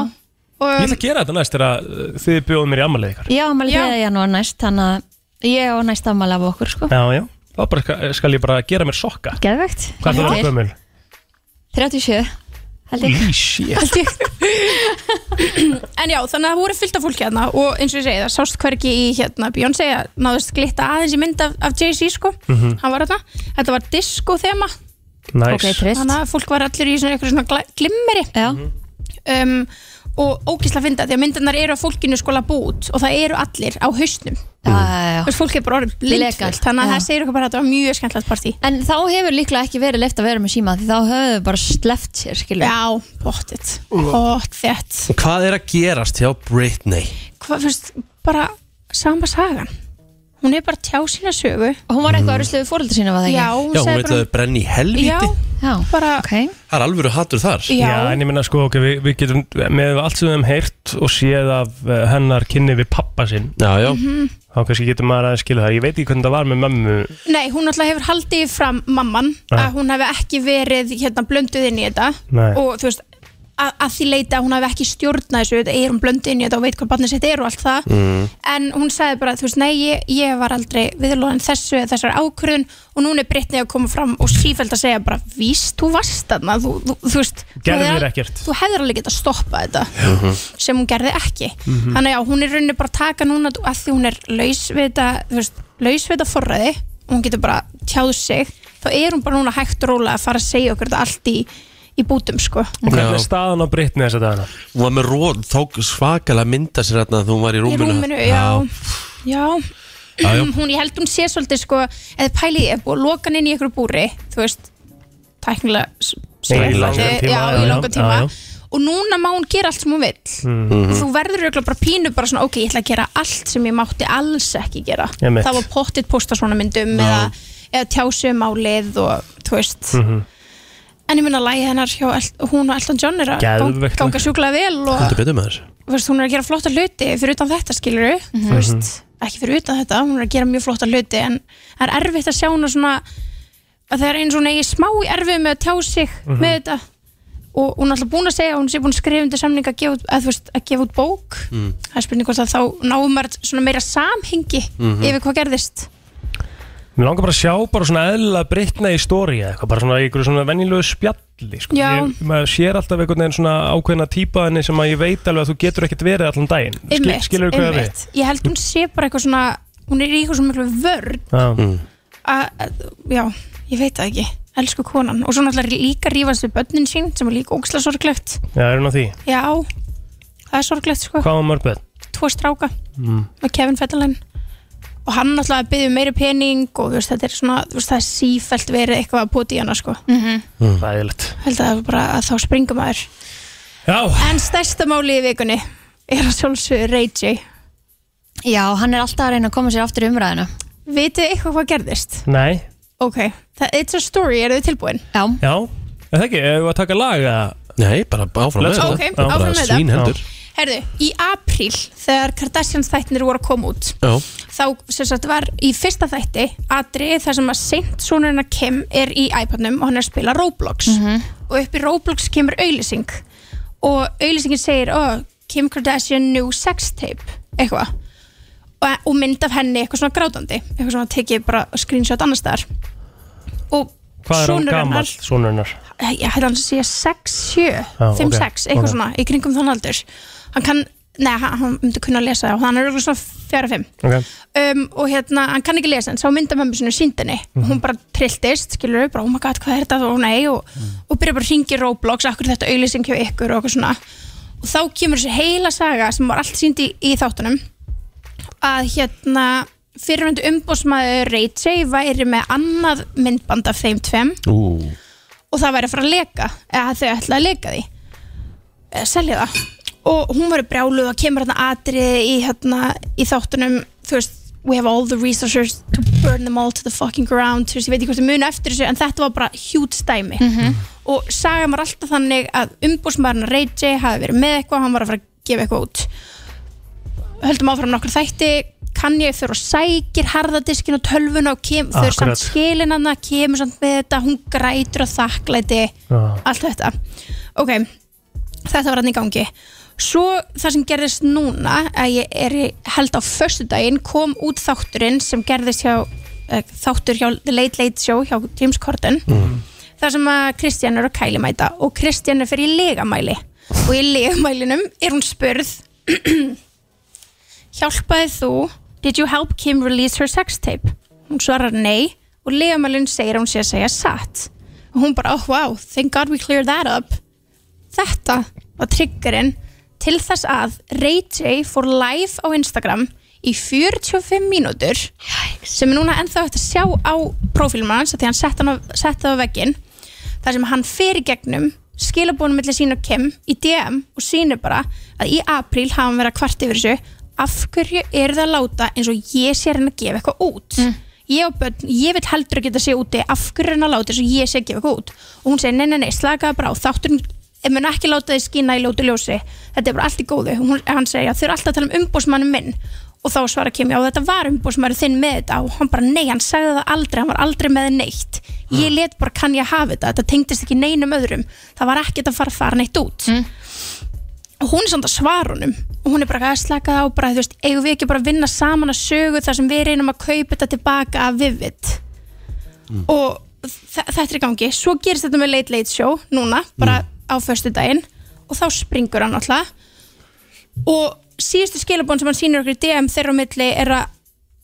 E: Ég ætla að gera þetta næst þegar uh, þið bjóðum mér í ammalið ykkar
D: Já, maður
L: Já.
D: þegar janúar næst Þannig að ég á næst afmæli af okkur sko.
E: Já, já, þá bara ska- skal ég bara gera mér sokka
D: Geðvegt
E: Hvað er það gömul?
D: 37 held ég
E: Í, shit.
D: Held ég.
L: [laughs] en já, þannig að það voru fullt af fólki hérna og eins og ég segi, það sást hvergi í hérna Beyoncé að náðist glitta aðeins í mynd af, af Jay-Z sko,
E: Mhm.
L: hann var hérna þetta var disco þema
E: Næs
L: þannig að fólk var allir í svona, einhverju svona gla- glimmeri um, og ógisla finna því að myndarnar eru að fólkinu skola bút og það eru allir á hausnum
D: mm.
L: Þess, fólk er bara orðið blindfullt
D: Legalt,
L: þannig að
D: já.
L: það segir okkur bara að þetta var mjög skemmtilegt partí
D: En þá hefur líklega ekki verið left að vera með síma Því þá höfum við bara sleft sér skilur.
L: Já, bóttið Bótt þett
A: Hvað er að gerast hjá Britney?
L: hvað, fyrst, bara sama sagan hún er bara að tjá sína sögu
D: Hún var eitthvað að rusla við fóröldur sína var það ekki?
L: Já, hún
A: Já, hún
L: sagði
A: veit að þau brenni í helvíti
L: Já,
D: já,
L: bara
D: okay.
A: Það er alvöru hattur þar
L: Já.
E: en ég minna sko, ok, við, við getum með allt sem við hefum heyrt og séð af eh, hennar kynni við pappa sinn
A: Já, já
L: Mhm.
E: Þá kannski getum maður að skilja það Ég veit ekki hvernig það var með mömmu
L: Nei, hún alltaf hefur haldið fram mamman
E: Já.
L: að hún hefði ekki verið hérna blönduð inn í þetta
E: Nei.
L: og þú veist að, að því leita að hún hefði ekki stjórnað þessu þetta er hún blönduð inn í þetta og veit hvað barnið sitt er og allt það
M: Mm.
L: en hún sagði bara, þú veist, nei, ég, ég var aldrei viðlóðin þessu eða þessar ákvörðun og núna er Brittany að koma fram og sífælt að segja bara, víst, þú varst þarna þú, þú, þú veist, þú
E: Gerðir
L: hefðir al-
E: ekkert.
L: þú hefðir alveg getað stoppað þetta sem hún gerði ekki
E: Mhm.
L: þannig að hún er rauninni bara að taka núna að því hún er laus við þetta þú veist, laus við þetta forræði og hún getur bara tjáð sig þá er hún bara núna hægt og rólega að fara að segja okkur þetta allt í, í bútum sko
E: Og hvernig er staðan á Brittany þess að dagana?
A: Hún var með róð, tók svakalega mynda sér hérna þegar hún var í
L: í
A: rúminu
L: rúminu, já, já.
A: Já, já.
L: [clears throat] hún, ég held hún sé svolítið sko, eða pæli, ef búið að loka hann inn í ykkur búri, þú veist tæknilega s-
E: Nei, í
L: stress.
E: langan
L: Eh,
E: tíma,
L: já,
E: já,
L: í
E: já,
L: langan
E: já,
L: tíma
E: já.
L: og núna má hún gera allt sem hún vill
E: Mhm.
L: þú verður auðvitað bara pínu bara svona, ok, ég ætla að gera allt sem ég mátti alls ekki gera,
E: Einmitt.
L: það var pottitt posta svona
E: Já.
L: myndum eða, eða tjásu málið og þú veist
E: Mhm.
L: en ég minna að lægi hennar hjá El- hún og Elton John er að gang-
E: Geðveikt lag.
L: ganga sjúklega vel og
A: Heldur betur með þér
L: þú veist, hún er að gera flotta hluti fyrir utan þetta skilur þú
E: Mhm.
L: veist, ekki fyrir utan þetta hún er að gera mjög flotta hluti en það er erfitt að sjá hún svona að það er eins og hún eigi smá í erfið með að tjá sig
E: Mhm.
L: með þetta og hún er alltaf búin að segja að hún sé búin að skrifa undir samning að gefa, út- að, þú veist, að gefa út bók
A: Mhm.
E: Mm.
L: það er spurning hvort að þá náum maður svona meira samhengi
E: Mhm.
L: yfir hvað gerðist
E: Mér langar bara að sjá bara svona eðla brittna í stóri eða eitthvað, bara svona í einhverju svona venjulegu spjalli sko.
L: Já.
E: ég, maður sér alltaf einhvern veginn svona ákveðna típa henni sem að ég veit alveg að þú getur ekkert verið allan daginn
L: Einmitt,
E: skilur hvað það
L: einmitt. ég held hún sé bara eitthvað svona hún er í eitthvað svona miklu vörn
E: við mm.
L: að, að- já, ég veit það ekki elsku konan og svo náttúrulega líka rífast við börnin sín sem er líka ógislega sorglegt
E: Já, er hún á því?
L: já, það er sorglegt sko
E: Hvað var mörgböð?
L: tvo stráka
E: Mm.
L: með Kevin Fetterlein og hann náttúrulega byggði meiri pening og þú veist, þetta er svona, þú veist, það er sífælt verið eitthvað að poti í hana sko -hmm.
E: Mm. Ræðilegt
L: held að það er bara að þá springum maður
E: Já.
L: en stærsta máli í vikunni er að sjálfsögur Ray J
D: já, hann er alltaf að reyna að koma sér aftur í umræðina
L: vitið þið eitthvað hvað gerðist?
E: Nei,
L: ok, það, it's a story, eru þið tilbúin?
D: já
E: já, er það ekki, hefur við að taka lag eða?
A: Nei, bara áfram
E: Let's
A: með
E: go.
A: þetta.
L: Ok,
A: Já, bara
L: áfram með þetta.
A: Svínheldur
L: Herðu, í apríl þegar Kardashians þættinir voru að koma út
A: Já,
L: þá sem sagt var í fyrsta þætti atriði þar sem að seint sonurinn að Kim er í iPadnum og hann er að spila Roblox og upp í Roblox kemur auðlýsing og auðlýsingin segir oh, Kim Kardashian new sex tape eitthvað og, og mynd af henni eitthvað svona grátandi eitthvað svona tekið bara screenshot annars staðar og
E: Hvað er hann
L: sonur hennar-
E: gammal, sonurinnar?
L: ég held að hann sé 6, 7,
E: Já,
L: 5,
E: ok,
L: 6 eitthvað
E: ok.
L: svona, í kringum þann aldur hann kann, neða, hann, hann myndi kunna að lesa og hann er auðvitað svona 4, 5
E: Okay.
L: um, og hérna, hann kann ekki lesa en sá mynda mömmu sinu síndinni mm
E: Mhm.
L: hún bara trilltist, skilur við, bara, oh my god, hvað er þetta og nei, og, og byrja bara að ringi Roblox akkur er þetta auðlýsing hjá ykkur og eitthvað svona og þá kemur þessi heila saga sem var allt sínd í, í þáttunum að hérna fyrirvendu umbósmaður Ray J væri með annað myndband af þeim tveim
A: ú
L: og það væri að fara að leka eða þau ætlaði að leka því eða selja það og hún var brjáluð og kemur hérna atriði í, hérna, í þáttunum þú veist, we have all the resources to burn them all to the fucking ground þú veist, ég veit ekki hvort þau muni eftir þessu en þetta var bara hjút stæmi
D: Mhm.
L: og saga var alltaf þannig að umbúsmaðurinn Ray J hafi verið með eitthvað hann var að fara að gefa eitthvað út höldum áfram nokkur þætti kann ég fyrir og sækir harðadiskin og tölvuna og kem, þau eru samt
E: Akkurat.
L: skilin hann kemur samt með þetta, hún grætur og þakklæti allt þetta ok, þetta var hann í gangi svo það sem gerðist núna að ég er í- held á föstudaginn kom út þátturinn sem gerðist hjá eh, þáttur hjá The Late Late Show hjá James Corden
E: Mhm,
L: þar sem að Kristján er að kæli mæta og Kristján er fyrir í legamæli og í legamælinum er hún spurð [clears throat] hjálpaði þú did you help Kim release her sex tape hún svarar nei og legamælin segir að hún sé að segja satt og hún bara, oh wow, thank god we cleared that up þetta var triggerinn til þess að Ray J fór live á Instagram í 45 mínútur Jæks. sem er núna ennþá eftir að sjá á prófílum hans af því hann sett hann á- setti það á veggin þar sem hann fer í gegnum skilabónum millir sín og Kim í DM og sýnir bara að í apríl hafa hann verið að kvart yfir þessu af hverju er það að láta eins og ég sé hann að gefa eitthvað út ég og börn, ég veit heldur ekki að þetta sé úti af hverju er hann að láta eins og ég sé að gefa eitthvað út og hún segir nei, nei, nei, slakaða bara á þátturinn ég mun ekki láta þið skína í ljótu ljósi þetta er bara allt í góðu hún, hann segir að þau eru alltaf að tala um umbósmannum minn og þá svarar Kim, já þetta var umbósmannur þinn með þetta og hann bara nei, hann sagði það aldrei hann var aldrei með neitt ég let bara kann ég hafa þetta, þetta tengdist ekki neinum öðrum það var ekkert að fara að fara neitt út og hún er samt að svara honum og hún er bara að slaka það á bara, þú veist, eigum við ekki bara að vinna saman að sögu þar sem við reynum að kaupa þetta tilbaka af Vivid og þa- þetta er í gangi svo gerist þetta með Late Late Show núna, bara á förstu daginn og þá springur hann alltaf og síðustu skilabón sem hann sýnir okkur í DM þeirra á milli er að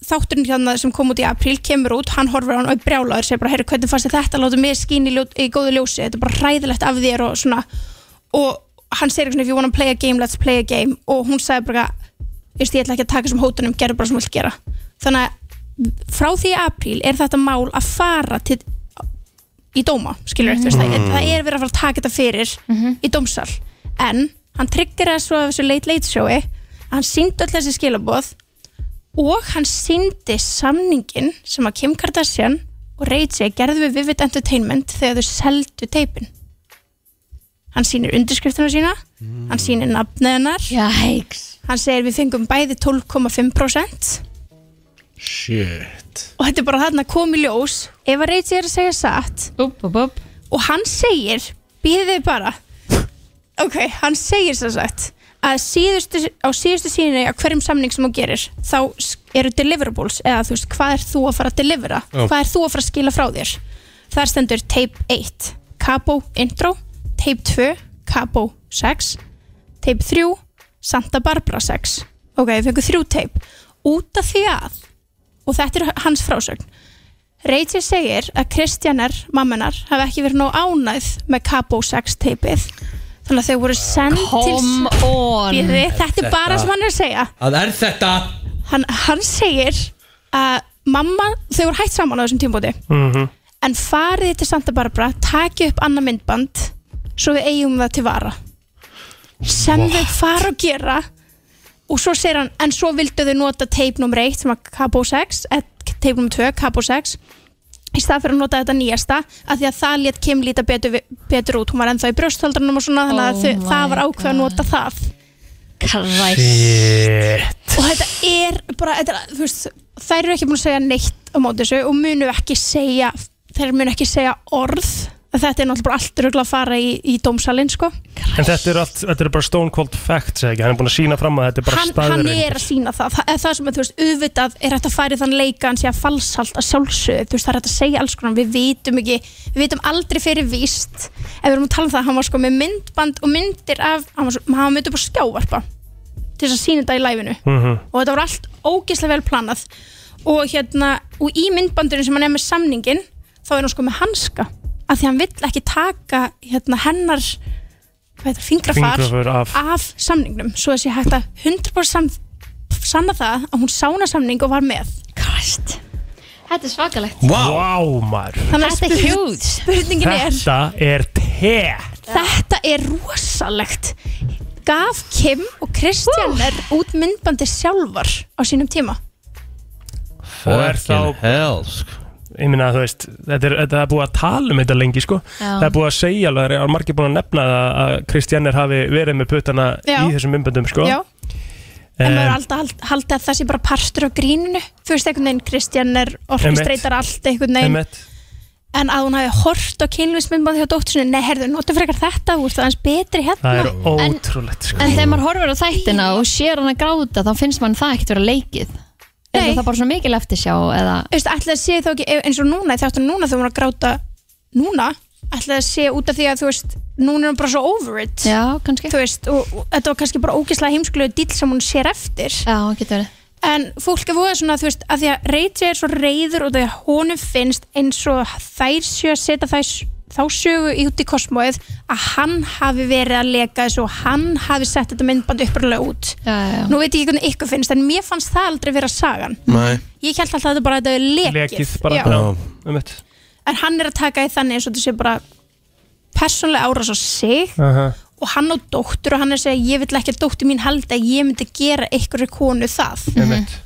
L: þátturinn hérna sem kom út í apríl kemur út, hann horfir á hann og er brjálaður segir bara, heyrðu, hvernig fannst þér þetta, láta mig skín í, ljó, í góðu ljósi, þetta er bara ræðilegt af þér og svona, og hann segir eitthvað svona, if you wanna play a game, let's play a game og hún sagði bara, eitthvað, "Veistu, ég ætla ekki að taka sem hótunum, gerðu bara sem þú vilt gera þannig að frá því í apríl er þetta mál að fara til í dóma, skilur þetta, mm.
M: Mm.
L: það er verið að fara að taka þetta fyrir í dómsal en hann tryggir það svo af þessu late late sjói hann síndi öll þessi skilaboð og hann síndi samningin sem að Kim Kardashian og Rachel gerðu við Vivid Entertainment þegar þau seldu teipin hann sýnir undirskriftina sína hann sýnir nafnið hennar Jæks. hann segir við fengum bæði 12,5%
A: Shit
L: og þetta er bara þarna kom í ljós ef að Rachel er að segja satt upp, upp, upp. og hann segir býðið þið bara ok, hann segir sem sagt að síðustu, á síðustu síðinu á hverjum samning sem þú gerir þá s- eru deliverables eða þú veist, hvað er þú að fara að delivera
M: Já.
L: hvað er þú að fara að skila frá þér þar stendur tape 1 Cabo intro, tape 2 Cabo 6 tape 3, Santa Barbara 6 ok, við fengum þrjú tape út af því að og þetta er hans frásögn Rachel segir að Kristjanar, mammanar, hafi ekki verið nóg ánæð með Cabo 6 teipið þannig að þau voru send
D: Come
L: til
D: on.
L: Bíðið, þetta er bara
A: Þetta-
L: sem hann er að segja
A: Það er þetta
L: hann, hann segir að mamma, þau voru hætt saman á þessum tímbóti
E: Mhm.
L: en farið til Santa Barbara taki upp annað myndband svo við eigum það til vara sem þau fara að gera og svo segir hann en svo vildu þau nota tape nr. 1 sem var Cabo 6 eh, tape nr. 2, Cabo 6 í stað fyrir að nota þetta nýjasta af því að það létt Kim líta betur, vi- betur út hún var ennþá í brjósthaldrunum og svona þannig að
M: Oh
L: þau, það
M: my
L: var ákveð að nota það
M: Shit
L: og þetta er bara þetta er, þú veist, þær eru ekki búin að segja neitt á móti þessu og munu ekki segja þær munu ekki segja orð þetta er náttúrulega bara allt röglega að fara í, í dómsalinn sko.
E: En þetta er, allt, þetta er bara stone cold facts, eða ekki? Hann er búin að sína fram að þetta er bara
L: hann, hann
E: staðurinn
L: er að sína það það, það sem er, þú veist, auðvitað er hægt að fara í þann leika hann sé að falsalt að sjálfsögðu þú veist, það er hægt að segja alls konar, við vitum ekki við vitum aldrei fyrir víst ef við erum að tala um það, hann var sko með myndband og myndir af, hann var, svo, hann var myndið upp á skjávarpa til þess að sína þetta í læfinu
M: Mhm.
L: og þetta var allt ógeðslega vel planað og hérna, og í myndbandurinn sem hann er með samningin, þá er hann sko með hanska, af því hann vill ekki taka hérna hennar hvað heitir, fingrafar,
E: Fingraför af.
L: samningnum, svo þessi hægt að 100% sam, sanna það að hún sána samning og var með Christ.
D: Þetta er svakalegt
E: Wow, wow maður
L: Þannig að
D: Þetta er
L: spurn-
D: huge.
L: Spurningin er
E: Þetta er te
L: Þetta er rosalegt Gaf Kim og Kristján er út myndbandi sjálfar á sínum tíma
E: og er þá helsk. ég minna þú veist þetta er, þetta er búið að tala um þetta lengi sko
L: Já.
E: það er búið að segja alveg það er margir búin að nefna það að Kristjannir hafi verið með puttana
L: Já.
E: í þessum umböndum sko
L: Já. En maður er alltaf hald- haldið að það sé bara partur af gríninu Þú veist einhvern veginn Kristján er orkestreitar allt einhvern veginn En að hún hafi hort á kynlýsmyndbandi hjá dóttur sinni Nei, herðu, notu frekar þetta, þú veist aðeins betri hérna
E: það er
D: En-
E: ótrúlegt sko
D: En þegar maður horfir á þættina og sér hann að gráta þá finnst mann það ekkert vera leikið Er það bara svona mikil eftirsjá eða
L: Þú veist, ætlaði að sé þá ekki ef- eins og núna, þáttu núna þegar hún er að gráta núna, ætlaði að sé út af því að þú veist, núna er hún bara svo over it
D: Já, kannski
L: Þú veist, og, og þetta var kannski bara ógislega heimskulegu dýll sem hún sér eftir
D: Já, getur verið
L: En fólk er voða svona, þú veist, að því að Rachel er svo reyður og því að honum finnst eins og þær sjö að setja þær, þá sögu í út í kosmóið að hann hafi verið að leka þessu og hann hafi sett þetta myndband uppröðlega út
D: já, já, já.
L: Nú veit ég ekki hvernig ykkur finnst, en mér fannst það aldrei vera sagan
A: Nei
L: Ég held alltaf að þetta bara að þetta er lekið,
E: lekið bara
L: Já.
E: já. um þetta
L: En hann er að taka í þannig eins og þetta sé bara persónlega árás á sig
E: Aha.
L: og hann á dóttur og hann er að segja ég vill ekki að dóttur mín halda að ég myndi gera ykkur konu það
E: Einmitt.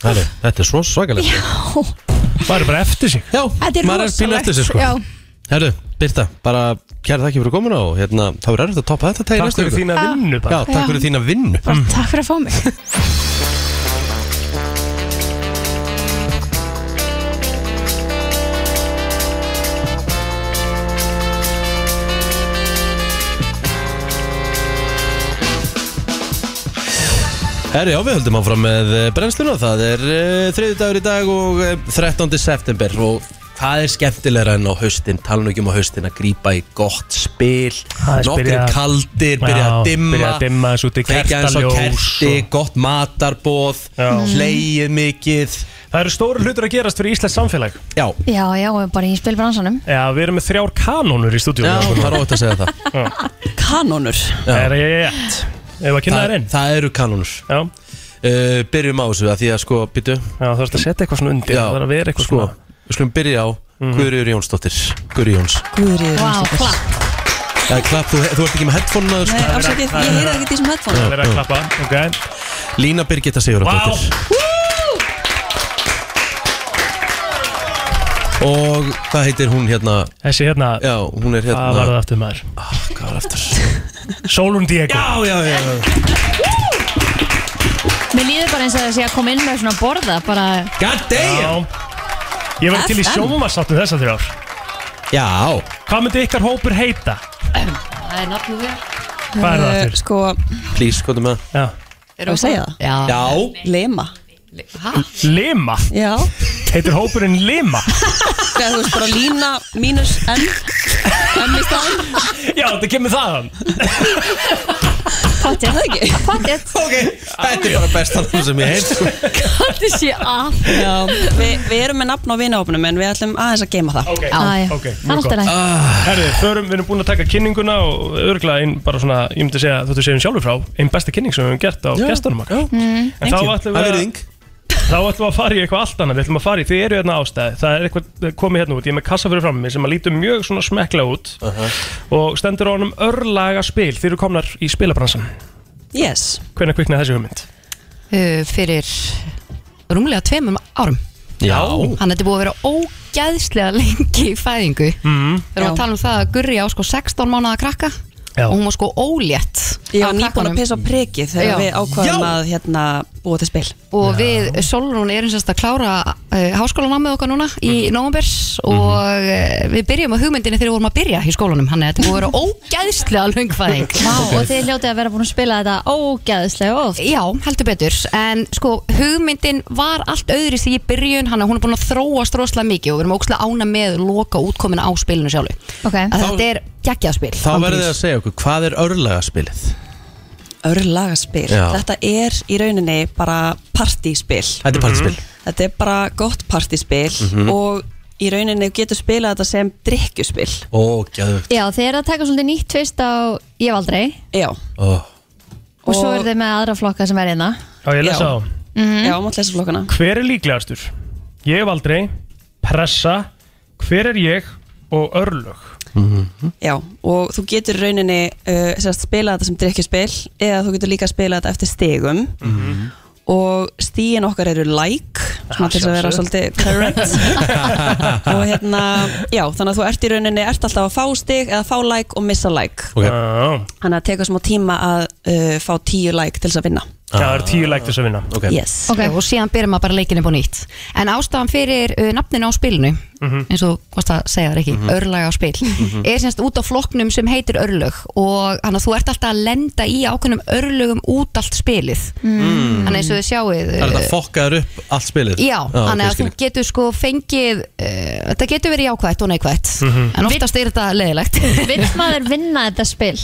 A: Herri, Þetta er svo svakalegt
E: Maður er bara eftir sig
A: Já,
L: Þetta er
A: maður er pínu
L: rosalegt,
A: eftir sig sko
L: já.
A: Herru, Birta, bara kæra þakki fyrir komuna og hérna, það verður erfitt að toppa þetta
E: Takk fyrir þína Já. vinnu bara. Mm.
A: bara Já, takk
L: Ah, Já.
A: fyrir þína vinnu
L: bara takk fyrir að fá
E: [laughs]
L: mig
A: Mm. Herri, já, við höldum áfram með eh, brennsluna Það er uh, þriði dagur í dag og uh, 13. september og hvað er skemmtilegra en á haustin tala nú ekki um á haustin að grípa í gott spil
E: Aðeins
A: nokkur
E: byrja-
A: kaldir, byrja
E: Já,
A: að dimma
E: byrja að dimma, svo út í
A: kveikja eins og
E: kertaljós
A: kerti, gott matarboð
L: Mhm.
A: hleyið mikið
E: Það eru stóru hlutur að gerast fyrir Íslands samfélag
A: Já,
D: Já, já, bara í spilbransanum
E: já við erum með þrjár kanónur í stúdíu
A: Já, það er óvægt að segja það
E: Kanónur Er ég rétt? Ef að kynna
A: Það-
E: þær inn
A: Það eru kanónur
E: Já
A: uh, Byrjum á þessu að því að sko byttu
E: Já þú þarfst að setja eitthvað svona undir Það þarf að vera eitthvað Mhm.
A: sko, Við skulum byrja á Guðriður Jónsdóttir Guðri Jóns
M: Guðriður
D: Vá,
M: Jónsdóttir.
D: klapp
A: ja, klapp, þú, þú ert ekki með headphone sko.
M: Nei, afsakið, ég heyrði ekki þessum headphone
E: Það er að klappa okay.
A: Lína Birgitta Sigurðardóttir Og hvað heitir hún hérna?
E: Þessi hérna
A: Já, hún er hérna
E: Hvað var það aftur maður?
A: Ah, hvað var það aftur?
E: Solun Diego
A: Já, já, já, já.
D: Mér líður bara eins og það sé að koma inn með svona borða bara
A: God damn
E: Ég var til í
D: FM.
E: sjómasáttu þessa þrjár
A: Já
E: Hvað myndi ykkar hópur heita?
D: Það er nafnum hér
E: Hvað er það
M: Eh,
E: aftur?
M: Sko,
A: Please, hvað er með?
E: Já
M: erum við að segja það?
A: Já
M: Lema
E: Lima
M: Já
E: Heitir hópurinn Lima?
M: Þegar þú veist bara lína mínus M M í staðan
E: Já, þetta kemur þaðan
D: Pottet
M: Það ekki
D: Pottet
A: Ok Þetta er bara besta nafn sem ég heit sko.
M: Þetta sé að Já, við vi erum með nafn á vinahópnum en við ætlum aðeins að geima það
E: okay.
D: Já, já.
E: ok,
D: Það er
E: mjög
D: alltaf
E: gott.
D: læg.
E: Ah. Herri, förum, við erum búin að taka kynninguna og örgulega einn bara svona, ég myndi segja þú ættu að segja um sjálfur frá, einn besta kynning sem við höfum gert á
A: Já,
E: gestunum okkar
L: Mhm.
D: Mm.
E: En þá ætlum
A: Það
E: við
A: er
E: að,
A: virðing.
E: þá ætlum við að fara í eitthvað allt annað Við ætlum að fara í, þið eru hérna ástæði Það er eitthvað komið hérna út, ég er með kassa fyrir frammi sem að lítur mjög svona smekkla út
A: Uh-huh.
E: og stendur á honum örlaga spil Þið eru komnar í spilabransan
M: Yes
E: Hvernig kviknaði þessi hugmynd?
N: uh, fyrir rúmlega tveimum árum
A: Já
N: Hann þetta er búið að vera ógæðslega lengi í fæðingu
E: mm.
N: Þegar við talum um það að Gurri á sko 16 mánuða krakka
E: Já.
N: og hún var sko ólétt
M: Ég var
N: af
M: nýbúin
N: krakkanum.
M: að pissa á prikið
N: Já.
M: þegar við ákvaðum að hérna búa til spil
N: og við Solrún erum sérst að klára uh, háskólanámið okkar núna í mm. og uh, við byrjum á hugmyndinni þegar við vorum að byrja í skólanum hann er þetta er búið að vera ógæðslega löngfæðing
D: Vá, og þið hljótið að vera búin að spila þetta ógæðislega oft
N: Já, heldur betur, en sko hugmyndin var allt öðri sem ég byrjun hann að hún er búin að þróast rosalega mikið og við erum ógæðslega ána með loka útkomin á spilinu sjálfu
D: okay.
N: að þetta er geggjaðspil
A: Þá verður þið að segja okkur Hvað er örlagaspilið?
M: Örlagaspil
A: Já.
M: Þetta er í rauninni bara partíspil
A: Þetta er partyspil.
M: Þetta er bara gott partíspil
A: Mhm.
M: og í rauninni þú getur spilað þetta sem drikkjuspil
A: Ó, gæðvögt
D: Já, þið eru að taka svolítið nýtt tvist á Ég var aldrei
M: Já
A: oh.
D: Og svo eru þið með aðra flokka sem er hérna
E: Já, ég lesa á
D: Mhm.
M: Já, mátt lesa flokkana
E: Hver er líklegastur? Ég hef aldrei, pressa, hver er ég og örlög
O: mhm.
M: Já, og þú getur í rauninni uh, sérst, spilað þetta sem drikkjuspil eða þú getur líka spilað þetta eftir stigum
A: Mm.
M: og stíin okkar eru like svona
E: Ah,
M: til þess að vera
E: sjálfsögðu.
M: svolítið current
A: [laughs]
M: og hérna já, þannig að þú ert í rauninni, ert alltaf að fá stig eða fá like og missa like
E: okay.
M: Þannig að teka smá tíma að uh, fá tíu like til þess að vinna
E: Já, það er tíu lægt þess að vinna
A: okay.
M: Yes.
N: Og síðan byrjum maður bara leikinni búin nýtt En ástafan fyrir uh, nafninu á spilinu
E: Mhm.
N: eins og hvort að segja það ekki,
E: Mhm.
N: örlaga á spil
E: Mhm.
N: er semst út á flokknum sem heitir örlög og hann að þú ert alltaf að lenda í ákveðnum örlögum út allt spilið
A: Mm.
N: Þannig eins og þið uh, sjáuð
A: Það er þetta fokkaður upp allt spilið
N: Eh, Já, þannig
A: ok,
N: að þú
A: skil.
N: getur sko fengið uh, þetta getur verið jákvætt og neikvætt
A: Mhm.
N: en oftast er þetta leiðilegt
D: Vill maður vinna þetta spil?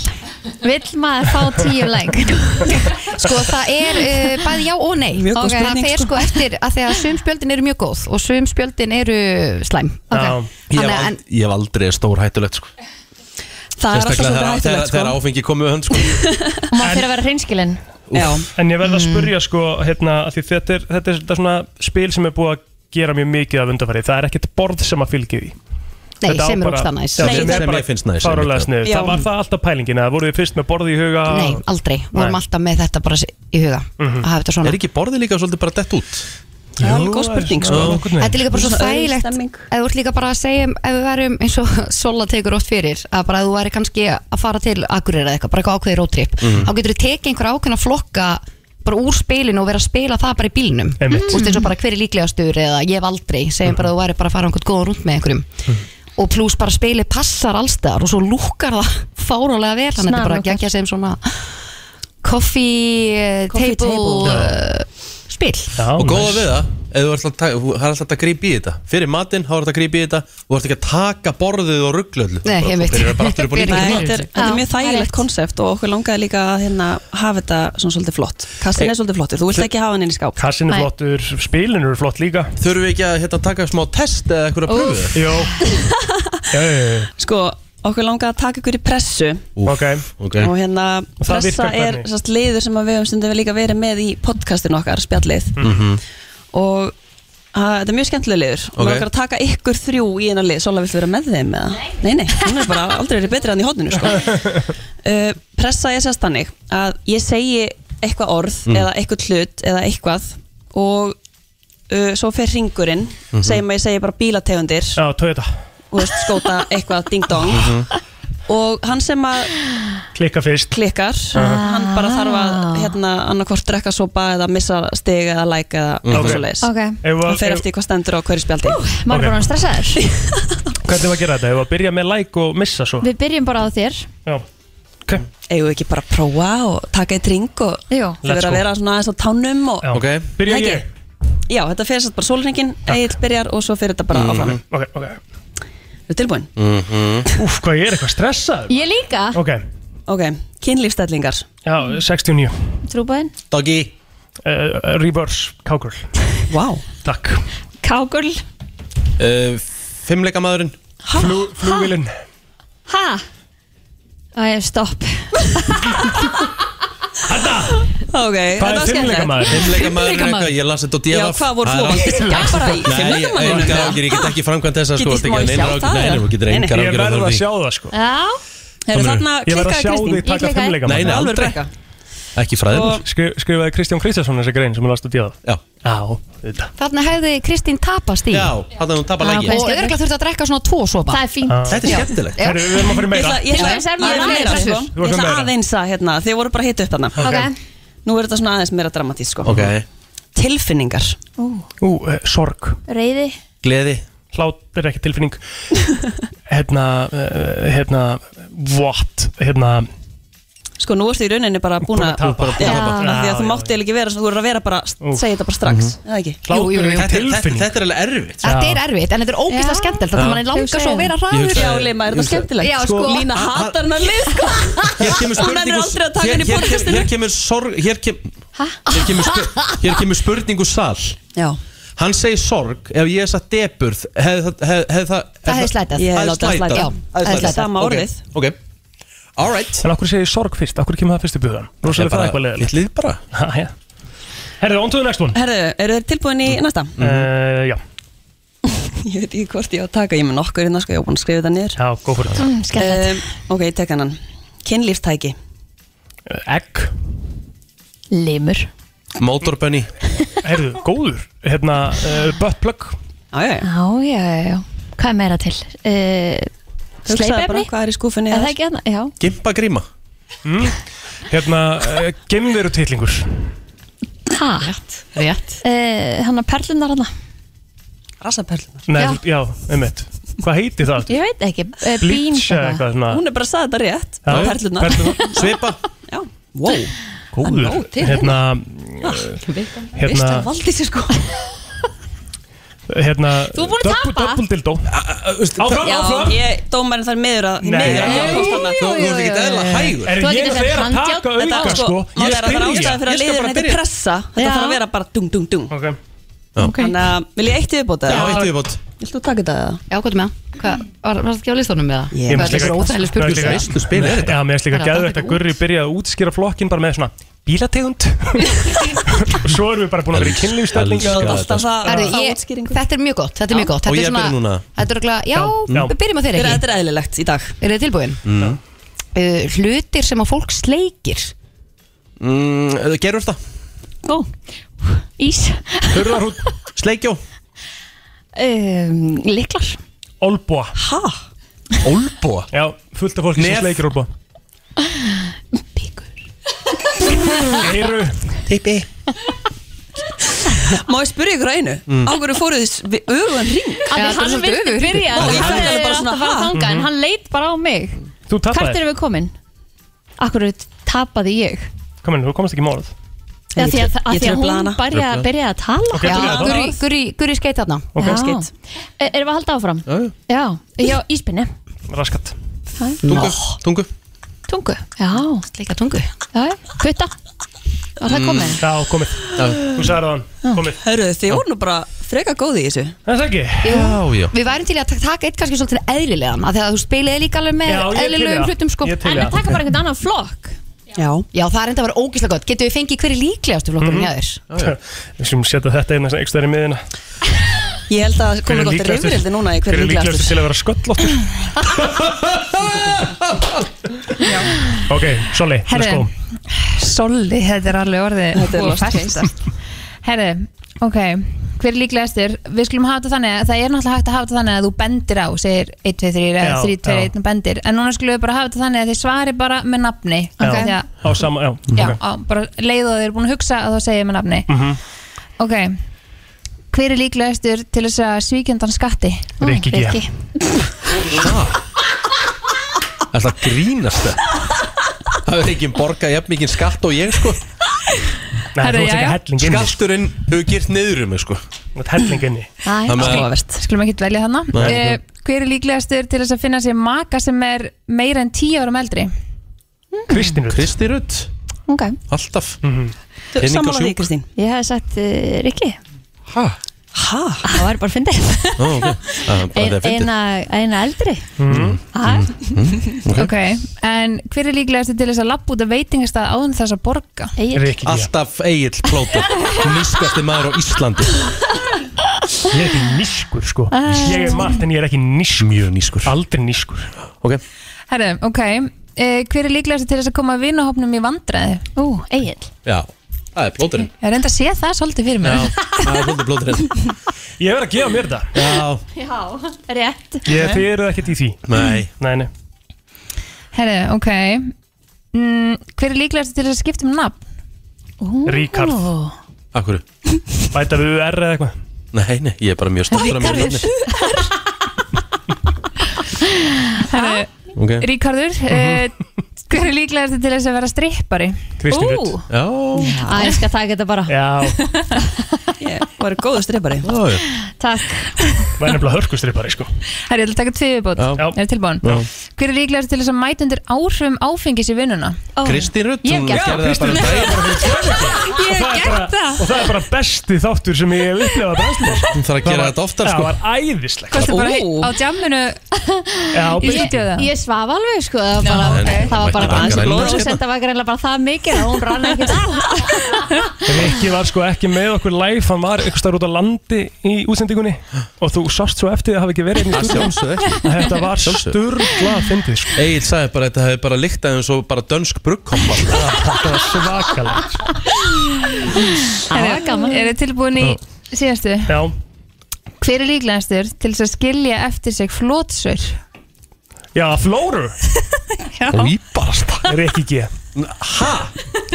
D: Vill maður fá tíu læk?
N: [laughs] Sko það er uh, bæði já og nei
D: Mjög góð
N: Ok,
D: spurning,
N: Það fer
D: sko.
N: sko eftir að því að sum spjöldin eru mjög góð og sum spjöldin eru slæm
A: Já. Ég hef
N: Þannig að-
A: ald- Ég hef aldrei stór hættulegt sko.
M: Það
A: Sérstaklega þegar- þegar- Þegar áfengi komið hönd sko.
D: Og maður fyrir að vera hreinskilinn
E: En ég verð að spurja sko hérna, af því þetta, er, þetta er þetta svona spil sem er búið að gera mjög mikið af undanfæri Það er ekkert borð sem að fylgja því
N: Nei,
E: Þetta á
N: sem er
E: bara-
N: ógsta næs
E: Já,
N: Nei,
E: sem,
A: sem
E: er bara
A: ég finnst næs, einmitt,
E: fáránlega
A: já.
E: sniðugt.
N: Já.
E: Það var það alltaf pælingin eða voruð þið fyrst með borð í huga
N: Nei, aldrei, við vorum
E: Nei.
N: alltaf með þetta bara í huga Mhm. að hafa þetta svona
A: Er ekki borðið líka svolítið bara dett út?
M: Það er alveg góð spurning, sko.
N: Þetta er líka bara svo
M: Svona öðruvísi
N: þægilegt eða þú ert líka bara að segja ef við værum eins og [laughs] Sola tekur oft fyrir að bara að þú væri kannski að fara til Akureyri eða eitthvað, bara eitthvað ákveðið rótrip
M: Mhm.
N: þá getur þú tekið einhverja ákveðna flokka bara úr spilinu og vera að spila það bara í bílnum
E: Einmitt.
N: Þú veist eins og bara hver er líklegastur eða ég hef aldrei, segjum bara að þú væri bara að fara einhvern góðan rúnd með einhverjum
M: Mhm.
N: og pluss bara spilið passar allstaðar og svo lúkar það [laughs] fárálega vel þannig að þetta er bara að
D: Snarlúkar.
N: gegja sem svona coffee,
D: Coffee
N: coffee table,
D: table.
N: table. spil
E: Já,
A: og góða við það ef þú ert að taka- þú- það er alltaf að grípa í þetta fyrir matinn, þá er alltaf að grípa í þetta og ert ekki að taka borðið og rugglu öllu
N: Nei, einmitt.
A: Það er bara
N: [laughs]
A: aftur upp á
N: Byrjar
A: nýtt.
N: ekki
M: Þetta er, þetta
N: Já,
M: er mjög
N: það er
M: þægilegt konsept og okkur langaði líka að hérna, hafa þetta svona svolítið flott Kastin er svolítið flottur, þú vilt ekki hafa hann inn í skáp
E: Kassin er flottur, spilin eru flott líka
A: Þurfum við ekki að hérna, taka smá test eða eitthvað að pröfu
E: Jó
A: það?
E: Jó, jó, jó.
M: Sko, okkur langaði að taka ykkur í pressu
E: Ok,
M: og hérna
E: Og það
M: pressa
E: virkar
M: er
E: hvernig?
M: sast, liður sem að við höfum stundum líka verið með í podcastinu okkar, spjallið
A: Mhm.
M: og að, þetta er mjög skemmtilega liður og
A: Ok.
M: við okkur að taka ykkur þrjú í einar lið Sola vill vera með þeim eða? Nei, nei, hún er bara aldrei verið betri enn í hóttinu sko. uh, Pressa er sérst þannig að ég segi eitthvað orð
O: Mm.
M: eða eitthvað hlut eða eitthvað og uh, svo fer ringurinn
E: Mhm.
M: segjum að ég segi bara bílategundir
E: Já, Toyota
M: og þú veist, skóta
E: [laughs]
M: eitthvað ding-dong
A: Mhm.
M: og hann sem að
E: Klikka fyrst
M: klikkar
E: Aha.
M: hann bara þarf
D: Ah.
M: að hérna, annarkvort drekka sopa eða missa stig eða læk eða
E: Mhm.
M: eitthvað
E: Ok.
M: svo leiðis
D: Ok. Ef
E: að-
M: hann fer
E: ef-
M: eftir hvað stendur á hverju spjaldi
D: Maður er bara hann stressaður
E: Hvernig var að gera þetta? Hefur að byrja með like og missa svo?
D: Við byrjum bara á þér
E: Já
M: eigum við ekki bara að prófa og taka eitt ring og þau
D: Jú.
M: verður að vera svona aðeins á tánum og
E: Já. Ok. Byrja
M: Ekki?
E: ég?
M: Já, þetta fer satt bara sólringin, Egil byrjar og svo fer þetta bara
E: Mhm.
M: áfram
E: Ok, ok
M: Þú tilbúin?
A: Mhm.
E: Úf, hvað ég er eitthvað stressað
D: Ég líka
E: Ok
M: Ok, kynlífstællingar
E: Já, 69
D: Trúbæðin
A: Doggy
E: uh, Reverse Cowgirl
M: Wow
E: Takk
D: Kákul
A: uh, Fimmleikamæðurinn
E: Flú, Flugvilinn
D: Ha? Æ, stopp
M: Ok,
A: Hvað er fimmleikamaður? Fimmleikamaður er eitthvað, ég las þetta á
M: Já,
A: DF
M: hvað voru flóðandi? Já, bara í
A: Nei, ég-
M: fimmleikamaðurinn.
A: engar ágjur, ég get ekki framkvæmt þessa sko
M: Get ég
A: þetta er ekki
M: smá að sjá
A: neinar áhyggjur,
M: það,
A: Nei, nei,
M: eða?
A: þú getur
M: Nei, nei.
A: engar
M: Ég
A: ágjur
M: verð að sjá
E: það sko
D: Já
M: Heru,
E: Ég
M: þarna
E: verð að
M: klikkaði
E: sjá
M: Kristín
E: þig taka
D: Ég klikkaði.
E: fimmleikamann
A: Nei, nei,
M: Alveg
A: aldrei.
M: brekka
A: Ekki fræðilega
E: Skri, Skrifaði Kristján Kristjánsson þessa grein sem hún last að díða
A: Já
E: Já, þetta
N: Þarna hefði Kristín tapast í
A: Já, þannig að hún tapar
N: Og
A: lægi
N: örgulega þurfti að drekka svona tvo sopa
D: Það er fínt
E: Ah.
A: Þetta er skemmtilegt.
N: Já.
A: Herru, við erum að fara í meira.
M: Ég ætla- ég ætla-
D: Ég er
M: ég
D: meira,
M: ætla
D: sko.
M: sko.
D: Þú
M: Ég
D: ert
M: ætla
D: meira.
M: aðeins að hérna, þið voru bara hitt upp þarna
D: Ok.
M: Nú er þetta svona aðeins meira dramatísk sko
A: Ok.
M: Tilfinningar
D: Ú,
E: Ú, eh, sorg
D: Reyði
A: Gleði
E: Hlátt er ekki
M: [laughs]
E: tilfinning Hérna, eh, hérna What? Hérna
M: Sko nú ertu í rauninni bara búin
E: Búin að
M: að
E: tapa. Búin að
M: Já,
E: tapa.
M: af því
E: Já,
M: að þú
E: já,
M: mátti eiginlega ekki vera svona, Þú voru að vera bara, segja þetta bara strax Eða ekki?
A: Hlátur er Þetta- tilfinning. þetta- þetta er alveg erfitt.
N: Þetta er erfitt, en þetta er ógeðslega
M: Já.
N: skemmtilegt
A: Já.
N: Þannig að mann langar svo að vera
A: Ég
N: hraður
A: hugsaði-
M: Já, Lima, er
A: ég
M: þetta
A: hugsaði-
M: skemmtilegt?
N: Já, sko.
M: Lína
N: Hann-
M: hatar hennar lið, sko
A: Hér kemur
M: Hún
A: spurningu
M: er aldrei að taka henni í
A: hér- hér-
M: podcastinu
A: Hér kemur sorg Hér kem- hér kemur spu- hér kemur spurningu sal
M: Já
A: Hann segir sorg, ef ég hef sagt deburð hefði það hef, hef,
N: Það hefði slætað. Ég hefði látið það slæta, já. Það hefði slætað. Sama orðið.
A: Ok, all right
E: En okkur segir sorg fyrst, okkur kemur það fyrst í buðan Rósalega það eitthvað leðilegt
A: Lítið bara
E: Ha, já. Herðu, on to the next one
M: Herðu, eru þeir tilbúin í næsta?
A: Mhm.
E: uh, Já
M: [laughs] Ég veit ekki hvort ég á að taka, ég með nokkur hérna, sko, ég á búin að skrifa þetta niður
E: Já, góð fyrir
D: Mm, skemmtilegt.
M: Ok, ég tek hennan Kynlífstæki
E: Eh, Egg
D: Limur
A: Motorbunny
E: Herðu, góður Hérna, uh, buttplug
M: Já,
D: Já, já, já, já. Hvað er meira til? Uh,
M: Hugsaðu bara
D: Sleipefni?
M: hvað er í skúfunni
D: Er
M: þar?
D: það ekki annað? Já.
A: Gimpa gríma
E: mm. Hérna, uh, gemveru titlingur
D: Ha?
N: Rétt.
D: Uh, hann að perlunar hann
M: Rasaperlunar
E: Nei,
D: Já.
E: já, já einmitt Hvað heiti það?
D: Ég veit ekki. Uh,
E: Bleach eða eitthvað svona.
M: Hún er bara að sagði þetta rétt
E: Já, já.
M: Perlunar [laughs]
E: Perlurnar. Svipa
M: Já, wow
E: Góður
M: Nó, til Ah,
E: Hérna,
M: Já,
E: hérna
M: Veistlan valdi sér sko
E: Hérna
M: Þú ert búin að
E: double-
M: tapa.
E: Double dildó Áfram,
M: Já,
E: áfram
M: ég, dómarinn þar miður að því
E: Nei.
M: miður að
E: Jú,
M: ég komst þarna.
E: jú, Þú- þú ert jú, ekkert jú, eðlilega jú. hægur. Er
M: Þú
E: ég
M: getur
E: að vera að
M: sett
E: taka
M: handjárn.
E: auka,
M: Þetta á
E: sko? Ég
M: Má vera
E: spyrja.
M: bara ástæða fyrir
E: Ég
M: að
E: skal
M: liðin
E: bara
M: þetta er
E: byrja.
M: pressa Þetta
E: Já.
M: þarf að vera bara dung dung dung
E: okay.
M: Þannig að vil ég eitt yfirbót eða?
N: Já, eitt
A: yfirbót
M: Viltu taka þetta eða?
N: Já, hvað er með það? Hvað- Var var það ekki á listunum með það?
E: Ég
N: Hvað
E: finnst
N: er
E: líka-
N: það óþægileg
E: Mér
N: spurning?
E: finnst líka- Já, mér finnst líka gæðvægt að Gurri byrja að útskýra flokkin bara með svona bílategund [laughs] og svo erum við bara búin að vera í kynlífstællinga
A: Elska Alltaf þetta. sko.
N: Herðu, ég, þetta er mjög gott, þetta er mjög gott
A: Og
N: þetta
A: ég
N: er
A: byrja núna.
N: Þetta er örugglega- já,
A: Já.
N: við byrjum á þeir ekki
M: Þetta er eðlilegt í dag
N: Er þið tilbúin?
A: Mm.
N: Uh, hlutir sem að fólk sleikir
A: Mm, Gerur þetta
D: Ó, ís.
E: Hörðarhút.
A: Sleikjó
D: [laughs] Um, liklar.
E: Olboa
M: Ha?
A: Olboa?
E: Já, fullt af fólki sem
A: Nef.
E: sleikir olboa Eiru
A: Tippi
M: Má ég spyrja ykkur að einu?
A: Mm.
M: Á hverju fóruð þið við öfugan ring?
D: Af því hann vildi
M: Já,
D: byrja því
M: ég
D: hann
M: fætti alveg
D: er
M: bara
D: alltaf að
M: svona
D: fara
M: ha?
D: þanga
E: Mhm.
D: en hann leit bara á mig.
E: Þú tapaðir.
D: Hvert erum við komin? Akkur tapaði ég?
E: Kom inn, þú komast ekki í málað
D: Af
N: ég
D: því að, að, því að
N: trufla
D: hún
N: hana.
D: byrja,
E: Trufla.
D: byrjaði að tala.
E: Ok, trufla hana.
N: Guri, guri, guri skeit þarna
E: Ok.
D: Já.
E: Skeyt.
D: E- Erum við að halda áfram?
A: Já,
D: já. Já, íspinni.
E: Raskat
A: Tungu Tungu
D: Tungu, já.
N: Líka tungu.
D: Já, kvita. Var það komið?
A: Mm.
E: Já, komið Mm. Þú sagði það hann, komið
M: Hörru, þið voru nú bara freka góð í þessu
E: Það er ekki
A: Já,
E: [laughs]
A: já
N: Við værum til í að ta- taka eitt kannski svolítið eðlilegan af því að þú spilaði líka alveg með
M: Já, ég er til í
N: eðlilegum
M: það.
N: hlutum sko.
M: Ég er til
N: En
M: í það.
N: en taka bara einhvern annan flokk
M: Já,
N: Já, það er enda að vera ógíslega gott Getum við fengið hverju líklegastu
M: Mhm.
N: flokkurinn hjá þér?
E: [laughs] Við sem setja þetta einn ekstra í miðina
M: Ég held að
E: Hver
M: komið
E: er
M: gott að
E: líklegastur?
M: rifrildi núna
E: Hver
M: í hverju
E: er líklegastur til að vera sköllóttur? Ok, Solli, let's go
O: Herðu, Solli, þetta er alveg orðið
M: Þetta er
O: og
M: lost case.
O: ferskast. Herðu, ok, hver er líklegastur? Við skulum hafa þetta þannig að það er náttúrulega hægt að hafa þetta þannig að þú bendir á, segir 1, 2, 3 eða
E: Já,
O: 3, 2,
E: já.
O: 1 og bendir. En núna skulum við bara hafa þetta þannig að þið svari bara með nafni. Af því
E: Já, á
O: að-
E: sama, já,
O: Já,
E: ok.
O: á, bara leið og þið eru búin að hugsa að þá segja ég með nafni.
E: Mhm.
O: Ok, hver er líklegastur til þess að svíkjöndan skatti?
A: Rikki G.
O: Rikki.
A: Það grínast það Það er ekki borga jafn mikið skatt og ég sko
E: Nei,
O: Herra, þú ert ekki jæja.
E: helling sko.
A: inni Skatturinn hefur girt niður um mig sko
E: Þú ert helling inni
O: Æ, skulum ekki dvelja þarna
A: Nei.
O: Eh, Hver er líklegastur til þess að finna sér maka sem er meira en 10 árum eldri?
E: Kristín Rutt
A: Kristín Rutt,
O: Ok
A: alltaf
E: Mhm.
O: Þú-
A: Pening og
O: sammála því,
A: sjúk.
M: Kristín
D: Ég hef sagt uh, Rikki
A: Hæ?
D: Hæ? Það var bara fyndið
A: Ó, ok. Það er bara
D: Ein-
A: þetta er fyndið.
D: Eina eina eldri
E: Mhm.
A: Mm.
D: Hæ?
A: Mm,
O: Ah. Ok,
A: ok.
O: en hver er líklegastur til þess að lappa út af veitingastað áðun þess að borga?
A: Rikki G. Alltaf Egil Plóter Nýskasti maður á Íslandi
E: Ég er ekki nýskur sko
O: Æ.
E: Ég er margt en ég er ekki nýskur
A: Mjög nýskur
E: Aldrei nýskur
A: Ok
O: Herðu, ok eh, Hver er líklegastur til þess að koma vinnahopnum í vandræði? Ú, Egil
A: Já, það er Plóterinn
O: Ég reynda að sé það svolítið
A: Já,
O: fyrir mig
A: það er hundið Plóterinn
E: Ég verð að gefa mér það
A: Já,
D: Já, rétt
E: ég, Þið eruð ekkert í því
A: Nei
E: Nei, nei
O: Herðu, ok mm, Hver er líklegastur til þess að skipta um nafn? Ú.
E: Ríkharð.
A: Akkur
E: Bæta við R eða eitthvað
A: Nei, nei, ég er bara mjög stoltur af mér nafni
O: [laughs] Herðu,
A: Ok.
O: Ríkardur eh, Hver er líklegastur til þess að vera strippari?
A: Kristín Rutt.
O: Ú.
A: Já
D: Æ, ég skal taka þetta bara
M: [laughs]
E: Já
M: Ég var góðu strefari
D: Takk
E: Væri nefnilega hörkustrippari sko
O: Herri, ég ætla að taka tvið viðbót
E: Já.
O: Er það tilbúin?
E: Já.
O: Hver er líklegastur til þess að mæta undir áhrifum áfengis í vinnuna?
A: Kristín Rutt,
O: Ég
A: hún
O: gerði
A: gerði
O: það.
A: það bara um daginn.
O: [laughs] Ég hef gert það
E: Og það er bara besti þáttur sem ég hef upplefað brennslu
A: Hún þarf að gera þetta oftar, sko.
E: Það var æðislegt
O: Kostu bara hei- á jamminu
E: Já,
D: Ég,
E: byrju.
D: ég svaf alveg sko Það var bara,
E: Nei,
D: [laughs]
E: nei,
D: það var
E: mætti
D: bara
E: bara
D: aðeins
E: græna
D: blóð
E: hérna.
D: og senda var greinlega bara það mikið að hún rann ekki
E: Rikki var sko ekki með okkur live Hann var ykkur starf út á landi í útsendingunni Og þú sást svo eftir að hafa ekki verið inn í
A: Að
E: stúdíóinu.
A: sjálfsögðu ekki.
E: Þetta var
A: Sjálfsögðu.
E: sturgla að fyndið sko
A: Egil sagði bara að þetta hefði bara lyktað eins og bara dönsk bruggkompa
E: Þetta var svakalegt
O: Það var gaman Er þið tilbúin í síðastu?
E: Já
O: Hver er líklegastur til þess að skilja eftir sig flótsur?
E: Já, Flóru
O: [laughs] Já.
A: Íbarast
E: Rikki G
A: Hæ?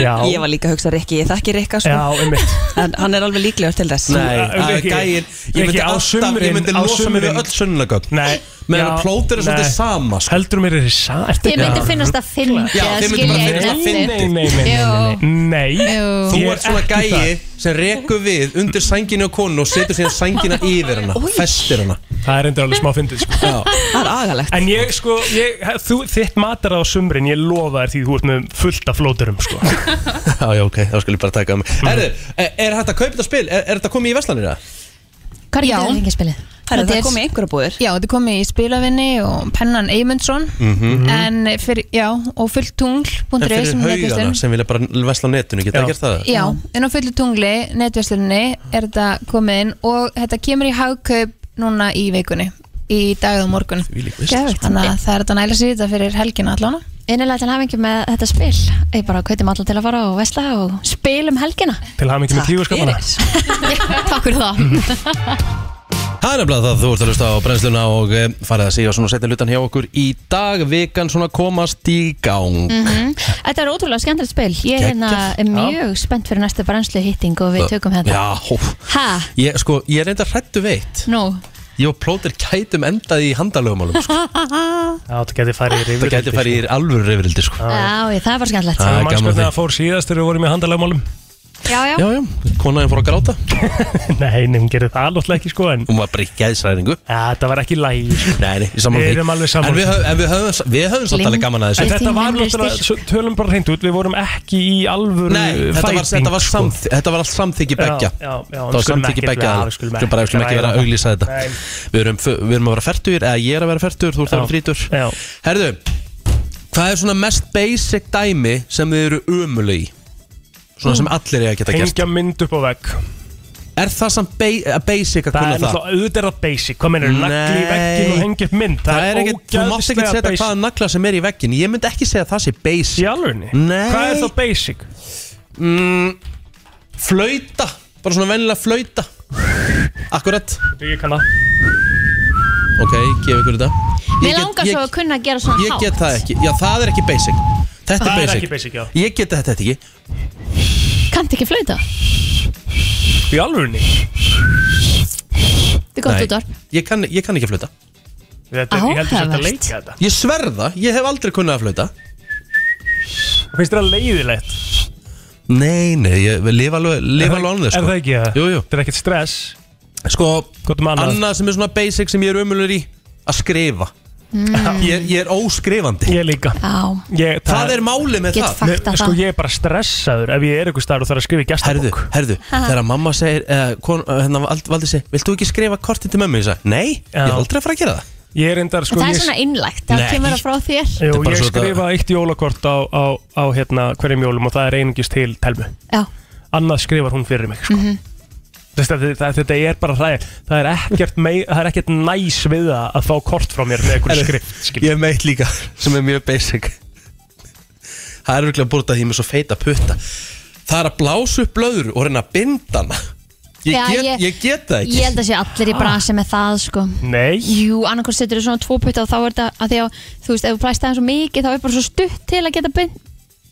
E: Já
M: Ég var líka að hugsa Rikki, ég þekki Rikka sko
E: Já, um
M: En hann er alveg líklegur til þess
A: Nei, það er
E: Rikki,
A: gæinn Ég
E: Rikki,
A: myndi
E: á
A: alltaf,
E: sumrin,
A: ég myndi
E: á
A: losa mig
E: sumrin.
A: við öll sönnunagögn
E: Nei
A: Meðan að plóter er svolítið sama
E: sko. Heldur mér er þið sa ertu-
D: Þið myndi finnast það fyndi
A: Já,
D: að
A: þið myndi
D: skilja
A: bara
D: einn
A: finnast það
D: eftir.
A: fyndið.
E: Nei, nei, nei, nei, nei, nei.
A: Þú
E: Ég er
A: ert svona
E: ekki
A: gæi
E: það.
A: sem rekur við undir sænginu á konu og setur síðan sængina yfir hana Festir hana
E: Það er endur alveg smá fyndið sko.
M: Það er agalegt
E: En ég sko, ég, þú, þitt matar á sumrin Ég lofa þér því þú ert með fullt af flóturum sko.
A: Já, já, ok, þá skulle ég bara taka um Herðu, er [laughs] er hægt að kaupa þetta spil? Er er þetta komið í veslanir það?
O: Hvað er
D: Já.
O: þetta fengið spilið?
M: Herra, það er komið í einhverja búðir
O: Já, þetta er komið í spilavinni og pennan Eymundsson Mm-hmm.
A: Mhm.
O: En fyrir, já, og
A: En
O: fulltungl.is
A: fyrir
O: Eh, sem er
A: haugana
O: netverslun.
A: sem vilja bara vesla á netinu, geta það gert það?
O: Já, en á fullu tungli, netverslunni er þetta komið inn og þetta kemur í hagkaup núna í vikunni í dag og morgun
A: Þvílík
D: veisla, sko.
O: þannig að það er þetta næla sér þetta fyrir helgina allan
D: Einnilega til hafingi með þetta spil Ég bara kautum alla til að fara og vesla og spilum helgina
E: Til hafa mikið með tífurskapana
D: Takk fyrir það
A: Það er nefnilega það, þú ert að hlusta á brennsluna og eh, farið að síða svona setja lutan hjá okkur í dag, vikan svona komast í gang
D: Mhm. Þetta er ótrúlega skemmtilegt spil Ég er hérna
A: Geggjað.
D: mjög spennt fyrir næstu brænslu hitting og við tökum hérna. þetta
A: Já, hó.
D: Ha,
A: ég, sko, ég er enda hrættu veit
D: nú
A: Ég og plótir gætum endað í handalögumálum sko.
E: Já, það geti farið í reyfrildi
A: Það gæti farið í alvöru reyfrildi sko.
D: [laughs] Já, ég, það var skemmtilegt
A: Það er
E: Það er
A: gaman
E: mannskjöld
A: því.
E: að það fór síðast þegar við vorum í handalagmálum
D: Já, já.
A: Já, já, konaðin fór að gráta
E: [laughs] Nei, nei, hún gerði það alveg ekki sko en
A: Hún var bara í gæðsræðingu
E: Já, það var ekki lægi
A: Nei, nei, ég sammála
E: Við
A: því.
E: erum alveg sammála
A: En við
E: því.
A: höfum, en við höfum, við höfum samt alveg gaman að þessu
E: En þetta var náttúrulega, svo tölum bara hreint út Við vorum ekki í alvöru
A: Nei, þetta var, þetta var,
E: sko.
A: samþ, þetta var allt samþykki
E: Já,
A: beggja
E: já, já,
A: Það var
E: við skulum
A: samþykki
E: ekkert
A: beggja
E: vera-
A: aðila.
E: við skulum
A: Við skulum bara við skulum ekki vera að
E: ræða
A: auglýsa þetta
E: Nei.
A: við erum, við erum að vera færtugir Eða ég er að vera færtugur, þú ert að vera þrítur Herðu, hvað er svona mest basic dæmi sem þið eru ömuleg í? Svona sem allir eiga að geta gert
E: Hengja mynd upp á vegg
A: Er það samt ba- basic að
E: Það
A: kunna
E: er
A: það?
E: náttúrulega auðvitað er það basic Hvað meinir, nagli í veggin og hengja upp mynd
A: Það er ekkert, þú mátt ekkert
E: ógeðslega
A: setja
E: basic.
A: hvaða nagla sem er í veggin Ég myndi ekki segja að það sé basic Í
E: alvegni?
A: Nei
E: Hvað er þá basic?
A: Mm, flauta Bara svona vennilega flauta Akkurat
E: Ég kann það
A: Ok, gefa ykkur þetta Ég
D: Mér
A: get-
D: langar
A: ég-
D: svo að kunna að gera svona
A: Ég
D: hátt
A: get það ekki, já það er ekki basic Þetta
E: Það
A: er
E: er
A: basic
E: ekki basic, já.
A: Ég get þetta ekki
D: Kanntu ekki flauta?
E: Í alvörunni?
D: Þetta er gott
A: Nei.
D: út
A: Ég kann, ég kann ekki að flauta
E: Þetta er- ég heldur samt að Áhugavert. leika þetta.
A: Ég sverða, ég hef aldrei kunnað að flauta
E: Finnst þér það leiðilegt?
A: Nei, nei, ég við lifa alveg, lifa alveg án þess
E: Er það ekki það?
A: Jú, jú
E: Þetta er ekkert stress um
A: Sko,
E: annað.
A: annað sem er svona basic sem ég er umulur í Að skrifa
E: Mm.
A: ég, ég er óskrifandi
E: [laughs] Ég líka
D: Já
E: ég,
A: Það er málið með Get það. faktað
E: Mér-
A: það.
E: Sko ég er bara stressaður ef ég er ykkur starf og þarf að skrifa í gestabók Herðu,
A: herðu, Þegar mamma segir, uh, kon, uh, hérna vald- valdi sig Viltu ekki skrifa kortið til mömmu? Ég sagði, nei, ég er aldrei að fara að gera það
E: Ég er endar
D: En
E: sko
D: það er
E: ég-
D: svona innlægt, það
E: Nei.
D: kemur það frá þér
E: Jú,
A: bara
E: ég
A: svo þetta-
E: skrifa eitt jólakort á, á, á hérna, hverjum jólum og það er einungist til telmu
D: Já.
E: Annað skrifar hún fyrir mig sko.
D: Mhm.
E: Þess að þetta, þetta er bara hræð Það er ekkert, mei, það er ekkert næs við það að fá kort frá mér með einhverju
A: Herðu,
E: skrift
A: Ég er meitt líka, [laughs] sem er mjög basic [laughs] Það er virkilega búin að ég er með svo feita putta Það er að blása upp blöður og reyna að binda hana Ég,
D: Já,
A: get, ég,
D: ég-
A: get það ekki
D: Ég held að sé allir í bransi með það sko
E: Nei
D: Jú, annarkvæmst setur þau svona tvo putta og þá er þetta að því að þú veist, ef þú plæst það svo mikið þá er bara svo stutt til að geta bind,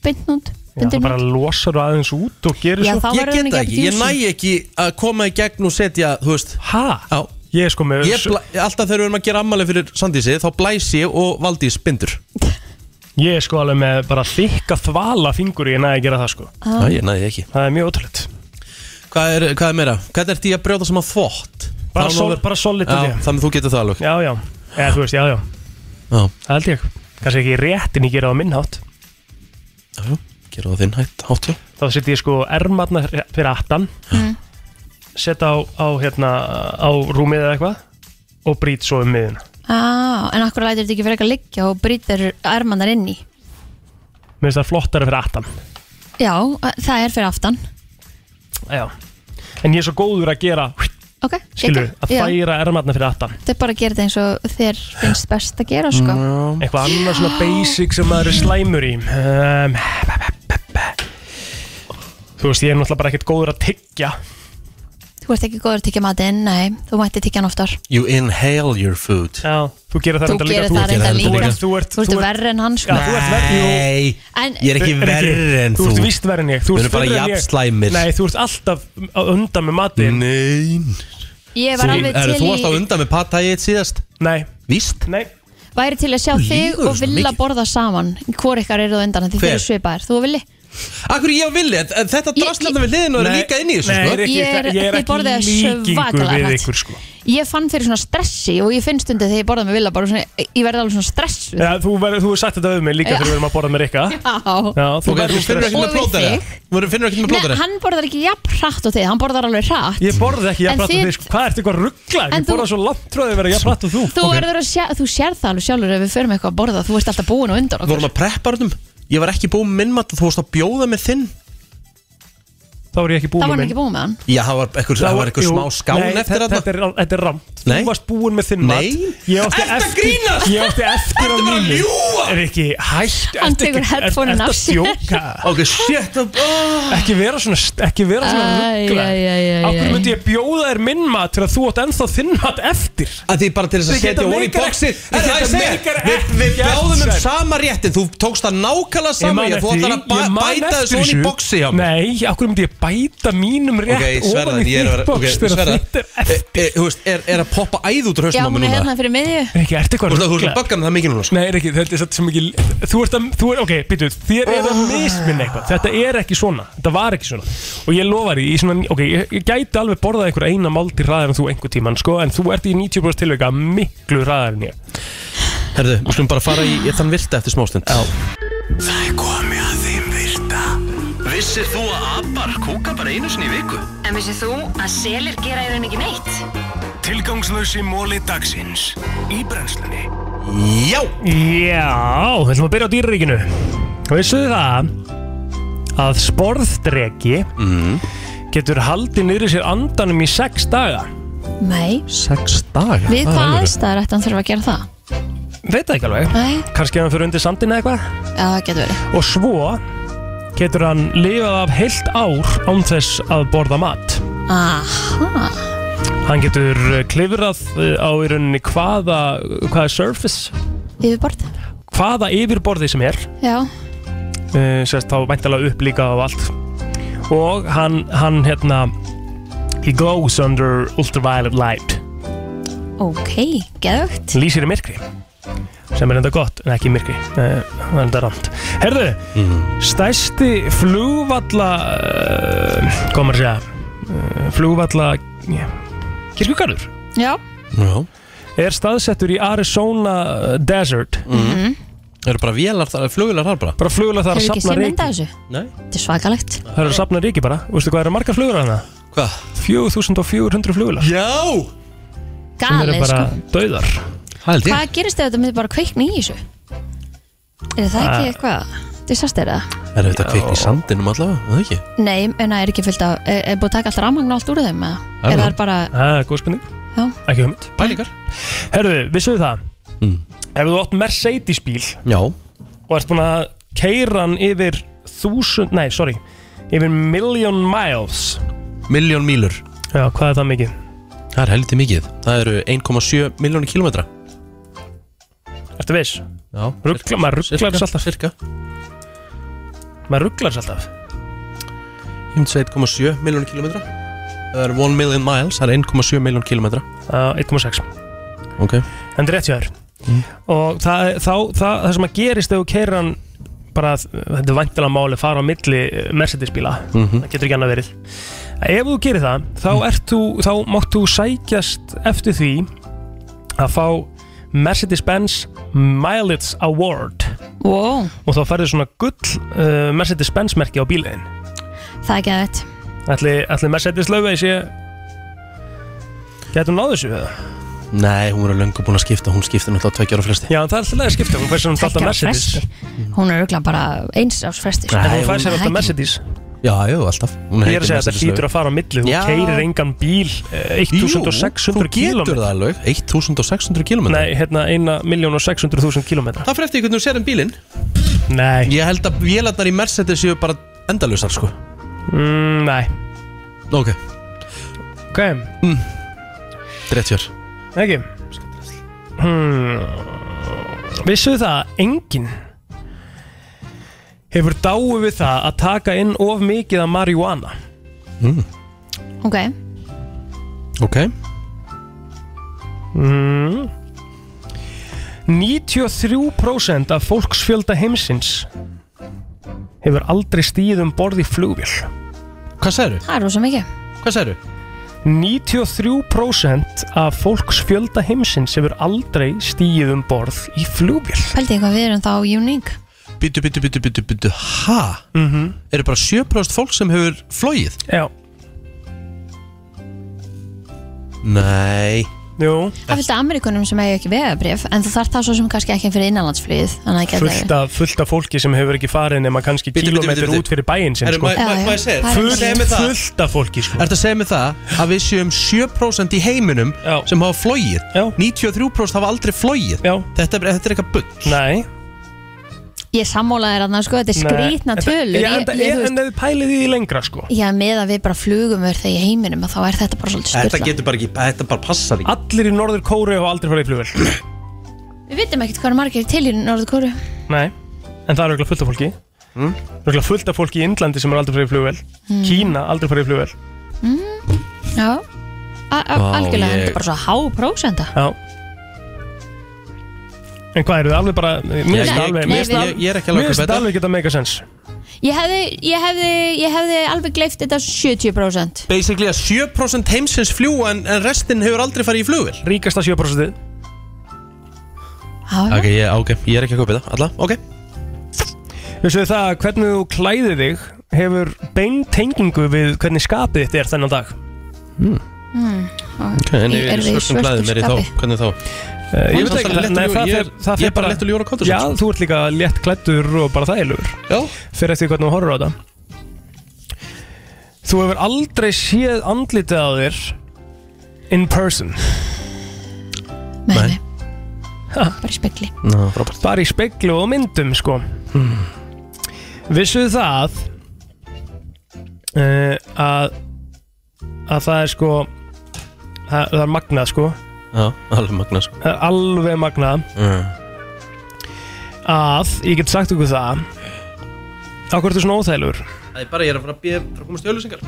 D: bind út
E: Já, það bara losar þú aðeins út og gerir
D: Já,
E: svo
D: þá Ég verður get hún ekki það ekki.
A: Ég næ ekki að koma í gegn og setja, þú veist
E: Hæ?
A: Já
E: Ég er sko með
A: ég bla, Alltaf þegar við erum að gera ammali fyrir Sandísi Þá blæs ég og Valdís bindur
E: Ég er sko alveg með bara þykka þvala fingur og ég næði að gera það sko
A: ah. Æ, ég næði ekki
E: Það er mjög ótrúlegt
A: Hvað er, hvað er meira? Hvað ert því að brjóta saman þvott? Það
E: Bara
A: er nú
E: sol-
A: verið-
E: bara solid
A: Já,
E: olía.
A: Þannig að þú getur það alveg
E: Já, já, eða þú veist, já, já
A: Já.
E: Það held ég, kannski ekki réttin ég gera það á minn hátt
A: Gerðu það þinn hætt, hátt já
E: Þá setjum ég sko ermarna fyrir aftan mm. Setta á, á, hérna, á rúmið eða eitthvað Og brýt svo um miðun
D: ah, En akkur lætur þetta ekki fyrir eitthvað liggja og brýtir armannar inn í
E: Mér finnst það flottara fyrir aftan
D: Já, það er fyrir aftan
E: Já En ég er svo góður að gera,
D: Ok,
E: skilur,
D: geggjað.
E: að
D: Já.
E: færa ermarna fyrir aftan
D: Þetta er bara að gera þetta eins og þér finnst best að gera sko
E: Eitthvað annað svona basic sem maður er slæmur í um, Þú veist, ég er náttúrulega bara ekkert góður að tyggja
D: Þú ert ekki góður að tyggja matinn, nei, þú mætti tyggja hann oftar
A: You inhale your food
E: Já, þú gerir það
D: Þú
E: reyndar
D: gerir
E: líka.
D: það reyndar
E: Þú-
D: líka
E: Þú ert,
D: Þú ert verri en hann sko
E: Já, þú ert verri, jú.
A: Nei,
D: En-
A: ég er ekki
E: Rikki,
A: verri en þú
E: Þú ert vist verri en ég Þú
A: Við
E: ert
A: erum bara
E: verri en ég.
A: jafnslæmir.
E: Nei, þú ert alltaf á undan með matinn
A: Nei
D: Ég var alveg
A: er, Þú varst á
D: til í,
A: undan með patæið eitt síðast
E: Nei
A: Víst?
E: Nei
D: væri til að sjá þig
A: Lýgur
D: og
A: svona
D: vilja
A: mikið.
D: borða saman Hvor ykkar eru þú undan, því
A: Hver?
D: þið eru svipaðir Þú og villi
A: Akkur ég og villi, en- en þetta drast lefna við liðin og er líka inn í þessu
E: Nei,
A: sko.
E: Rikki,
D: Ég er-
E: það- ég
D: þið borðið
E: er ekki líkingur
D: svakalega
E: við
D: hratt.
E: ykkur sko
D: Ég fann fyrir svona stressi og ég finn stundið þegar ég borða með vilja bara svona, ég verði alveg svona stressu
E: Já, þú verður, þú er sagt þetta við mig líka
D: Já.
E: þegar við erum að borða með Rikka
D: Já,
E: Já, þú
A: Ok, þú
E: verður
A: finnur ekki
E: stress
A: með plótari Þú finnur ekki með
D: Nei,
A: plótari
D: hann borðar ekki jafn hratt og þið, hann borðar alveg hratt
E: Ég borðið ekki
D: En
E: jafnrætt og
D: þið-
E: þið sko Hvað ertu eitthvað ruggla?
D: En
E: Ég
D: þú-
E: borða svo langt tróðið að vera jafnrætt og þú
D: Þú
E: Ok.
D: verður að sjá, þú sér það alveg sjálfur ef við förum eitthvað að borða, þú veist alltaf búin og undan
A: Við vorum að preppa hörnum Ég var ekki búin með minn mat og þú varst að bjóða með þinn
E: Þá var ég ekki búin
D: Það var
E: með
D: hann
E: minn
D: ekki búin með hann
A: Já, það var einhver, það var einhver
E: Jú,
A: smá skán
E: nei,
A: eftir
E: þetta. Þetta er, þetta er ramt Þú
A: Nei.
E: varst búinn með þinn mat
A: Nei.
E: Ég
A: Ertu
E: átti
A: að
E: eftir-
A: grínast?
E: Ég átti eftir á
A: Ertu bara að
E: mínu
A: ljúga?
E: Er ekki hægt
D: Hann
E: ertu
D: tekur
E: ekki- er-
D: headphone-in
E: ertu
D: af
E: að
D: sér. Ah.
E: djóka?
A: Ok, shit oh.
E: Ekki vera svona st- Ekki vera svona
D: Æ,
E: ruggla
D: æ, æ, æ, æ.
E: Akkur myndi ég bjóða þér minn mat Til að þú átt ennþá þinn mat eftir
A: Að því bara til þess að
E: Þetta
A: setja
E: meikar
A: hún í
E: ekki-
A: boxi
E: þetta
A: Það er segja
E: meikar
A: Við, við
E: ekki
A: bjóðum um
E: sens.
A: sama réttin Þú tókst það nákvæmlega
E: Ég
A: saman
E: man
A: Þú ætlar
E: eftir því,
A: að bæ-
E: ég man
A: bæta
E: eftir
A: þessu hún í
E: þessu.
A: boxi hjá mér
E: Nei, akkur myndi ég bæta mínum rétt
A: Ok,
E: ofan
A: Sverðan,
E: í
A: ég er að
E: þitt
A: vera
E: boks
A: Ok,
E: þegar
A: Sverðan,
E: þitt er
A: e- e- þú veist, er, er að poppa æð út úr
D: Já,
A: hausnum á
D: hún
A: mér
D: er
A: núna
D: hérna fyrir miðju
E: Rikki, ertu eitthvað
A: Þú veist að þú ert
E: ruglaður?
A: að bagga með það mikið núna sko.
E: Nei, Rikki, þetta er satt sem ekki Þú ert að, þú er, ok, byrju, þér er að misminna eitthvað Þetta er ekki svona, þetta var ekki svona Og ég lofa því, í svona, ok, ég, ég gæti alveg borðað einhver eina máldi ræðar en þú einhver tíman sko, En þú ert í 90% tilveika miklu ræðar en ég
A: Herðu, við skulum bara fara í í þann virta eftir smástund Já
B: Það er komið að þeim virta Vissir þú að abar kúka bara einu sinni í viku?
K: En vissið þú að selir gera í raun ekki neitt?
B: Tilgangslösi móli dagsins Í brennslunni
A: Já
E: Já, við ætlum að byrja á dýraríkinu Vissuðu það að sporðdreki Mhm. getur haldið niður sér andanum í sex daga
D: Nei
A: Sex daga?
D: Við hvað aðstæðar ætti hann þurfa að gera það?
E: Veit það ekki alveg
D: Nei.
E: Kannski að hann fyrir undir sandin eða eitthvað
D: Já, það getur verið
E: Og svo getur hann lifað af heilt ár án þess að borða mat
D: Aha
E: Hann getur eh, klifrað eh, á í rauninni hvaða, hvaða surface
D: Yfirborð
E: Hvaða yfirborði sem er
D: Já
E: uh, sérst þá væntalega upp líka og allt og hann, hann hérna he goes under ultraviolet light
D: Ok, geðugt
E: hann lýsir í myrkri sem er enda gott, en ekki í myrkri uh, það er enda rámt Herðu,
A: Mhm.
E: stæsti flugvalla uh, komar að segja uh, flugvalla kirkugarður
D: Já
A: Já
E: er staðsettur í Arizona eh, Desert
A: Mhm. Eru bara vélar þar, flugvélar þar bara?
E: Bara flugvélar þar að
D: Hefur ekki
E: safna
D: séð
E: reiki
D: mynda þessu?
A: Nei
D: Þetta er svakalegt
E: Það eru að safna ríki bara, veistu hvað eru margar flugur hana?
A: Hvað?
E: 4400 flugular
A: Já!
E: Sem eru
D: Galið
E: bara
D: sko
E: dauðar Hældi
D: Hvað gerist ef þetta myndi bara kveikni í þessu? Er
A: Ah.
D: það ekki eitthvað? Disaster eða?
A: Er þetta kveikn í sandinum allavega, var það ekki?
D: Nei, en það er ekki fyllt af Er, er búið að taka allt rafmagn og allt úr þeim eða?
E: Já.
D: Er það bara
E: Það er góð spurning
D: Já.
E: Ekki hugmynd
A: Pælingar Mm.
E: Herðu, vissuðu það Ef þú átt Mercedes bíl
A: Já
E: Og ert búin að keira hann yfir Þúsund, nei, sorry Yfir million miles
A: Miljón mílur
E: Já, hvað er það mikið?
A: Það er heldur mikið Það eru 1,7 miljónu kílómetra
E: Ertu viss?
A: Já
E: Rugla, maður rugglar
A: Cirka,
E: þess alltaf
A: Cirka
E: Maður rugglar þess alltaf
A: Ég myndi 1,7 miljónu kílómetra Það er 1 million miles Það er 1,7 miljónu kílómetra
E: Já, 1,6
A: Ok
E: En þetta er rétt hjá þér Og það, þá, það, það sem að gerist ef þú keira hann bara, þetta er væntilega máli fara á milli eh, Mercedes bíla
A: Mhm.
E: það getur ekki annað verið ef þú gerir það, þá, ert þú, þá mátt þú sækjast eftir því að fá Mercedes-Benz Mileage Award
D: wow.
E: og þá færðu svona gull uh, Mercedes-Benz merki á bíliðin
D: Það er geðugt
E: ætli, ætli Mercedes lögvei sé getur náðu þessu eða?
A: Nei, hún verður löngu búin að skipta Hún skipta náttúrulega tveggja ára flesti
E: Já, en það er alltaf leið að skipta Hún fær sem alltaf
D: Tveggja ára
E: Mercedes
D: fresti. Hún er auðvitað bara sko. eins árs fresti
E: En hún fær sér alltaf Mercedes
A: Já, jú, alltaf Hún
E: Ég er
A: heitir
E: að segja að þetta
A: Mercedes
E: hlýtur að fara á milli Þú
A: Já.
E: keirir engan bíl eh, 1600
A: Jú, þú getur
E: km
A: það alveg 1600 km
E: Nei, hérna 1.600.000 km
A: Það fyrir eftir hvernig þú sér um bílinn
E: Nei
A: Ég held að vélarnar í Mercedes séu bara endalusar sko
E: mm, Nei
A: Ok,
E: Ok,
A: mm. drettjör
E: ekki hmm. Vissuð það að enginn Hefur dáið við það að taka inn of mikið af marihuana
A: mm.
D: Ok,
A: Ok
E: mm. 93% af fólksfjölda heimsins hefur aldrei stíð um borð í flugvél
A: Hvað segirðu?
D: það er rosa mikið
A: Hvað segirðu?
E: 93% af fólksfjölda heimsins hefur aldrei stíð um borð í flugvél
D: Pældi ég hvað við erum þá uník
A: Byttu, byttu, byttu, byttu, byttu, ha?
E: mm -hmm.
A: Eru bara 7% fólk sem hefur flóið?
E: Já
A: Nei
E: Jú
D: Það er fullt af Amerikunum sem hefur ekki vegabrif En þú þarf það svo sem kannski ekki fyrir innanlandsflýð Þannig að það
E: fullt
D: getur
E: af, fullt af fólki sem hefur ekki farið nema kannski
A: Bíddu, bíddu,
E: kilómetri
A: bíddu.
E: út fyrir bæinn sinn
A: Herru,
E: sko.
A: má- má- má ég segja þér? Fullt-
E: fullt,
A: segðu mér það.
E: fullt af fólki sko.
A: Ertu að segja mig það að við séum 7% í heiminum Já. sem hafa flóið?
E: Já.
A: 93% hafa aldrei flóið?
E: Já.
A: Þetta er, þetta er eitthvað bull
E: Nei
D: Ég sammála þér annars sko Þetta er skrýtna tölur
E: Já, en
D: Ég-
E: það
D: ég-
E: er
D: þú veist-
E: en ef þið pælið í því lengra sko
D: Já, með að við bara flugum verð þegar í heiminum að þá er þetta bara svolítið
A: Þetta
D: styrla
A: getur bara ekki, þetta bara passar ekki
E: Allir í norður kóru hafa aldrei farið í flugvél
A: [clears throat]
D: Við vitum ekkert hvað er margir til í norðu kóru
E: Nei, en það er auðvitað fullt af fólki mm. fullt af fólki í Indlandi sem er aldrei farið í flugvel
D: Mm.
E: Kína aldrei farið í flugvel
D: mm, Já A a-
E: Vá,
D: Algjörlega,
E: ég-
D: þetta er bara svo há prósenda
E: Já En hvað eru þið alveg bara Mér
A: Ég-
E: finnst
A: ég-
E: alveg-
A: ég-
E: mér finnst
A: ég-
E: alveg-
A: ég er ekki alveg að
E: Mér
A: kaupa
E: finnst
A: þetta.
E: alveg geta make a sense
D: Ég hefði, ég hefði, ég hefði alveg gleift þetta 70%
A: Basically að 7% heimsins fljúa en, en restin hefur aldrei farið í flugvel
E: Ríkasta 7%
D: Já,
A: Ok, ég, ok, ég er ekki að kaupa það, alla, ok
E: Vissu þið það að hvernig þú klæðir þig hefur beintengingu við hvernig skapið þitt er þennan dag
D: mm,
A: Ok, en ef ég er í svörtum klæðum, er ég þá, hvernig þá?
E: Eh, Ég veit ekki,
A: Léttur-
E: nei, það
A: ég er-
E: fer- það
A: Ég
E: fer
A: er bara lett og ljóra kóta
E: Já, þú ert líka létt klættur og bara þægilegur
A: sko. Já
E: Fyrir eftir hvernig þú horfir á þetta Þú hefur aldrei séð andlitið á þér In person
D: Nei
E: Bara
D: í spegli
A: Ná, Hmm.
E: Bara í speglu og myndum sko mm. Vissuð það uh, að, að það er sko það, það er magnað sko
A: Já, alveg magna sko
E: það er alveg magnað
A: Mm.
E: að ég get sagt okkur það Akkur ertu svona óþælur?
A: Það er bara, ég er að fara að bíða frá að komast í öllusingar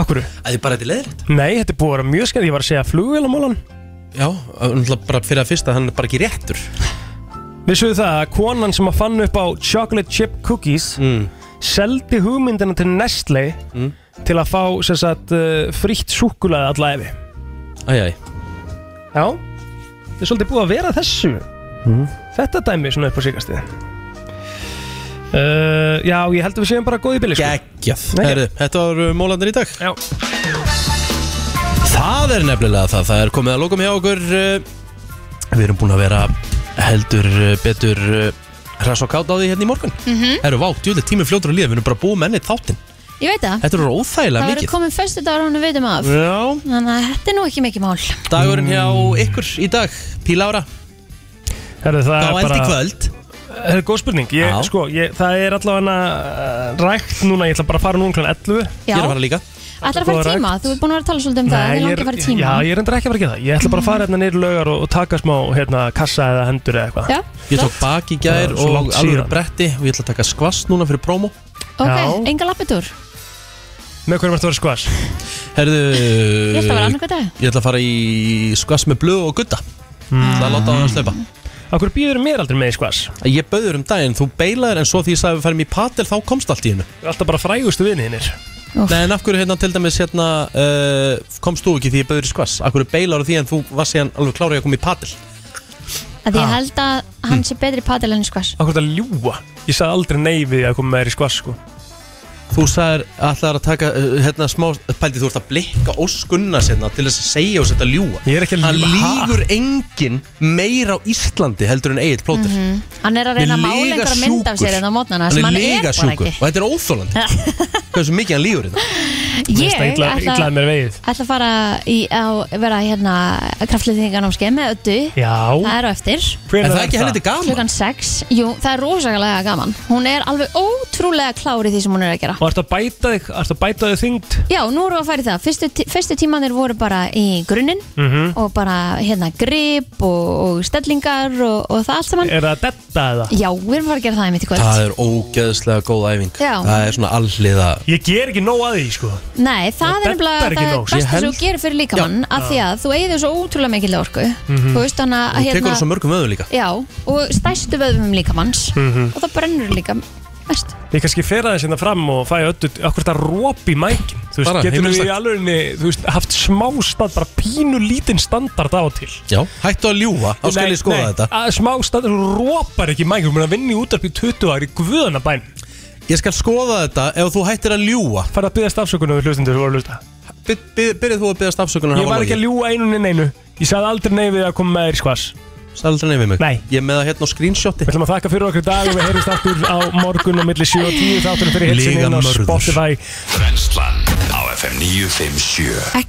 E: Akkur?
A: Það er bara þetta leðilegt
E: Nei, þetta er búið að vera mjög skemmt Ég var að segja flugvélamólan
A: Já, náttúrulega bara fyrir að fyrsta, hann er bara ekki réttur
E: Vissuð það að konan sem að fann upp á chocolate chip cookies
A: Mm.
E: seldi hugmyndina til Nestle til að fá sem sagt, uh, frítt súkulaði alla efi
A: Æjæj
E: Já, þetta er svolítið búið að vera þessu Þetta dæmi svona upp á síkastið uh, Já, ég held að við séum bara góð í bili sko.
A: Gæð, herðu, þetta var uh, mólandir í dag
E: Já
A: Það er nefnilega það, það er komið að lókum hjá okkur uh, Við erum búin að vera heldur uh, betur hræs og kátt á því hérna í morgun
D: Mhm.
A: Herru, vá, djúlega tími fljótur að líða, við erum bara búið með ennið þáttinn
D: Ég veit það
A: Þetta eru óþægilega
D: Það verður
A: mikið
D: komin föstu dagar hún við vitum af
A: Já.
D: Þannig að þetta er nú ekki mikið mál
A: Dagurinn hjá ykkur í dag, Pílára
E: Herðu, það
A: Þá
E: er
A: eldi
E: bara-
A: kvöld
E: Það er góð spurning ég, sko, ég, Það er allavega uh, rækt núna Ég ætla bara að fara núna kl. 11
D: Já. Ég er að fara
A: líka
D: Ætlar að fara í tíma, þú er búin að vera að tala svolítið um það Ég
E: ég
D: langi að
E: er,
D: fara í tíma
E: já, ég er endur ekki að fara að gera það Ég ætla bara að fara hérna niður í laugar og, og taka smá hérna, kassa eða hendur eða eitthvað
D: Já,
A: Ég tók bak í
E: Það
A: gær
E: er svo
A: og
E: langt
A: alveg
E: síðan.
A: bretti og ég ætla að taka skvass núna fyrir promo
D: Ok, enga lappetúr
E: Með hverjum ertu að vera skvass?
A: Herðu
D: Ég ætla að vera annað dag
A: Ég ætla að fara í skvass með blöð og gutta Það láta á hann að sleppa
E: Akkur býður mér aldrei með í skvass?
A: Ég bauður um daginn, þú beilaðir en svo því ég sagði við færum í patel þá komst allt í hennu
E: Alltaf bara frægustu vinniðinir
A: Nei en af hverju hérna til dæmis hérna uh, komst þú ekki því ég bauður í skvass Af hverju beilaður því en þú var síðan alveg klárið að koma í patel
D: Að ég held að
E: Hm.
D: hann sé betri í padel enn í skvass
E: Akkur þetta ljúa Ég sagði aldrei nei við því að koma með þér í skvass sko.
A: Þú sagðir ætlaðir að taka uh, hérna smá Pældi þú ert að blikka óskunna sérna til þess að segja og setja ljúa
E: Ég er ekki að
A: Hann
E: ljúga. Ha?
A: lýgur engin meira á Íslandi heldur en Egil Plóter
D: Mhm. Hann er að reyna að mála einhverja mynd af sér en á mótnana sem
A: Hann
D: hann
A: er
D: er
A: líka
D: bara
A: sjúkur
D: ekki
A: og þetta er óþólandi [laughs] Hversu mikið hann lígur þetta
D: Ég ætla
E: mér vegið
D: ætla að fara í að vera hérna kraftliðingarnámskeið með öttu
E: Já
D: Það er á eftir
E: Hvenær Er það er ekki það? helviti
A: gaman?
D: Klukkan 6, jú, það er rosalega gaman Hún er alveg ótrúlega klár í því sem hún er að gera
E: Og ertu að bæta þig, ertu að bæta þig þyngd
D: Já, nú erum við að fara í það Fyrstu, tí- fyrstu tímanir voru bara í grunninn
E: Mhm.
D: og bara hérna grip og, og stellingar og, og það allt saman
E: Er það að detta eða?
D: Já, við erum að fara að gera það einmitt í kvöld
A: Það er ógeðslega góð æfing
D: Já.
A: Það er svona alliða
E: Ég ger ekki nóg að því sko
D: Nei, það
A: Þetta
D: er nefnilega
A: er ekki
D: það
A: nóg.
D: besta
A: Ég
D: sem
A: held-
D: þú gerir fyrir líkamann af því að þú eigður svo ótrúlega mikil orku
A: Mhm.
D: Þú veist hann að hérna-
A: Þú tekur þessu mörgum öðum líka
D: Já, og stæstu vöðum líkamanns
E: Mhm.
D: og það brennur líka mest
E: Ég kannski fer aðeins hérna fram og fæ öllu Akkur þetta róp í mækin Þú veist,
A: Bara,
E: getur við
A: heimilislegt.
E: í alvegurinni Þú veist, haft smá stand, bara pínu lítinn standard á og til
A: Já, hættu að ljúa, þá skal
E: Nei,
A: ég skoða
E: nei,
A: þetta
E: að Smá stand, þú rópar ekki í mækin Þú mun að vinna í útarpi í 20 ári, guðana bæn
A: Ég skal skoða þetta ef þú hættir að ljúa
E: Færðu að byggja stafsökunar við hlustundur voru að hlusta
A: Byrðið þú að byggja stafsökunar
E: Ég var ekki að ljúa einu en einu Ég sagði aldrei nei við að koma með þér í skvass
A: Sagði aldrei nei við mig
E: Nei
A: Ég er með það hérna á screenshoti
E: Við ætlum að þakka fyrir okkur í dag og við heyrjumst aftur á morgun og milli 7 og 10 þátturinn fyrir hilsinni inn á
B: Lygamörður.
E: Spotify
B: Brennslan á FM 957